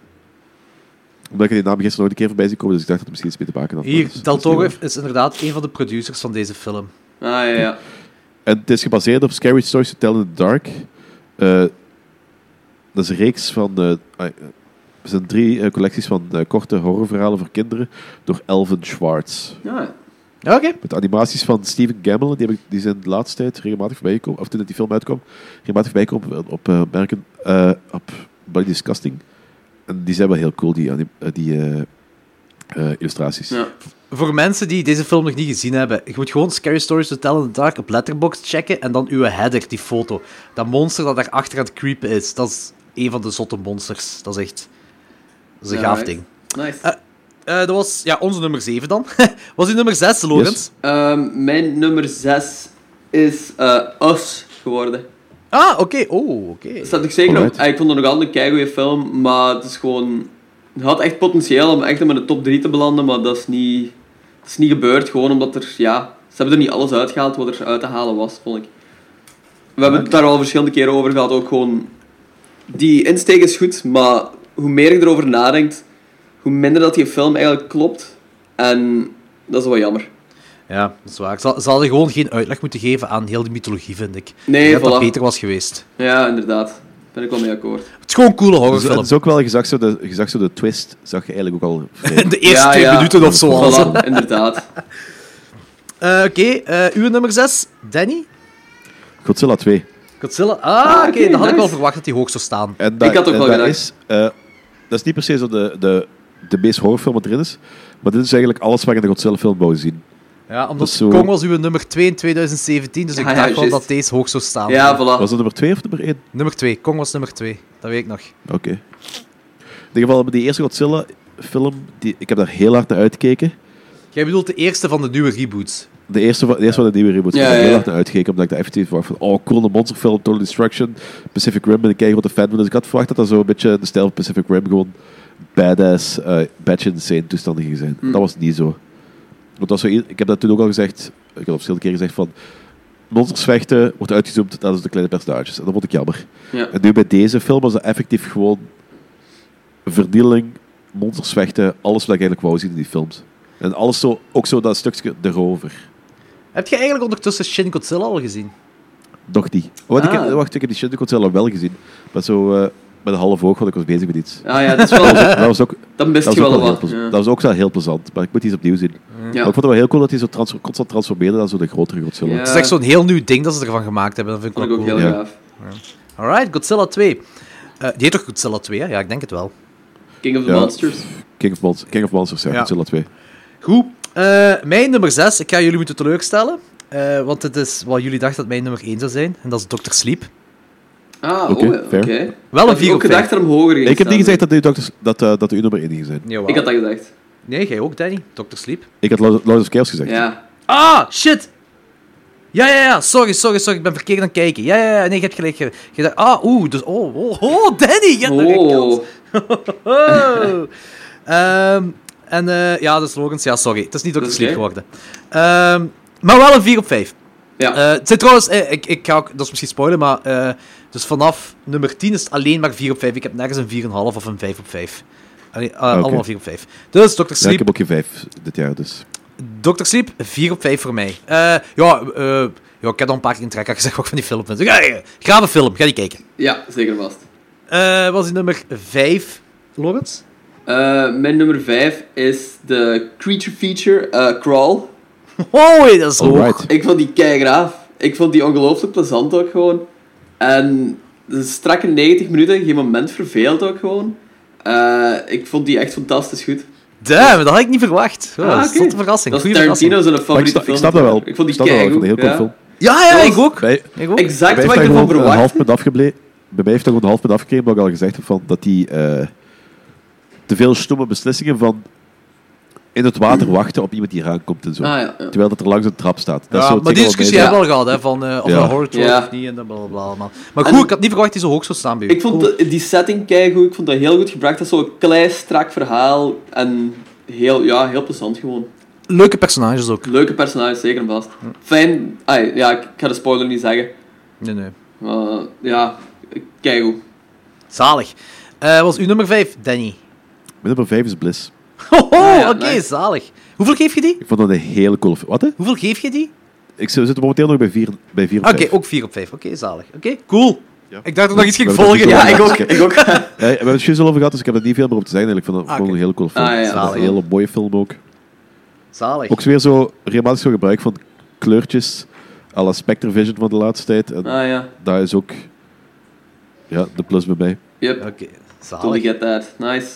S6: Omdat ik die naam gisteren nog een keer voorbij zie komen, dus ik dacht dat het misschien iets mee te maken had. maar dat
S2: Hier,
S6: is-
S2: Del
S6: dat is niet
S2: Toro
S6: waar.
S2: is inderdaad een van de producers van deze film.
S1: Ah, ja, ja.
S6: En het is gebaseerd op Scary Stories to Tell in the Dark. Eh, dat is een reeks van... eh, ah, eh, er zijn drie eh, collecties van eh, korte horrorverhalen voor kinderen door Elvin Schwartz.
S1: Ah, ja.
S2: Oké.
S6: Met animaties van Steven Gamble, die, heb ik, die zijn de laatste tijd regelmatig voorbij gekomen, of toen die film uitkwam, regelmatig voorbij gekomen op, op eh, merken, eh, op Bloody Disgusting. En die zijn wel heel cool, die, anim- eh, die eh, eh, illustraties.
S1: Ja.
S2: Voor mensen die deze film nog niet gezien hebben, je moet gewoon Scary Stories to Tell in the Dark op Letterboxd checken en dan uw header, die foto. Dat monster dat daar achter aan het creepen is, dat is een van de zotte monsters. Dat is echt... Dat is een
S1: Ja,
S2: gaaf
S1: right.
S2: ding.
S1: Nice.
S2: Eh, Eh, dat was ja, onze nummer 7 dan. *laughs* was die nummer 6, Lorenz?
S1: Ehm, mijn nummer 6 is eh Us geworden.
S2: Ah, oké. Oh, oké.
S1: Dat staat ik zeker op.
S6: Alright.
S1: Ik vond het nog altijd een keigoeie film, maar het is gewoon... Het had echt potentieel om echt in de top 3 te belanden, maar dat is niet, dat is niet gebeurd. Gewoon omdat er, ja, ze hebben er niet alles uitgehaald wat er uit te halen was, vond ik. We hebben het daar al verschillende keren over gehad. Ook gewoon, die insteek is goed, maar hoe meer je erover nadenkt, hoe minder dat die film eigenlijk klopt. En dat is wel jammer.
S2: Ja, dat is waar. Ze, ze hadden gewoon geen uitleg moeten geven aan heel de mythologie, vind ik.
S1: Nee,
S2: ik denk dat
S1: voilà.
S2: dat beter was geweest.
S1: Ja, inderdaad. Ben ik wel mee akkoord.
S2: *laughs* Het is gewoon een coole
S6: Dus, en
S2: horrorfilm.
S6: het is ook wel, je zag zo de, je zag zo de twist, zag je
S2: *laughs*
S6: eigenlijk ook al vrij
S2: In de eerste
S1: Ja,
S2: twee
S1: ja.
S2: minuten of zo.
S6: Voilà.
S1: *laughs*
S2: al.
S1: Voilà,
S2: *laughs*
S1: inderdaad.
S2: Eh, oké, eh, uw nummer 6, Danny?
S6: Godzilla 2.
S2: Godzilla. Ah, oké,
S1: oké,
S2: dat had ik
S1: nice.
S2: wel verwacht dat die hoog zou staan.
S6: En dat,
S1: Ik had ook
S6: en
S1: wel
S6: dat
S1: gedacht.
S6: Is, eh, dat is niet per se zo de, de, de meest horrorfilm wat erin is, maar dit is eigenlijk alles wat je in de Godzilla film wou zien.
S2: Ja,
S6: Dat
S2: omdat
S6: is zo.
S2: Kong was uw nummer 2 in 2017, dus ik
S1: Ja, ja,
S2: dacht wel
S1: juist.
S2: dat deze hoog zou staan.
S1: Ja, voilà.
S6: Was dat nummer 2 of nummer 1?
S2: Nummer 2, Kong was nummer 2, dat weet ik nog.
S6: Oké. In ieder geval, met die eerste Godzilla-film, die, ik heb daar heel hard naar uitgekeken.
S2: Jij bedoelt de eerste van de nieuwe reboots.
S6: De eerste van de, eerste van de nieuwe reboot, ik
S1: Ja,
S6: heb daar
S1: ja,
S6: heel
S1: ja.
S6: hard naar uitgekeken, omdat ik daar effectief was van, oh cool, een monsterfilm, Total Destruction, Pacific Rim, ben ik een grote fan van, dus ik had verwacht dat dat zo een beetje de stijl van Pacific Rim gewoon badass, eh batch insane toestanden ging zijn.
S1: Mm.
S6: Dat was niet zo. Want dat was zo, i- ik heb dat toen ook al gezegd, ik heb al verschillende keer gezegd van, monsters vechten wordt uitgezoomd naar de kleine personages, en dat vond ik jammer.
S1: Ja.
S6: En nu bij deze film was dat effectief gewoon verdeling, monsters vechten, alles wat ik eigenlijk wou zien in die films. En alles zo, ook zo dat stukje erover.
S2: Heb je eigenlijk ondertussen Shin Godzilla al gezien?
S6: Nog niet. Wat, ik
S1: Ah.
S6: heb, wacht, ik heb die Shindig Godzilla wel gezien. Maar zo eh, met een half oog, want ik was bezig met iets.
S1: Ah ja, dat is wel...
S6: *laughs* Dat was ook,
S1: Dat
S6: dat
S1: mist
S6: was
S1: je
S6: ook,
S1: wel
S6: wel
S1: wat.
S6: heel, plez-
S1: Ja.
S6: dat was ook wel heel plezant. Maar ik moet die eens opnieuw zien. Maar ik
S1: Ja.
S6: vond het wel heel cool dat hij zo trans- constant transformeerde naar zo de grotere Godzilla.
S1: Ja.
S2: Het is echt zo'n heel nieuw ding dat ze ervan gemaakt hebben, dat vind ik
S1: Eh, vond ik
S2: wel
S1: ook
S2: cool.
S1: heel
S6: Ja.
S1: gaaf.
S2: Alright, Godzilla 2. Eh, die heet toch Godzilla 2, hè? Ja, ik denk het wel.
S1: King of the
S6: Ja.
S1: Monsters.
S6: King, of Monsters, King of Monsters, ja,
S2: Ja.
S6: Godzilla 2.
S2: Goed. Eh, mijn nummer 6, ik ga jullie moeten teleurstellen. eh, want het is wat jullie dachten dat mijn nummer 1 zou zijn. En dat is Dr. Sleep.
S1: Ah,
S6: Oké,
S1: oh, ja, oké.
S6: fair.
S2: Wel een
S1: Had ik
S2: 4
S1: ook
S2: op vijf.
S1: gedacht dat hem hoger ging
S6: Ik heb niet
S1: staan.
S6: gezegd dat, u dokters- dat, eh, dat uw nummer 1 ging zijn.
S2: Jawel.
S1: Ik had dat gedacht.
S2: Nee, jij ook, Danny. Dr. Sleep.
S6: Ik had Lord Lord of Chaos gezegd.
S1: Ja.
S2: Ah, shit! Ja, ja, ja, sorry, sorry, sorry, ik ben verkeerd aan het kijken. Ja, ja, ja, nee, je hebt gelijk. Je, je dacht, ah, oeh, dus, oh, oh, oh, Danny, je hebt nog een kans.
S1: Oh.
S2: Oh.
S1: *laughs*
S2: Ehm, en eh, ja, de slogans, ja, sorry. Het is niet ook
S1: Dat
S2: te
S1: is
S2: sleep
S1: oké.
S2: geworden. Ehm, maar wel een 4 op 5.
S1: Ja.
S2: het zijn trouwens, eh, ik, ik ga ook, dat is misschien spoilen, maar eh, dus vanaf nummer 10 is het alleen maar 4 op 5. Ik heb nergens een 4,5 of een 5 op 5. Allee, eh, Allemaal 4 op 5. Dus Dr.
S6: Ja, ik
S2: Sleep,
S6: heb ook geen 5 dit jaar, dus.
S2: Dr. Sleep 4 op 5 voor mij. Eh, ja, eh, ja, ik heb al een paar keer in het trekker gezegd wat ik van die film vind. Ja, ja, Grave film, ga die kijken.
S1: ja, zeker vast.
S2: Eh, wat was die nummer 5, Lawrence? *laughs*
S1: Eh, mijn nummer 5 is de creature feature, eh, Crawl.
S2: Oh, dat is hoog.
S6: Alright.
S1: Ik vond die keigraaf. Ik vond die ongelooflijk plezant ook gewoon. En de strakke 90 minuten, geen moment verveeld ook gewoon. Eh, ik vond die echt fantastisch goed.
S2: Damn, dat had ik niet verwacht. Oh,
S1: Ah,
S2: dat is
S1: oké.
S2: tot een verrassing.
S1: Dat is
S2: Goeie verrassing.
S1: Tarantino zijn
S6: Maar
S1: favoriete
S6: ik, sta-
S1: film.
S6: ik snap dat wel.
S1: Ik vond die
S6: snap dat wel, ik
S1: keigoed.
S6: vond het een
S1: ja.
S6: heel cool film.
S2: Ja, ja,
S1: Dat
S2: ik
S1: was-
S2: ook.
S6: Bij-
S2: Ik ook.
S1: Exact
S6: Bij mij
S1: wat
S6: heeft
S1: ik
S6: daar
S1: ervan
S6: gewoon een half
S1: verwacht.
S6: punt afgebleven. Bij mij heeft daar gewoon een half punt afgekregen, omdat ik al gezegd heb van dat die eh, te veel stomme beslissingen van in het water wachten op iemand die eraan komt en zo.
S1: Ah, ja, ja.
S6: Terwijl dat er langs een trap staat. Dat
S2: Ja,
S6: is zo het
S2: maar die
S6: ding wat
S2: discussie
S6: mij-
S2: hebben we al gehad, hè, van eh, of
S6: Ja.
S2: een horror trope
S1: Ja.
S2: of niet en dat blablabla. allemaal. Maar goed,
S1: En-
S2: ik had niet verwacht dat die zo hoog zou staan bij u.
S1: Ik vond
S2: Cool.
S1: de- die setting keigoed. Ik vond dat heel goed gebracht. Dat is zo'n klein, strak verhaal. En heel, ja, heel plezant gewoon.
S2: Leuke personages ook.
S1: Leuke personages, zeker en vast. Fijn. ai, ja, ik ga de spoiler niet zeggen.
S2: Nee, nee.
S1: Maar ja, keigoed.
S2: Zalig. Eh was uw nummer 5, Danny? *laughs*
S6: Mijn nummer 5 is Bliss.
S2: Hoho,
S1: ja,
S2: oké,
S1: nice.
S2: zalig. Hoeveel geef je die?
S6: Ik vond dat een hele coole film. Wat hè?
S2: Hoeveel geef je die?
S6: Ik zit zit momenteel nog bij 4 bij vier op
S2: Oké,
S6: vijf.
S2: ook 4 op 5. Oké, zalig. Oké, cool. Ik dacht dat ik nog iets ging
S6: We hebben
S2: volgen.
S6: het
S1: Ja,
S6: niet
S1: ik
S6: zo
S1: ook. Ik *laughs* ook.
S6: Eh, we hebben het juist al over gehad, dus ik heb er niet veel meer op te zeggen. eigenlijk. Ik vond het
S2: Ah,
S6: gewoon
S2: oké.
S6: een hele coole film.
S1: Ah, ja,
S6: Ik vond het
S2: zalig.
S6: een hele mooie film ook.
S2: Zalig.
S6: Ook weer zo regelmatig zo gebruik van kleurtjes à la Spectre Vision van de laatste tijd. En
S1: Ah ja.
S6: dat is ook ja, de plus bij mij.
S1: Yep.
S2: Oké,
S1: Totally
S2: zalig.
S1: get that. Nice.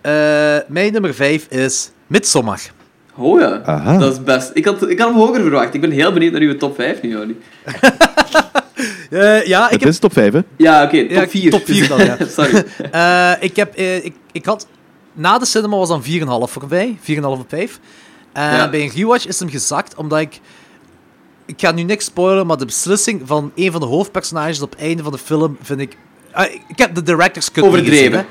S2: Eh, mijn nummer 5 is Midsommar.
S1: Oh ja.
S6: Aha.
S1: Dat is best. Ik had, ik had hem hoger verwacht. Ik ben heel benieuwd naar uw top 5 nu, Jordi.
S2: Eh,
S1: Ah,
S2: ja, ik
S6: het
S2: heb
S6: is top 5, hè?
S1: Ja, oké.
S2: Ja,
S1: top 4.
S2: top vier dan, ja.
S1: *laughs* Sorry.
S2: Eh, ik heb... eh, ik, ik had... Na de cinema was dan 4,5 voor mij. 4,5 op 5. En
S1: Ja.
S2: bij een rewatch is hem gezakt, omdat ik... Ik ga nu niks spoilen, maar de beslissing van een van de hoofdpersonages op het einde van de film vind ik... Ah, ik heb de director's cut niet
S1: Overdreven.
S2: gezien, hè.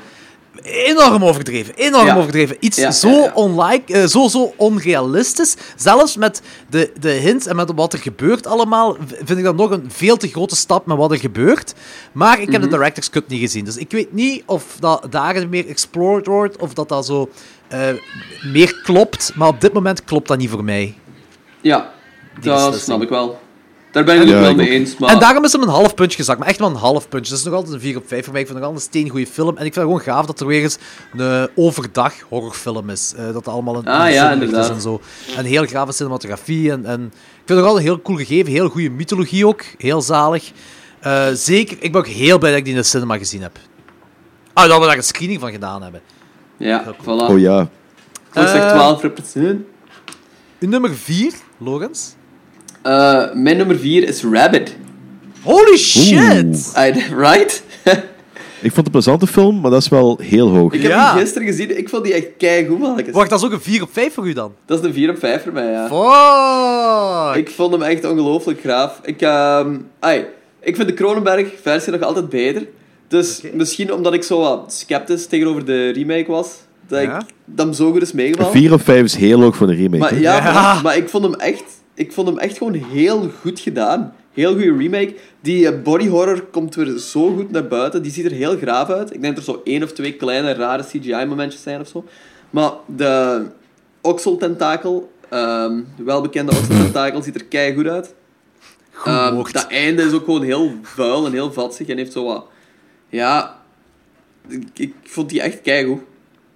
S2: Enorm overdreven. Enorm
S1: Ja.
S2: overdreven. Iets
S1: Ja,
S2: zo,
S1: ja, ja.
S2: Onlike, eh, zo, zo onrealistisch. Zelfs met de, de hints en met wat er gebeurt allemaal, v- vind ik dat nog een veel te grote stap met wat er gebeurt. Maar ik heb
S1: Mhm.
S2: de director's cut niet gezien. Dus ik weet niet of dat daar meer explored wordt, of dat dat zo eh, meer klopt. Maar op dit moment klopt dat niet voor mij.
S1: Ja. Dat
S2: beslissing.
S1: snap ik wel. Daar ben ik het
S6: Ja,
S1: ook wel
S6: ik
S1: mee
S6: ook.
S1: eens. Maar...
S2: En daarom is hem een half puntje gezakt. Maar echt wel een half puntje. Dat is nog altijd een 4 op 5 voor mij. Ik vind het nog altijd een goede film. En ik vind het gewoon gaaf dat er weer eens een overdag horrorfilm is. Eh, dat er allemaal een
S1: Ah,
S2: een
S1: ja,
S2: zonlicht
S1: inderdaad.
S2: is en zo. En heel grave cinematografie. En, en ik vind het nog altijd een heel cool gegeven. Heel goede mythologie ook. Heel zalig. Eh, Eh, zeker, ik ben ook heel blij dat ik die in de cinema gezien heb. Ah, dat we daar een screening van gedaan hebben.
S1: Ja, voilà.
S6: Oh ja.
S1: Ik zeg
S2: Eh.
S1: 12 represent.
S2: Uw nummer 4, Logans.
S1: Eh, mijn nummer 4 is Rabbit.
S2: Holy shit!
S6: Oeh.
S1: I, *laughs* right?
S6: Ik vond het een plezante film, maar dat is wel heel hoog.
S1: ik heb
S2: Ja.
S1: die gisteren gezien. Ik vond die echt keigoed, mannetjes.
S2: Wacht, dat is ook een 4 op 5 voor u dan.
S1: Dat is een 4 op 5 voor mij, ja.
S2: Fuck!
S1: Ik vond hem echt ongelooflijk graaf. Ik, ehm, ai, ik vind de Cronenberg-versie nog altijd beter. Dus
S2: Oké.
S1: misschien omdat ik zo wat sceptisch tegenover de remake was, dat
S2: Ja.
S1: ik dat hem zo goed is meegevallen.
S6: 4 op 5 is heel hoog voor een remake.
S1: Maar
S6: hè.
S1: ja,
S2: Ja.
S1: Maar, maar ik vond hem echt... Ik vond hem echt gewoon heel goed gedaan. Heel goede remake. Die eh, body horror komt weer zo goed naar buiten. Die ziet er heel graaf uit. Ik denk dat er zo één of twee kleine rare CGI-momentjes zijn of zo. Maar de okseltentakel, ehm welbekende okseltentakel, ziet er keigoed uit. Ehm,
S2: gemokt.
S1: dat einde is ook gewoon heel vuil en heel vatsig en heeft zo wat... Ja, ik, ik vond die echt keigoed.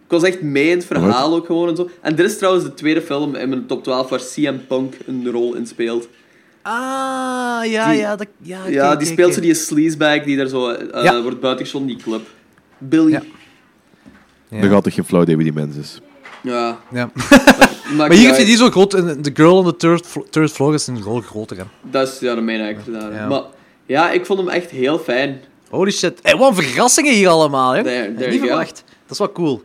S1: Ik was echt mee in het verhaal ook gewoon en zo. En dit is trouwens de tweede film in mijn top 12 waar CM Punk een rol in speelt.
S2: Ah, ja,
S1: Die-
S2: ja. Dat,
S1: ja,
S2: ja, Ah,
S1: die
S2: kijk, kijk,
S1: speelt zo
S2: kijk.
S1: die sleazebag die daar zo eh,
S2: Ja.
S1: wordt buitengeschoten, die club. Billy.
S2: Ja.
S1: Ja.
S6: Dan gaat toch geen flauw idee wie die mens is.
S2: Ja.
S1: maakt niet
S2: Maar hier heeft
S1: uit.
S2: hij die zo groot. En de girl on the third, flo- third floor is een rol groter. Hè.
S1: Dat is ja, de main actor daar.
S2: Ja.
S1: Maar ja, ik vond hem echt heel fijn.
S2: Holy shit. Hey, wat een verrassingen hier allemaal. Hè.
S1: There- there
S2: Niet
S1: you go.
S2: verwacht. Dat is wel cool.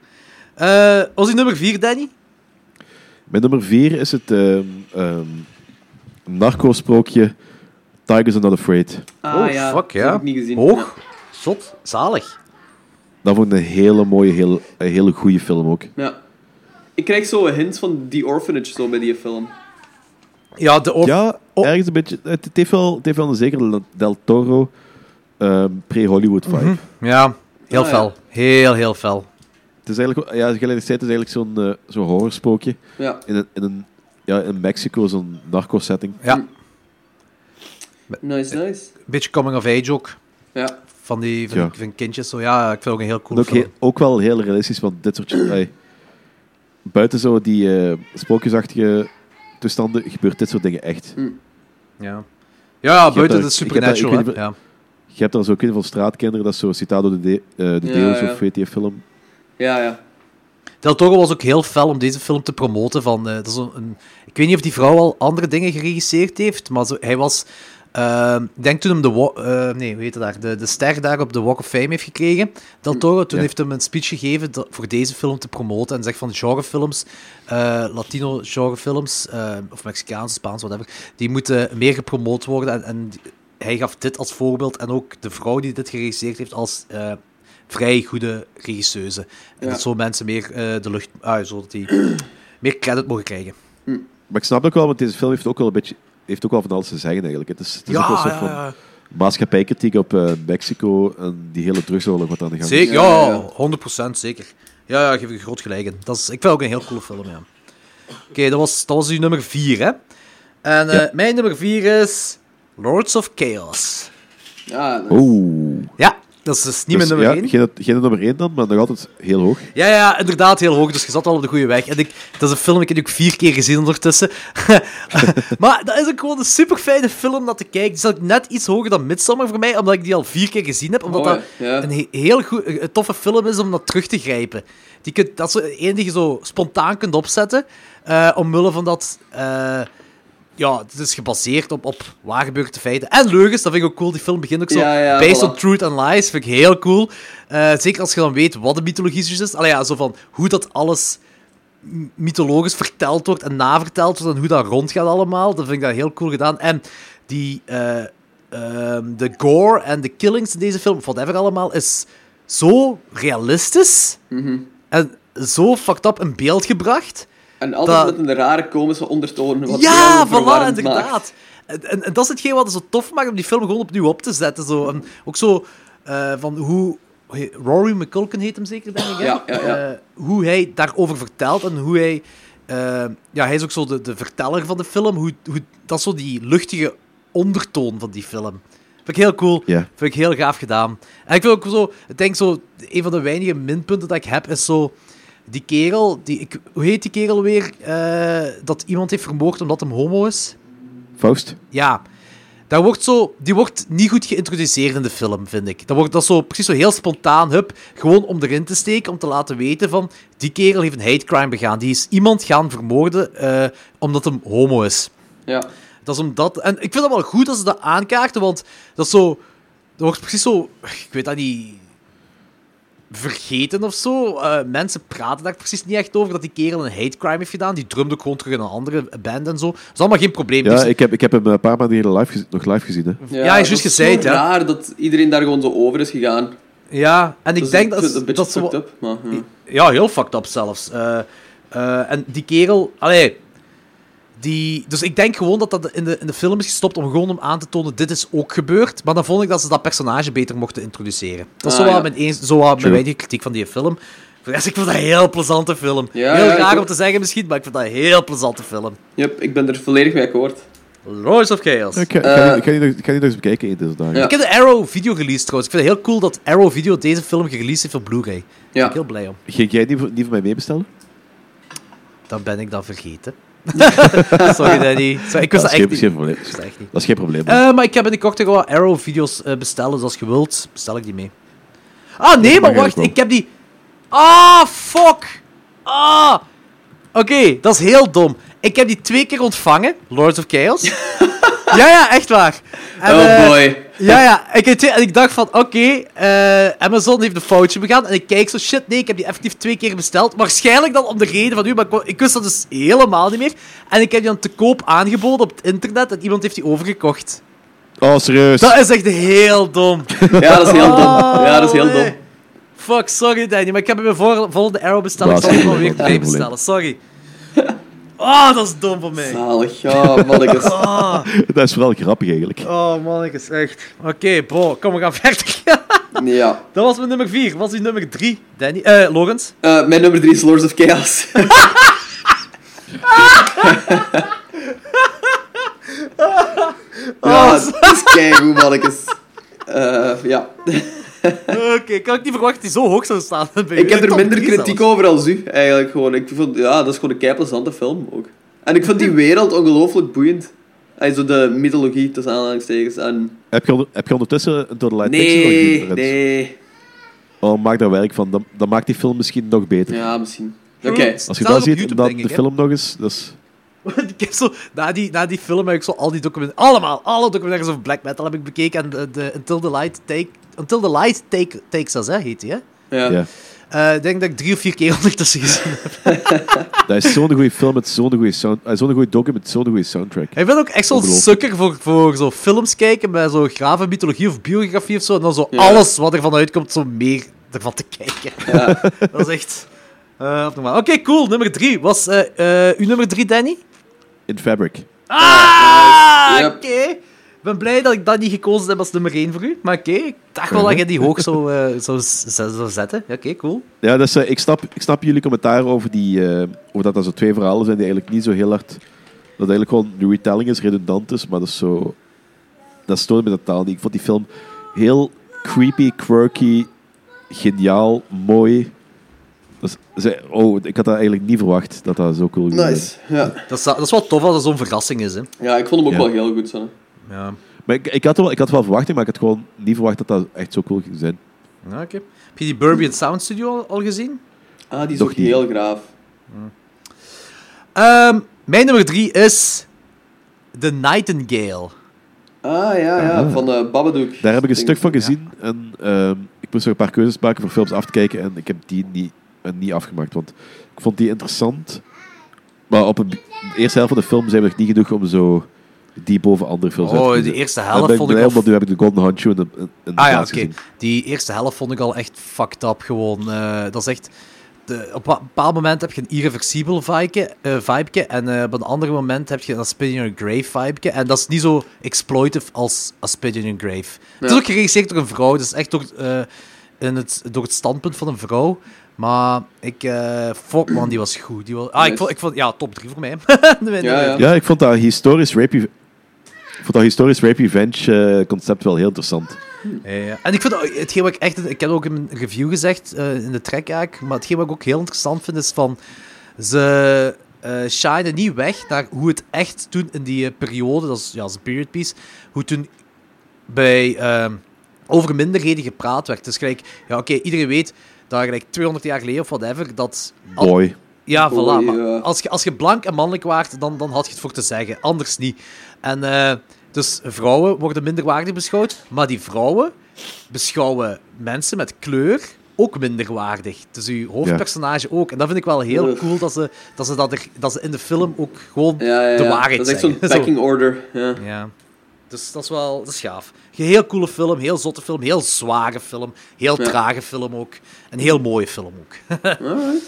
S2: Eh was die nummer 4, Danny?
S6: Mijn nummer 4 is het ehm ehm, narco-sprookje Tigers Are Not Afraid.
S1: Ah
S2: Oh,
S1: ja,
S2: fuck,
S1: dat
S2: ja.
S1: heb ik niet gezien.
S2: Hoog. Zot. Zalig.
S6: Dat vond ik een hele mooie, heel, een hele goede film ook.
S1: Ja. Ja. Ik krijg zo een hint van The Orphanage zo bij die film.
S2: Ja, de or-
S6: Ja,
S2: Oh.
S6: ergens een beetje... Het het heeft wel, het heeft wel een zekere Del Toro ehm, pre-Hollywood vibe.
S1: Mhm.
S2: ja, heel
S1: Ah, ja.
S2: fel. Heel, heel fel.
S6: Het is eigenlijk... wel- Ja, tegelijkertijd is het eigenlijk zo'n eh, zo'n horrorsprookje
S1: Ja.
S6: in een... In een ja, in Mexico, zo'n narco-setting.
S2: Ja,
S1: Hm. Nice, nice.
S2: een beetje coming of age ook.
S1: Ja.
S2: Van die van,
S6: Ja.
S2: van kindjes. Zo. Ja, ik vind het ook een heel
S6: En
S2: cool
S6: Ook,
S2: film.
S6: heel- ook wel heel realistisch, want dit soort...
S2: *clears throat*
S6: ai, buiten zo die eh, sprookjesachtige toestanden gebeurt dit soort dingen echt.
S2: Ja. Ja, buiten
S6: daar-
S2: de
S6: ik heb daar- ik
S2: supernatural.
S6: weet
S2: hè. ja.
S6: Je hebt daar zo kinderen van straatkinderen, dat is zo Citado de, de, eh, de
S1: Ja,
S6: Deus
S1: ja.
S6: of weet je, film.
S1: Ja, ja.
S2: Del Toro was ook heel fel om deze film te promoten. Van, eh, dat is een, een- ik weet niet of die vrouw al andere dingen geregisseerd heeft, maar zo, hij was... ehm, ik denk toen hem de, wa- eh, nee, hoe heet het daar, de, de ster daar op de Walk of Fame heeft gekregen. Del Toro, toen
S6: Ja.
S2: heeft hem een speech gegeven dat- voor deze film te promoten. En zegt van genrefilms, eh Latino-genrefilms, eh, of Mexicaanse, Spaans, whatever, die moeten meer gepromoot worden. En, en die- hij gaf dit als voorbeeld. En ook de vrouw die dit geregisseerd heeft als eh, vrij goede regisseuse. En
S1: Ja.
S2: dat zo mensen meer eh, de lucht... Ah, zodat die *clears throat* meer credit mogen krijgen.
S6: Maar ik snap het ook wel, want deze film heeft ook wel een beetje... Heeft ook wel van alles te zeggen, eigenlijk. Het is, het is ook wel een soort van maatschappijkritiek op eh, Mexico en die hele drugsoorlog wat aan de gang is.
S2: Zeker,
S1: Ja,
S2: ja,
S1: ja,
S2: 100% zeker. Ja, ja, geef ik je groot gelijk in. Dat is, ik vind het ook een heel coole film, ja. Oké, dat, was, dat was uw nummer 4, hè. En eh,
S6: Ja.
S2: mijn nummer 4 is Lords of Chaos.
S1: Ja, nice.
S6: Oeh.
S2: Ja, dat is dus niet
S6: Oh.
S2: mijn
S6: Dus,
S2: nummer
S6: ja,
S2: 1.
S6: Geen, geen nummer 1 dan, maar nog altijd heel hoog.
S2: Ja, ja, inderdaad, heel hoog. Dus je zat al op de goede weg. En ik, dat is een film, ik heb die ook vier keer gezien ondertussen. *laughs* maar dat is ook gewoon een super fijne film om naar te kijken. Die is ook net iets hoger dan Midsommar voor mij, omdat ik die al vier keer gezien heb. Omdat
S1: Mooi,
S2: dat
S1: ja.
S2: een he- heel goed, een toffe film is om dat terug te grijpen. Die kunt, dat is zo een die je zo spontaan kunt opzetten, eh, omwille van dat... eh, ja, het is gebaseerd op, op waar gebeurde feiten. En leugens, dat vind ik ook cool. Die film begint ook zo.
S1: Ja, ja,
S2: based
S1: voilà.
S2: on Truth and Lies, vind ik heel cool. Eh, zeker als je dan weet wat de mythologie precies is. Allee, ja, zo van hoe dat alles m- mythologisch verteld wordt en naverteld wordt en hoe dat rondgaat allemaal. Dat vind ik dat heel cool gedaan. En die, eh, ehm, de gore en de killings in deze film, of whatever allemaal, is zo realistisch
S1: Mhm.
S2: en zo fucked up in beeld gebracht.
S1: En altijd
S2: Dat-
S1: met een rare komische ondertoon. Wat
S2: Ja,
S1: het wel
S2: voilà,
S1: verwarrend maakt.
S2: inderdaad. En, en, en dat is hetgeen wat het zo tof maakt om die film gewoon opnieuw op te zetten. Zo. En ook zo eh, van hoe... Rory McCulkin heet hem zeker, denk ik. hè?
S1: Ja, ja, ja.
S2: Eh, hoe hij daarover vertelt en hoe hij... eh, ja, hij is ook zo de, de verteller van de film. Hoe, hoe, dat is zo die luchtige ondertoon van die film. Vind ik heel cool.
S6: Ja.
S2: Vind ik heel gaaf gedaan. En ik vind ook zo... Ik denk zo... Een van de weinige minpunten dat ik heb is zo... Die kerel, die, ik, hoe heet die kerel weer? eh, dat iemand heeft vermoord omdat hem homo is?
S6: Faust?
S2: Ja. Dat wordt zo, die wordt niet goed geïntroduceerd in de film, vind ik. Dat wordt dat zo precies zo heel spontaan, hup, gewoon om erin te steken, om te laten weten van, die kerel heeft een hate crime begaan. Die is iemand gaan vermoorden eh, omdat hem homo is.
S1: Ja.
S2: Dat is omdat... En ik vind dat wel goed dat ze dat aankaarten, want dat is zo... Dat wordt precies zo... Ik weet dat niet... Vergeten of zo. Eh, mensen praten daar precies niet echt over dat die kerel een hate crime heeft gedaan. Die drumde ook gewoon terug in een andere band en zo. Dat is allemaal geen probleem.
S6: Ja,
S2: Dus-
S6: ik heb, ik heb hem een paar maanden geleden live gez- nog live gezien. Hè.
S2: Ja, hij is juist
S1: dat
S2: gezegd,
S1: zo
S2: hè.
S1: raar dat iedereen daar gewoon zo over is gegaan.
S2: ja en ik
S1: Dus
S2: denk dat,
S1: vind het een
S2: ze-
S1: beetje
S2: dat ze...
S1: fucked
S2: wel-
S1: up, maar... ja.
S2: Ja, heel fucked up zelfs. Eh, eh, en die kerel... Allee... Die, dus ik denk gewoon dat dat in de, in de film is gestopt om gewoon om aan te tonen, dit is ook gebeurd. Maar dan vond ik dat ze dat personage beter mochten introduceren. Dat is
S1: Ah,
S2: zo wel
S1: ja.
S2: mijn, eens, zo wat mijn
S6: True.
S2: weinige kritiek van die film. Voor de rest, ik vond dat een heel plezante film.
S1: Ja,
S2: heel
S1: ja, ik
S2: raar om
S1: ook.
S2: te zeggen misschien, maar ik vond dat een heel plezante film.
S1: Yep, ik ben er volledig mee akkoord.
S2: Lords of Chaos.
S6: Ik ga, ik ga, die- ik ga die nog- ik ga die nog eens bekijken in deze dagen.
S1: Eh, Ja.
S2: Ik heb de Arrow video released trouwens. Ik vind het heel cool dat Arrow video deze film gereleased heeft op Blu-ray. Daar ben
S1: Ja.
S2: ik heel blij om.
S6: Ging jij die, voor- die van mij meebestellen?
S2: Dan ben ik dat
S1: *laughs*
S2: vergeten. Sorry Danny. Sorry, ik wist dat
S6: dat, is geen,
S2: echt niet.
S6: dat is geen probleem.
S2: Ik wist dat echt niet.
S6: Dat is geen probleem.
S2: Eh, maar ik heb binnenkort toch wel Arrow-video's eh, bestellen, dus als je wilt, bestel ik die mee. Ah, nee, maar
S6: eigenlijk
S2: wacht,
S6: wel.
S2: ik heb die... Ah, fuck! Ah! Oké, dat is heel dom. Ik heb die twee keer ontvangen, Lords of
S1: *laughs*
S2: Chaos. ja, ja, echt waar. En,
S1: oh
S2: eh,
S1: boy.
S2: ja, ja. Ik, weet je, en ik dacht van, oké, eh, Amazon heeft een foutje begaan. En ik kijk zo, shit, nee, ik heb die effectief twee keer besteld. Waarschijnlijk dan om de reden van u, maar ik, wou- ik wist dat dus helemaal niet meer. En ik heb die dan te koop aangeboden op het internet en iemand heeft die overgekocht.
S6: oh, serieus.
S2: Eh, Dat is echt heel dom.
S1: Ja, dat is heel dom.
S2: Oh,
S1: Ja, dat is heel
S2: nee.
S1: dom.
S2: *laughs* Fuck, sorry Danny, maar ik heb hem voor volgende Arrow besteld.
S6: Dat
S2: Ik
S6: is
S2: zal hem
S6: geen
S2: wel weer
S6: probleem,
S2: twee
S6: geen probleem.
S2: bestellen, sorry. *laughs* Oh, dat is dom voor mij.
S1: Zalig. Ja, mannetjes.
S2: Oh,
S6: dat is wel grappig eigenlijk.
S2: oh man, ik is echt... Oké, bro, kom, we gaan *laughs* verder.
S1: Ja.
S2: Dat was mijn nummer 4. Was die nummer 3? Danny? Eh, Logans?
S1: Eh, mijn nummer 3 is Lords of
S2: *laughs*
S1: Chaos. *laughs* ja, dat is keigoed, mannetjes. Eh, ja.
S2: Oké, ik had ook niet verwacht dat die zo hoog zou staan. bij
S1: Ik
S2: jullie.
S1: heb er
S2: Top
S1: minder
S2: drie
S1: kritiek
S2: zelfs.
S1: over als u, eigenlijk. Gewoon. Ik vond, ja, dat is gewoon een keiplezante film ook. En ik vond die wereld ongelooflijk boeiend. Hij zo de mythologie tussen aanhalingstekens. En...
S6: Heb, je, onder- heb je ondertussen een Total Light Texas nog
S1: Nee,
S6: gezien, Lorenz?
S1: nee.
S6: Oh, maak daar werk van. Dan, dan maakt die film misschien nog beter.
S1: Ja, misschien. Oké.
S6: Als je
S2: Staat
S6: dat
S2: op
S6: ziet,
S2: YouTube,
S6: en dan
S2: denk
S6: de
S2: ik, hè?
S6: film nog eens. Dat is,
S2: *laughs* Want ik heb zo, na, die, na die film heb ik zo al die documenten... Allemaal, alle documentaires over black metal heb ik bekeken. En de, de Until the Light, take, Until the light take, Takes Us, hè, heet die, hè?
S1: Ja.
S6: ja.
S2: Eh, Ik denk dat ik drie of vier keer ondertussen gezien heb.
S6: Dat is zo'n goede film met zo'n goede sound, eh, zo'n goede docu met zo'n goede soundtrack.
S2: Ik ben ook echt zo'n
S6: Ongelooflijk.
S2: sukker voor, voor zo films kijken bij zo'n grave mythologie of biografie of zo. En dan zo
S1: Ja.
S2: alles wat ervan uitkomt, zo meer ervan te kijken. *laughs* dat is echt eh, abnormaal. Oké, cool. Nummer drie. Was eh, eh, uw nummer drie, Danny?
S6: In Fabric.
S2: Ah,
S1: nice. Yep.
S2: oké. Ik ben blij dat ik dat niet gekozen heb als nummer één voor u. Maar oké, ik dacht wel dat je die hoog zou, eh, zou, z- zou zetten. Oké, cool.
S6: Ja, dat is, eh, ik, snap, ik snap jullie commentaar over, die, eh, over dat dat zo twee verhalen zijn die eigenlijk niet zo heel hard... Dat eigenlijk gewoon de retelling is, redundant is, maar dat is zo... Dat stoorde me totaal niet. Ik vond die film heel creepy, quirky, geniaal, mooi. Dat is, ze- oh, ik had dat eigenlijk niet verwacht, dat dat zo cool ging zijn.
S1: Nice. Ja.
S2: Dat is, dat is wel tof als dat zo'n verrassing is. Hè.
S1: ja, ik vond hem ook
S6: Ja.
S1: wel heel goed. Zo.
S2: Ja.
S6: Maar ik, ik, had wel, ik had wel verwachting, maar ik had gewoon niet verwacht dat dat echt zo cool ging zijn.
S2: Oké. Heb je die Burbian Sound Studio al, al gezien?
S1: Ah, die is
S6: Nog
S1: ook
S6: niet.
S1: heel graaf.
S2: Ehm, mijn nummer drie is The Nightingale.
S1: Ah, ja, ja. Van eh Babadook.
S6: Daar heb ik een
S1: Denk-
S6: stuk van gezien en ehm, ik moest nog een paar keuzes maken voor films af te kijken en ik heb die niet, eh, niet afgemaakt, want ik vond die interessant. Maar op een, de eerste helft van de film zijn we nog niet genoeg om zo diep boven andere films uit te
S2: Oh,
S6: kiezen.
S2: de eerste
S6: En
S2: helft
S6: ben ik
S2: vond ik
S6: blij,
S2: al...
S6: want nu heb ik de Golden Handshoe in de, in de
S2: Ah ja,
S6: plaats
S2: oké.
S6: gezien.
S2: Die eerste helft vond ik al echt fucked up gewoon. Eh, dat is echt... De, op een bepaald moment heb je een irreversibel vibe, vibe en eh, op een ander moment heb je een Spit in Your Grave vibe. En dat is niet zo exploitive als A Spit in Your Grave. Het is ook geregisseerd door een vrouw, dus echt door, eh, in het, door het standpunt van een vrouw. Maar ik... eh fuck man, die was goed. Die was, ah, ik
S1: Nice.
S2: vond, ik vond... Ja, top 3 voor mij. *laughs*
S1: Ja, ja.
S6: Ja, ik vond dat historisch rape, ik vond dat historisch rape revenge eh, concept wel heel interessant.
S2: Ja. En ik vind ook- hetgeen wat ik echt. Ik heb ook in mijn review gezegd eh, in de track eigenlijk. Maar hetgeen wat ik ook heel interessant vind is van. Ze, eh shine niet weg naar hoe het echt toen in die eh, periode, dat is, ja, dat is een period piece, hoe toen bij, ehm, over minderheden gepraat werd. Dus gelijk, ja, oké, iedereen weet dat gelijk 200 jaar geleden of whatever, dat... al-
S6: Boy.
S2: ja, voilà.
S1: Oei,
S2: maar
S1: ja.
S2: Als, je, als je blank en mannelijk waart, dan, dan had je het voor te zeggen. Anders niet. En eh, dus vrouwen worden minderwaardig beschouwd, maar die vrouwen beschouwen mensen met kleur ook minderwaardig. Dus uw hoofdpersonage ook. En dat vind ik wel heel
S1: Ugh.
S2: cool, dat ze dat, ze dat, er, dat ze in de film ook gewoon
S1: Ja, ja, ja.
S2: de waarheid
S1: Dat is echt zo'n
S2: zeggen. *laughs*
S1: packing order. Ja.
S2: Ja. Dus dat is wel dat is gaaf. Een heel coole film, heel zotte film, heel zware film, heel
S1: Ja.
S2: trage film ook. Een heel mooie film ook. *laughs*
S1: Alright.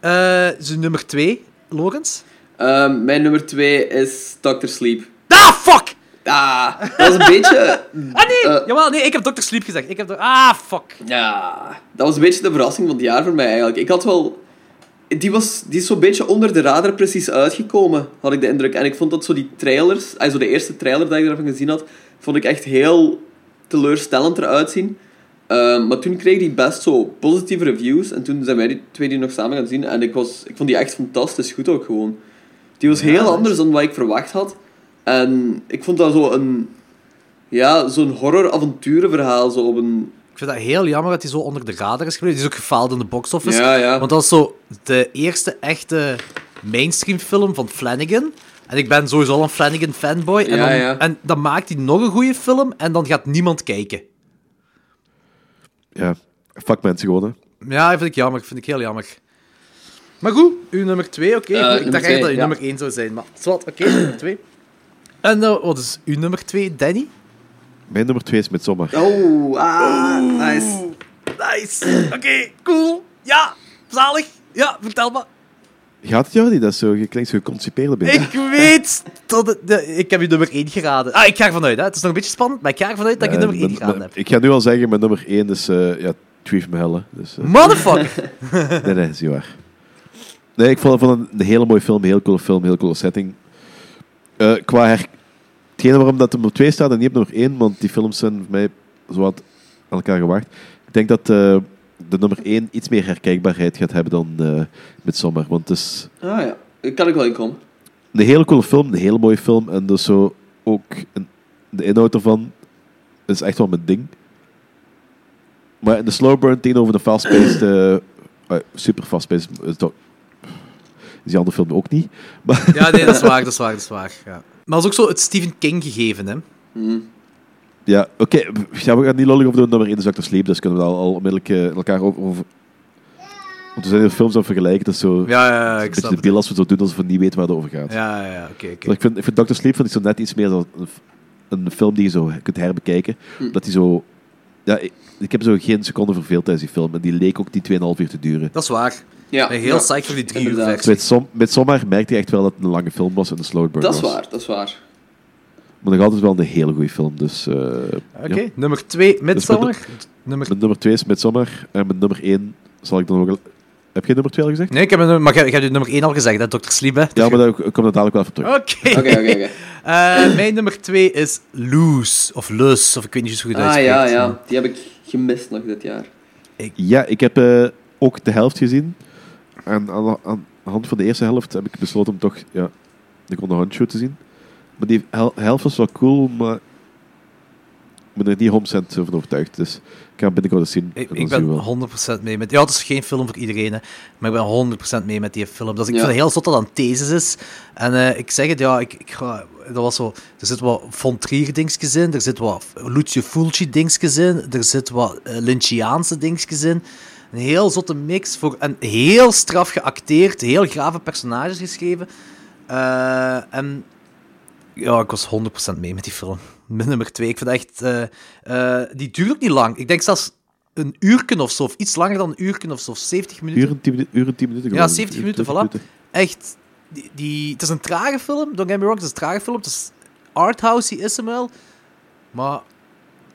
S2: Eh zijn nummer twee, Logans?
S1: Ehm, mijn nummer 2 is Dr. Sleep.
S2: Ah, fuck!
S1: Ah, dat was een *laughs* beetje...
S2: Ah, nee!
S1: Eh.
S2: Jawel, nee, ik heb Dr. Sleep gezegd. Ik heb do- ah, fuck.
S1: Ja, dat was een beetje de verrassing van het jaar voor mij eigenlijk. Ik had wel... Die, was, die is zo'n beetje onder de radar precies uitgekomen, had ik de indruk. En ik vond dat zo die trailers, also de eerste trailer dat ik ervan gezien had, vond ik echt heel teleurstellend eruit zien. Ehm, maar toen kreeg die best zo positieve reviews. En toen zijn wij die twee die nog samen gaan zien. En ik, was, ik vond die echt fantastisch goed ook gewoon. Die was heel anders dan wat ik verwacht had. En ik vond dat zo een... Ja, zo'n horror-avonturenverhaal. Zo op een...
S2: Ik vind dat heel jammer dat hij zo onder de radar is gebleven. Die is ook gefaald in de box office.
S1: Ja, ja.
S2: Want dat is zo de eerste echte mainstream film van Flanagan. En ik ben sowieso al een Flanagan fanboy. En,
S1: Ja,
S2: dan,
S1: ja.
S2: en dan maakt hij nog een goede film en dan gaat niemand kijken.
S6: Ja. Fuck mensen gewoon, hè.
S2: Ja, dat vind ik jammer. Vind ik heel jammer. Maar goed, uw nummer 2, oké.
S1: Eh,
S2: goed, ik
S1: nummer
S2: dacht echt dat
S1: twee,
S2: uw
S1: ja.
S2: nummer 1 zou zijn, maar zwart, oké, *clears throat* nummer 2. En eh, wat is uw nummer 2, Danny?
S6: Mijn nummer 2 is Midsommar.
S1: Oh, ah, nice.
S2: Nice. Oké, cool. Ja, zalig. Ja, vertel maar.
S6: Gaat het jou niet? Dat is zo, je klinkt zo geconcipeerd binnen.
S2: Ik weet dat het- de- ik heb je nummer 1 geraden. Ah, ik ga ervan uit. Hè. Het is nog een beetje spannend, maar ik ga ervan uit dat ik je
S6: Eh,
S2: nummer 1
S6: mijn-
S2: geraden
S6: mijn-
S2: heb.
S6: Ik ga nu al zeggen, mijn nummer 1 is eh ja, Tree from Hell. hè.
S2: *laughs*
S6: Dus, eh,
S2: Motherfucker.
S6: nee, nee, is niet waar. Nee, ik vond, vond het een hele mooie film, een heel coole film, een heel coole setting. Eh, qua her... Hetgene waarom dat hem op 2 staat en niet op nummer 1, want die films zijn voor mij zowat aan elkaar gewaagd. Ik denk dat eh, de nummer 1 iets meer herkijkbaarheid gaat hebben dan eh Midsommar, want het is...
S1: Ah ja, daar kan ik wel in komen.
S6: een hele coole film, een hele mooie film. En dus zo ook een- de inhoud ervan is echt wel mijn ding. Maar in de slow burn tegenover de fast-paced, eh, eh, super fast-paced, is, dat- is die andere film ook niet. Maar
S2: ja, nee, dat is waar, dat is waar, dat is waar. Ja. Maar dat is ook zo het Stephen King gegeven, hè.
S1: Mm.
S6: ja, oké, ja, we gaan niet lollig over doen nummer 1 is Dr. Sleep, dus kunnen we dat al, al onmiddellijk eh, elkaar over... over- want we zijn de films aan het vergelijken, dat is zo
S2: Ja, ja, ja,
S6: een
S2: ik
S6: beetje
S2: snap het.
S6: debiel als we het zo doen alsof we niet weten waar het over gaat.
S2: Ja, ja, ja, oké, oké.
S6: Maar ik vind, ik vind Dr. Sleep vind ik zo net iets meer dan een, f- een film die je zo kunt herbekijken.
S1: Hm.
S6: Dat die zo... Ja, ik, ik heb zo geen seconde verveeld tijdens die film. En die leek ook die 2,5 uur te duren.
S2: Dat is waar.
S1: Ja,
S2: Ik ben heel
S1: ja.
S2: psyched voor die drie uur
S1: Inderdaad.
S2: versie.
S6: Met, som, met Sommer merkte je echt wel dat het een lange film was en een slow burn
S1: Dat is
S6: was.
S1: waar, dat is waar.
S6: Maar nog altijd wel een hele goede film. Dus eh,
S2: Oké,
S6: ja.
S2: nummer 2, Midsommar. Dus Nummer...
S6: mijn nummer 2 is met Sommer. En mijn nummer 1 zal ik dan ook... al- Heb je nummer 2 al gezegd?
S2: Nee, ik heb een nummer, maar jij jij hebt je nummer 1 al gezegd, hè, Dr. Sleep, hè?
S6: Ja, maar daar kom ik daar dadelijk wel even terug.
S2: Oké.
S1: Oké, oké,
S2: *laughs*
S1: oké.
S2: Eh, mijn nummer 2 is Loose, of Lus, of ik weet niet hoe je dat
S1: Ah
S2: uitspreekt.
S1: ja, ja, die heb ik gemist nog dit jaar.
S6: Ja, ik heb eh, ook de helft gezien. En aan, aan de hand van de eerste helft heb ik besloten om toch ja, de Gonda Handshow te zien. Maar die hel- helft was wel cool, maar ik ben er niet 100% van overtuigd. Dus ik ga hem binnenkort eens zien.
S2: Ik,
S6: en
S2: ik
S6: dan zien we wel.
S2: ben 100% mee met... Ja, het is geen film voor iedereen, hè, maar ik ben 100% mee met die film. Dus ik
S1: Ja.
S2: vind het heel zot dat dat een thesis is. En eh, ik zeg het, ja, ik, ik ga... Dat was zo... Er zit wat Von Trier-dingetjes in, er zit wat Lucio Fulci-dingetjes in, er zit wat eh, Lynchiaanse dingetjes in. Een heel zotte mix, voor, en heel straf geacteerd, heel grave personages geschreven. Eh, en ja, ik was 100% mee met die film. Mijn nummer 2. Ik vind echt. eh, eh, die duurt ook niet lang. Ik denk zelfs een uurken of zo. Of iets langer dan een uurken of zo. of 70 minuten.
S6: Uur en 10 minuten. Uur en 10 minuten
S2: Ja,
S6: geloof ik.
S2: 70
S6: Uur en
S2: minuten,
S6: 20
S2: voilà. Echt. Die, die, het is een trage film. Don't get me wrong, het is een trage film. Het is arthousey is hem wel. Maar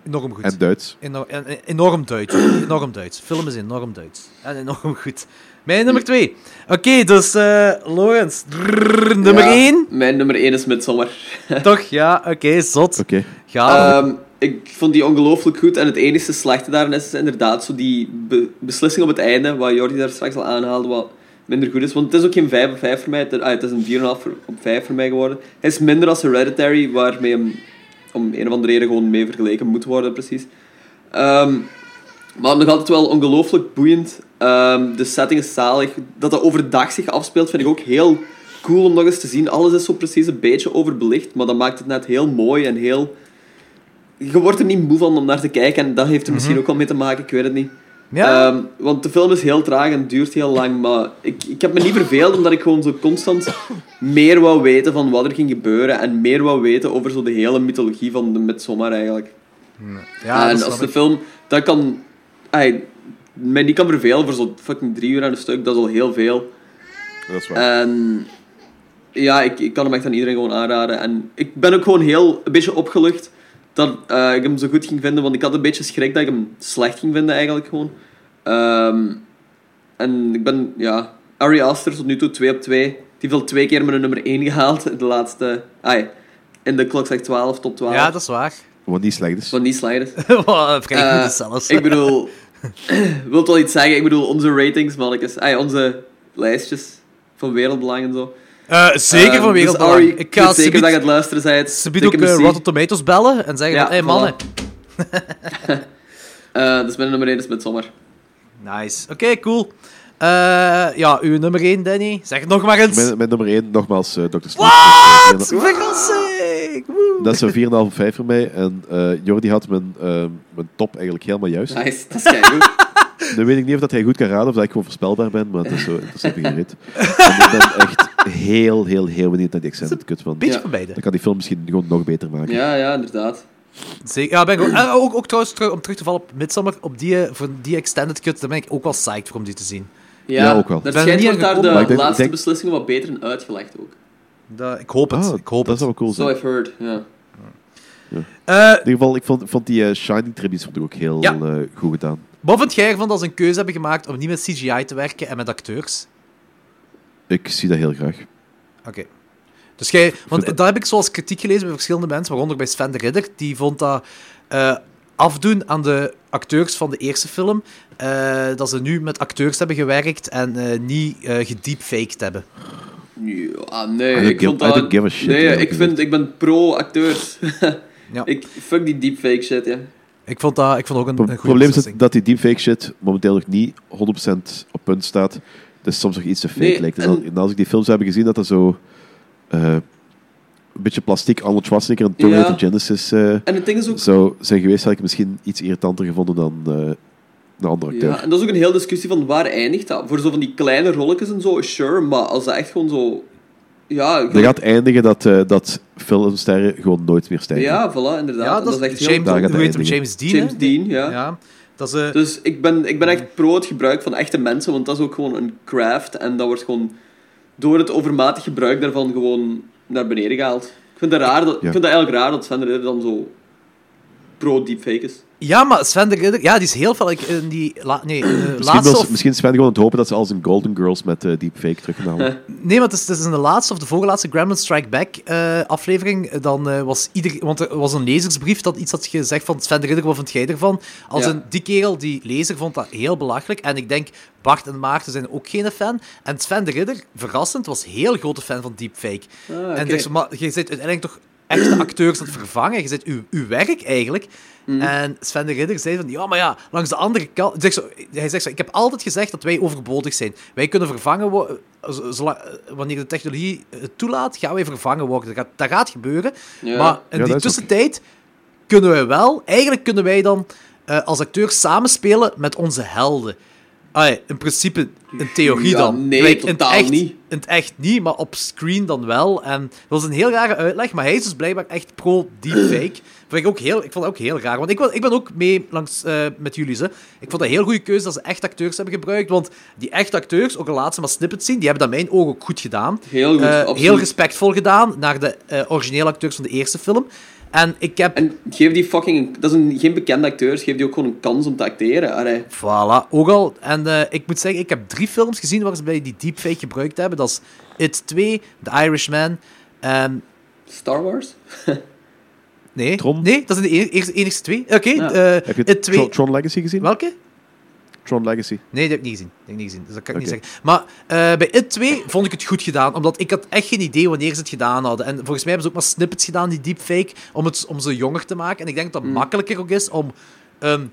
S2: enorm goed.
S6: En Duits.
S2: Eno- en- en- enorm Duits. *clears throat* enorm Duits. Film is enorm Duits. En enorm goed. Mijn nummer 2. Oké, dus eh Lawrence. Drrrr, nummer
S1: Ja,
S2: 1.
S1: Mijn nummer 1 is Midsommar. *laughs*
S2: Toch? Ja, oké, zot.
S6: Oké. Eh,
S2: Ga.
S1: Ehm, ik vond die ongelooflijk goed en het enige slechte daarin is, is inderdaad zo die be- beslissing op het einde, wat Jordi daar straks al aanhaalde, wat minder goed is. Want het is ook geen 5 op 5 voor mij. Het, ah, het is een 4,5 voor- op 5 voor mij geworden. Hij is minder als Hereditary, waarmee hem om een of andere reden gewoon mee vergeleken moet worden, precies. Ehm, maar nog altijd wel ongelooflijk boeiend. Ehm, de setting is zalig. Dat dat overdag zich afspeelt, vind ik ook heel cool om nog eens te zien. Alles is zo precies een beetje overbelicht, maar dat maakt het net heel mooi en heel... Je wordt er niet moe van om naar te kijken en dat heeft er misschien ook wel mee te maken, ik weet het niet.
S2: Mhm. Ja.
S1: Ehm, want de film is heel traag en duurt heel lang, maar ik, ik heb me niet verveeld omdat ik gewoon zo constant meer wou weten van wat er ging gebeuren en meer wou weten over zo de hele mythologie van de Midsommar eigenlijk.
S2: ja,
S1: en als
S2: dat snap
S1: de
S2: ik.
S1: film dat kan, ay, mij niet kan vervelen voor zo'n fucking drie uur aan een stuk, dat is al heel veel.
S6: Dat is waar.
S2: Eh.
S1: En Ehm, ja, ik, ik kan hem echt aan iedereen gewoon aanraden. En ik ben ook gewoon heel een beetje opgelucht dat eh, ik hem zo goed ging vinden. Want ik had een beetje schrik dat ik hem slecht ging vinden eigenlijk gewoon. Ehm, en ik ben, ja, Ari Aster tot nu toe 2 op 2. Die heeft al twee keer mijn nummer 1 gehaald. De laatste, ai, in de klok zegt 12, top 12.
S2: ja, dat is waar. *laughs*
S6: Wat niet slecht is.
S1: Van die sliders.
S2: Wat Vrij goed
S1: Eh,
S2: is zelfs.
S1: Ik bedoel, *clears throat* wil het wel iets zeggen? Ik bedoel, onze ratings, mannetjes. Ai, onze lijstjes van wereldbelang en zo.
S2: Eh, zeker
S1: Ehm,
S2: van
S1: dus
S2: wereldbelang.
S1: Arie,
S2: ik ga
S1: weet zeker dat je
S2: ze
S1: het luisteren zijt.
S2: biedt ook eh, Rotten Tomatoes bellen en zeggen
S1: Ja,
S2: van, hey,
S1: voilà.
S2: mannen.
S1: Dus mijn nummer 1 is met zomer.
S2: Nice. Oké, cool. Eh, ja, uw nummer 1, Danny. Zeg het nog maar eens.
S6: Mijn, mijn nummer 1, nogmaals, eh Dr. Sleep.
S2: Wat?
S6: Dat is, eh,
S2: Verrassing! Woe.
S6: dat is een 4,5 op 5 voor mij. En eh, Jordi had mijn, eh, mijn top eigenlijk helemaal juist.
S1: Nice, dat is
S2: *laughs*
S1: keigoed.
S6: Nu weet ik niet of dat hij goed kan raden of dat ik gewoon voorspelbaar ben, maar dat is zo interessant gereed. En ik ben echt heel, heel, heel benieuwd naar die accent. Kut van.
S2: Beetje
S1: Ja.
S2: van beide.
S6: Dan kan die film misschien gewoon nog beter maken.
S1: ja, ja, inderdaad.
S2: Zeker. Ja, ben ik ook, en ook, ook trouwens, terug- om terug te vallen op Midsummer, op die, eh, voor die extended cut, daar ben ik ook wel psyched voor om die te zien.
S1: Ja,
S6: Ja, ook wel.
S1: Daar
S2: Ben
S1: schijnt
S2: niet
S1: wordt daar
S2: aangekomen,
S1: de
S6: maar ik denk-
S1: laatste
S6: denk-
S1: beslissingen wat beter in uitgelegd ook.
S2: Dat, ik hoop het.
S6: Ah,
S2: ik hoop
S6: dat
S2: het.
S6: zou wel cool
S1: So
S6: zijn.
S1: I've heard, ja.
S2: Eh,
S6: In ieder geval, ik vond, vond die eh, Shining tributes vond ik ook heel
S2: Ja.
S6: eh, goed gedaan.
S2: wat vind jij ervan dat ze een keuze hebben gemaakt om niet met CGI te werken en met acteurs?
S6: Ik zie dat heel graag.
S2: Oké. Dus jij, want
S6: Goed.
S2: dat heb ik zoals kritiek gelezen bij verschillende mensen, waaronder bij Sven de Ridder, die vond dat eh, afdoen aan de acteurs van de eerste film, eh, dat ze nu met acteurs hebben gewerkt en eh, niet eh gedeepfaked hebben.
S1: Ja, ah,
S6: I
S1: nee,
S6: don't
S1: ik vond
S6: give- I
S1: dat...
S6: don't give a shit,
S1: nee,
S6: eerlijk
S1: ik,
S6: gezegd.
S1: vind, ik ben pro-acteurs.
S2: *laughs* Ja.
S1: ik, fuck die deepfake shit, ja.
S2: Ik vond dat, ik vond ook een, een
S6: Het
S2: goede
S6: probleem is dat,
S2: beslissing.
S6: dat die deepfake shit momenteel nog niet 100% op punt staat. Dus soms nog iets te fake
S1: Nee,
S6: lijkt. En,
S1: en-
S6: al- en als ik die films heb gezien, dat er zo eh, een beetje plastiek Arnold Schwarzenegger en Terminator
S1: Ja.
S6: Genesis eh,
S1: En het ding is ook...
S6: zou zijn geweest, had ik het misschien iets irritanter gevonden dan eh een andere acteur.
S1: Ja, en dat is ook een hele discussie van waar eindigt dat? Voor zo van die kleine rolletjes en zo, sure, maar als dat echt gewoon zo... Ja,
S6: Dat gaat eindigen dat, eh, dat filmsterren gewoon nooit meer stijgen.
S1: ja voilà, inderdaad.
S2: ja,
S1: En
S2: dat, is
S1: echt heel...
S6: Daar
S2: James,
S6: gaat het
S2: hoe heet hem?
S6: eindigen.
S2: James Dean,
S1: James
S2: hè?
S1: Dean, ja.
S2: Ja. Dat is, eh,
S1: Dus ik ben, ik ben echt pro het gebruik van echte mensen, want dat is ook gewoon een craft. En dat wordt gewoon door het overmatig gebruik daarvan gewoon naar beneden gehaald. Ik vind dat, raar dat,
S6: Ja.
S1: ik vind dat eigenlijk raar dat Sven de Ridder dan zo pro-deepfake is.
S2: ja, maar Sven de Ridder, ja, die is heel fel. Ik, in die la- nee, eh,
S6: Misschien,
S2: laatste
S6: wil,
S2: of,
S6: misschien is Sven gewoon het hopen dat ze als een Golden Girls met eh, deepfake terug gaan
S2: *laughs*
S6: halen.
S2: Nee, maar het is, het is in de laatste of de voorlaatste Gremlin Strike Back eh, aflevering. eh, Dan eh, was ieder, want er was een lezersbrief dat iets had gezegd van Sven de Ridder, wat vind jij ervan? Als
S1: Ja.
S2: een, die kerel, die lezer, vond dat heel belachelijk. En ik denk, Bart en Maarten zijn ook geen fan. En Sven de Ridder, verrassend, was heel grote fan van deepfake.
S1: Ah, oké.
S2: En zegt zo, maar je zit uiteindelijk toch echte acteurs aan het vervangen. Je zit uw, uw werk eigenlijk.
S1: Mhm.
S2: En Sven de Ridder zei van, ja, maar ja, langs de andere kant... Zegt zo, hij zegt zo, ik heb altijd gezegd dat wij overbodig zijn. Wij kunnen vervangen worden... wanneer de technologie het toelaat, gaan wij vervangen worden. Dat gaat, dat gaat gebeuren.
S1: Ja.
S2: Maar in die
S6: Ja, dat is ook-
S2: tussentijd kunnen wij wel... Eigenlijk kunnen wij dan eh, als acteurs samenspelen met onze helden. Ah, ja, in principe, in theorie
S1: Ja,
S2: dan.
S1: nee,
S2: Kijk, in
S1: totaal
S2: het echt,
S1: niet.
S2: In het echt niet, maar op screen dan wel. En dat was een heel rare uitleg, maar hij is dus blijkbaar
S1: *clears throat*
S2: echt pro-deepfake. Vond ik, ook heel, ik vond dat ook heel raar, want ik, wa- ik ben ook mee langs, eh, met jullie. Hè. Ik vond dat een heel goede keuze dat ze echt acteurs hebben gebruikt, want die echt acteurs, ook al laat ze maar snippets zien, die hebben dat in mijn ogen ook goed gedaan.
S1: Heel goed,
S2: Eh,
S1: absoluut.
S2: Heel respectvol gedaan naar de eh, originele acteurs van de eerste film. En ik heb...
S1: En geef die fucking... een- Dat is een, geen bekende acteurs, geef die ook gewoon een kans om te acteren. Allee.
S2: Voilà, ook al. En eh, ik moet zeggen, ik heb drie films gezien waar ze bij die deepfake gebruikt hebben. Dat is It 2, The Irishman en...
S1: Star Wars?
S2: Nee,
S6: Tron?
S2: nee, dat zijn de e- eerste- enigste twee. Oké,
S1: Ja.
S2: eh,
S6: Heb je
S2: It 2...
S6: Tron, Tron Legacy gezien?
S2: Welke?
S6: Tron Legacy?
S2: Nee, dat heb ik niet gezien. Dat heb ik niet gezien. Dus dat kan ik
S6: Oké.
S2: niet zeggen. Maar eh, bij IT 2 vond ik het goed gedaan. Omdat ik had echt geen idee wanneer ze het gedaan hadden. En volgens mij hebben ze ook maar snippets gedaan, die deepfake, om, het, om ze jonger te maken. En ik denk dat
S6: Mm.
S2: het makkelijker ook is om een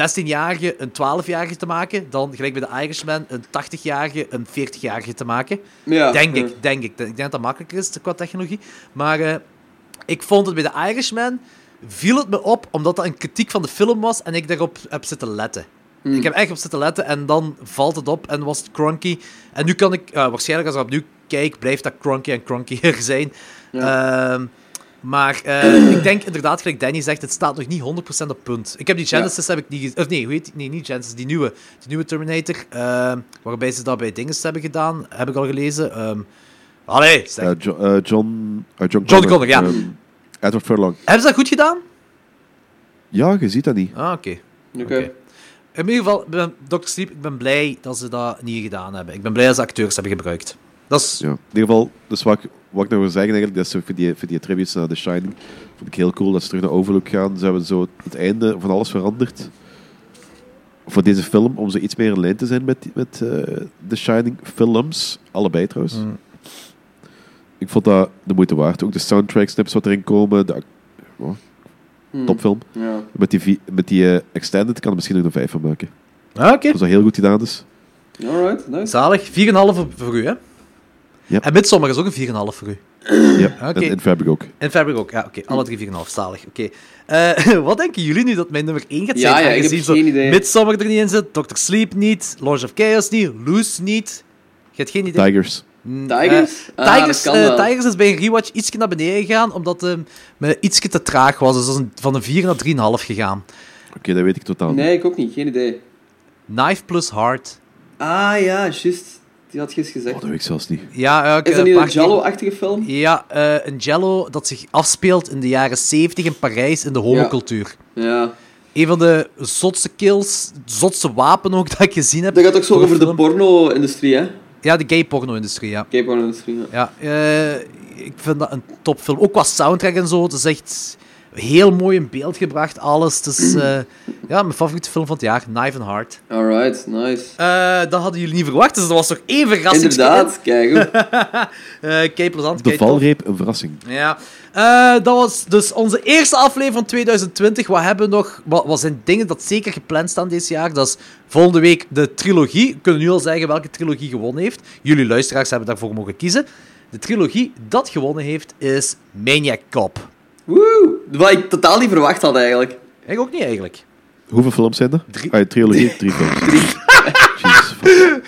S2: 16-jarige een 12-jarige te maken, dan gelijk bij de Irishman een 80-jarige een 40-jarige te maken.
S1: Ja,
S2: Denk
S1: ja.
S2: ik, denk ik. Ik denk dat dat makkelijker is qua technologie. Maar eh, ik vond het bij de Irishman viel het me op, omdat dat een kritiek van de film was en ik daarop heb zitten letten. Ik heb echt op zitten letten en dan valt het op en was het cronky. En nu kan ik, eh, waarschijnlijk als ik opnieuw kijk, blijft dat cronky en cronkier *laughs* zijn. Ehm, maar eh, ik denk inderdaad, gelijk Danny zegt, het staat nog niet 100% op punt. Ik heb die Genesis heb ik niet gezien. Of nee, hoe heet die? Nee, niet Genesis, die nieuwe, die nieuwe Terminator. ehm, waarbij ze dat bij Dinges hebben gedaan, heb ik al gelezen. Ehm allee, zeg.
S6: Eh, Jo- eh, John, eh, John
S2: John Connor, ja.
S6: ehm, Edward Furlong.
S2: Hebben ze dat goed gedaan?
S6: Ja, je ziet dat niet.
S2: Ah, oké.
S1: Oké.
S2: Oké. In ieder geval, ben- Dr. Sleep, ik ben blij dat ze dat niet gedaan hebben. Ik ben blij dat ze acteurs hebben gebruikt. Dat is...
S6: Ja. In ieder geval, dus wat ik, wat ik nog wil zeggen eigenlijk, dat is zo voor die, voor die tributes naar The Shining, vond ik heel cool dat ze terug naar Overlook gaan. Ze hebben zo het einde van alles veranderd voor deze film, om zo iets meer in lijn te zijn met, die- met eh, The Shining films. Allebei
S2: Mm. Dus-
S6: trouwens. Ik vond dat de moeite waard. Ook de soundtrack snips wat erin komen, de ac- oh, topfilm.
S1: Hmm. Ja.
S6: Met die, vi- met die eh, extended kan er misschien nog een vijf van maken.
S2: Ah, oké.
S6: Dat is heel goed gedaan dus.
S1: Alright, nice.
S2: Zalig. 4,5 voor, voor u, hè?
S6: Ja.
S2: En Midsommar is ook een 4,5 voor u.
S6: Ja,
S2: Oké.
S6: en, en Fabric ook.
S2: En Fabric ook. Ja, oké. Alle drie 4,5. Zalig. Oké. Eh, *laughs* wat denken jullie nu dat mijn nummer 1 gaat
S1: Ja,
S2: zijn?
S1: ja, ik heb
S2: Aangezien zo
S1: geen idee.
S2: Midsommar er niet in zit, Dr. Sleep niet, Lords of Chaos niet, Loose niet. Je hebt geen idee.
S6: Tigers.
S1: Tigers?
S2: Eh,
S1: Ah,
S2: Tigers,
S1: dat kan
S2: eh,
S1: wel.
S2: Tigers is bij een rewatch ietsje naar beneden gegaan, omdat eh, me ietsje te traag was. Dus dat is een- van een 4 naar 3,5 gegaan.
S6: Oké, dat weet ik totaal niet.
S1: Nee, ik ook niet. Geen idee.
S2: Knife plus Heart.
S1: Ah ja, juist. Die had gisteren
S6: Oh,
S1: gezegd.
S6: dat weet ik zelfs niet.
S2: Ja, eh, ik,
S1: Is
S2: eh,
S1: dat niet een
S2: paar keer-
S1: Jallo-achtige film?
S2: Ja, eh, een Jello dat zich afspeelt in de jaren 70 in Parijs in de homocultuur.
S1: Ja.
S2: Een van de zotste kills, zotste wapen ook dat ik gezien heb.
S1: Dat gaat ook zo
S2: Voor een
S1: over de
S2: film.
S1: porno-industrie, hè?
S2: Ja, de gay porno-industrie, ja.
S1: Gay porno-industrie, ja.
S2: ja eh, ik vind dat een topfilm. Ook qua soundtrack en zo. Het is echt heel mooi in beeld gebracht, alles. Het is eh, *clears throat* ja, mijn favoriete film van het jaar, Knife and Heart.
S1: Alright, nice.
S2: Eh, dat hadden jullie niet verwacht, dus dat was toch één verrassing.
S1: Inderdaad, kijk *laughs* goed.
S2: Eh kei plezant,
S6: De
S2: kei tof.
S6: valreep, een verrassing.
S2: Ja, Eh, dat was dus onze eerste aflevering van 2020. Wat hebben we nog? Wat, wat zijn dingen dat zeker gepland staan dit jaar? Dat is volgende week de trilogie. We kunnen nu al zeggen welke trilogie gewonnen heeft. Jullie luisteraars hebben daarvoor mogen kiezen. De trilogie dat gewonnen heeft is Maniac Cop.
S1: Woe! Wat ik totaal niet verwacht had, eigenlijk.
S2: Ik ook niet eigenlijk.
S6: Hoeveel films zijn er?
S2: Drie.
S6: Ah,
S2: *laughs*
S6: trilogie, drie films. Jezus, fuck.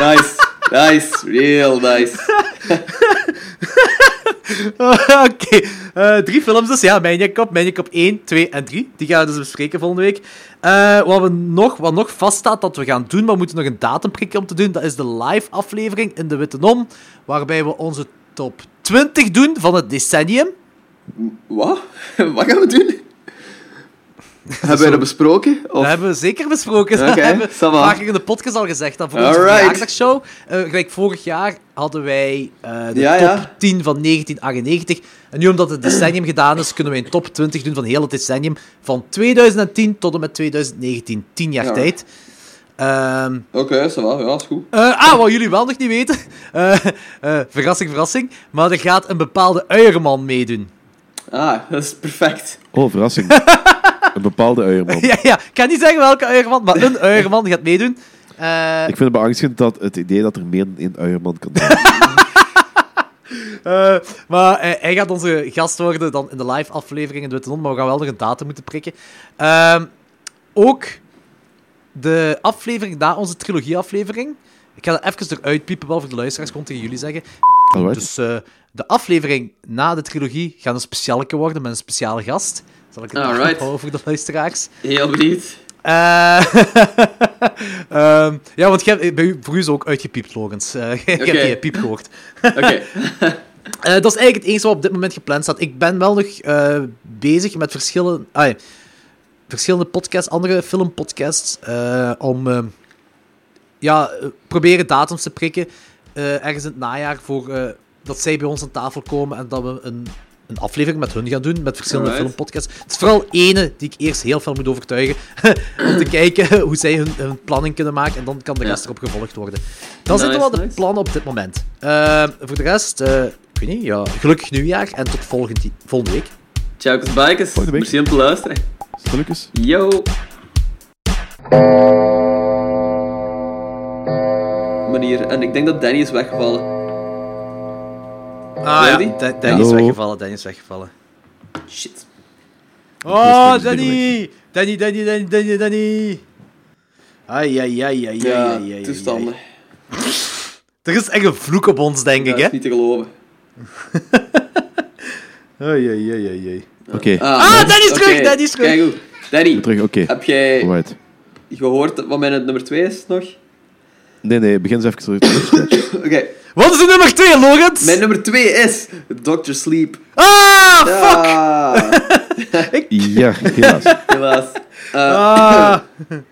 S1: Nice. Nice. Real nice.
S2: *laughs* Oké, eh, drie films dus. Ja, Maniac Cop, Maniac Cop 1, 2 en 3. Die gaan we dus bespreken volgende week. Eh, wat, we nog, wat nog vaststaat dat we gaan doen, maar we moeten nog een datum prikken om te doen. Dat is de live aflevering in de Witte Nom. Waarbij we onze top 20 doen van het decennium.
S1: Wat? *laughs* Wat gaan we doen? *laughs* Hebben wij dat besproken?
S2: Dat
S1: Of...
S2: hebben we zeker besproken.
S1: Oké,
S2: *laughs* dat hebben we
S1: ça va.
S2: vaker in de podcast al gezegd. Dat voor onze
S1: Alright.
S2: verjaardagshow. eh, gelijk vorig jaar hadden wij eh, de
S1: Ja,
S2: top
S1: ja.
S2: 10 van 1998. En nu omdat het decennium gedaan is, kunnen we een top 20 doen van heel het decennium. Van 2010 tot en met 2019. 10 jaar
S1: Ja.
S2: tijd. Ehm,
S1: Oké, ça va. Ja, is goed.
S2: eh, ah, wat jullie wel nog niet weten. *laughs* eh, eh, verrassing, verrassing. Maar er gaat een bepaalde uierman meedoen. *laughs*
S1: Ah, dat is perfect.
S6: Oh, verrassing. een bepaalde uierman.
S2: ja, ja, ik ga niet zeggen welke uierman, maar een uierman gaat meedoen. Eh,
S6: Ik vind het beangstigend dat het idee dat er meer dan één uierman kan
S2: *laughs*
S6: zijn.
S2: Eh, maar eh, hij gaat onze gast worden dan in de live aflevering in de Witte Non, maar we gaan wel nog een datum moeten prikken. Ehm, ook de aflevering na onze trilogie-aflevering. Ik ga dat even eruit piepen, wel voor de luisteraars, gewoon tegen jullie zeggen.
S6: Alright.
S2: Dus eh, de aflevering na de trilogie gaat een specialeke worden met een speciale gast. Zal ik het
S1: Alright.
S2: nog houden voor de luisteraars?
S1: Heel benieuwd.
S2: Eh, *laughs* ehm, ja, want jij- bij u, voor u is ook uitgepiept, Logans. Eh *laughs* je hebt
S1: Oké.
S2: die piep gehoord.
S1: Oké. *laughs*
S2: Eh, dat is eigenlijk het enige wat op dit moment gepland staat. Ik ben wel nog eh, bezig met verschillen, ah, ja, verschillende podcasts, andere filmpodcasts, eh, om eh, ja, eh, proberen datums te prikken eh, ergens in het najaar voor eh, dat zij bij ons aan tafel komen en dat we een een aflevering met hun gaan doen, met verschillende
S1: Alright.
S2: filmpodcasts. Het is vooral ene die ik eerst heel veel moet overtuigen, *laughs* om te kijken hoe zij hun, hun planning kunnen maken, en dan kan de
S1: Ja.
S2: rest erop gevolgd worden. Dat
S1: Nice,
S2: zitten wel de
S1: nice.
S2: plannen op dit moment. Eh, voor de rest, eh, ik weet niet, ja, gelukkig nieuwjaar, en tot volgend, volgende week.
S1: Ciao, bikers.
S6: Volgende week.
S1: Merci om te luisteren.
S6: Stilletjes.
S1: Yo. Meneer, en ik denk dat Danny is weggevallen.
S2: Ah ja,
S1: Danny?
S2: Da- Danny is
S6: Hallo.
S2: weggevallen, Danny is weggevallen.
S1: Shit.
S2: Oh,
S6: is
S2: Danny! Danny, Danny, Danny, Danny, Danny! Ai, ai, ai, ai, ai,
S1: Ja,
S2: ai, ai,
S1: toestanden.
S2: ai. Er is echt een vloek op ons, denk
S1: Dat
S2: ik, hè?
S1: is niet te geloven.
S2: Ai, ai, ai, ai, ai.
S6: Oké,
S2: Ah, Danny is
S1: oké.
S2: terug, Danny is terug.
S1: Kijk goed. Danny,
S6: terug. Oké.
S1: heb jij
S6: Alright.
S1: gehoord wat mijn nummer 2 is nog? *laughs*
S6: Nee, nee, begin eens even terug. terug,
S2: *laughs*
S6: scratch.
S1: Oké,
S2: Wat is de nummer 2, Logans?
S1: mijn nummer 2 is Dr. Sleep.
S2: Ah, fuck!
S1: Ah,
S6: ja, helaas.
S1: helaas. Eh,
S2: Ah.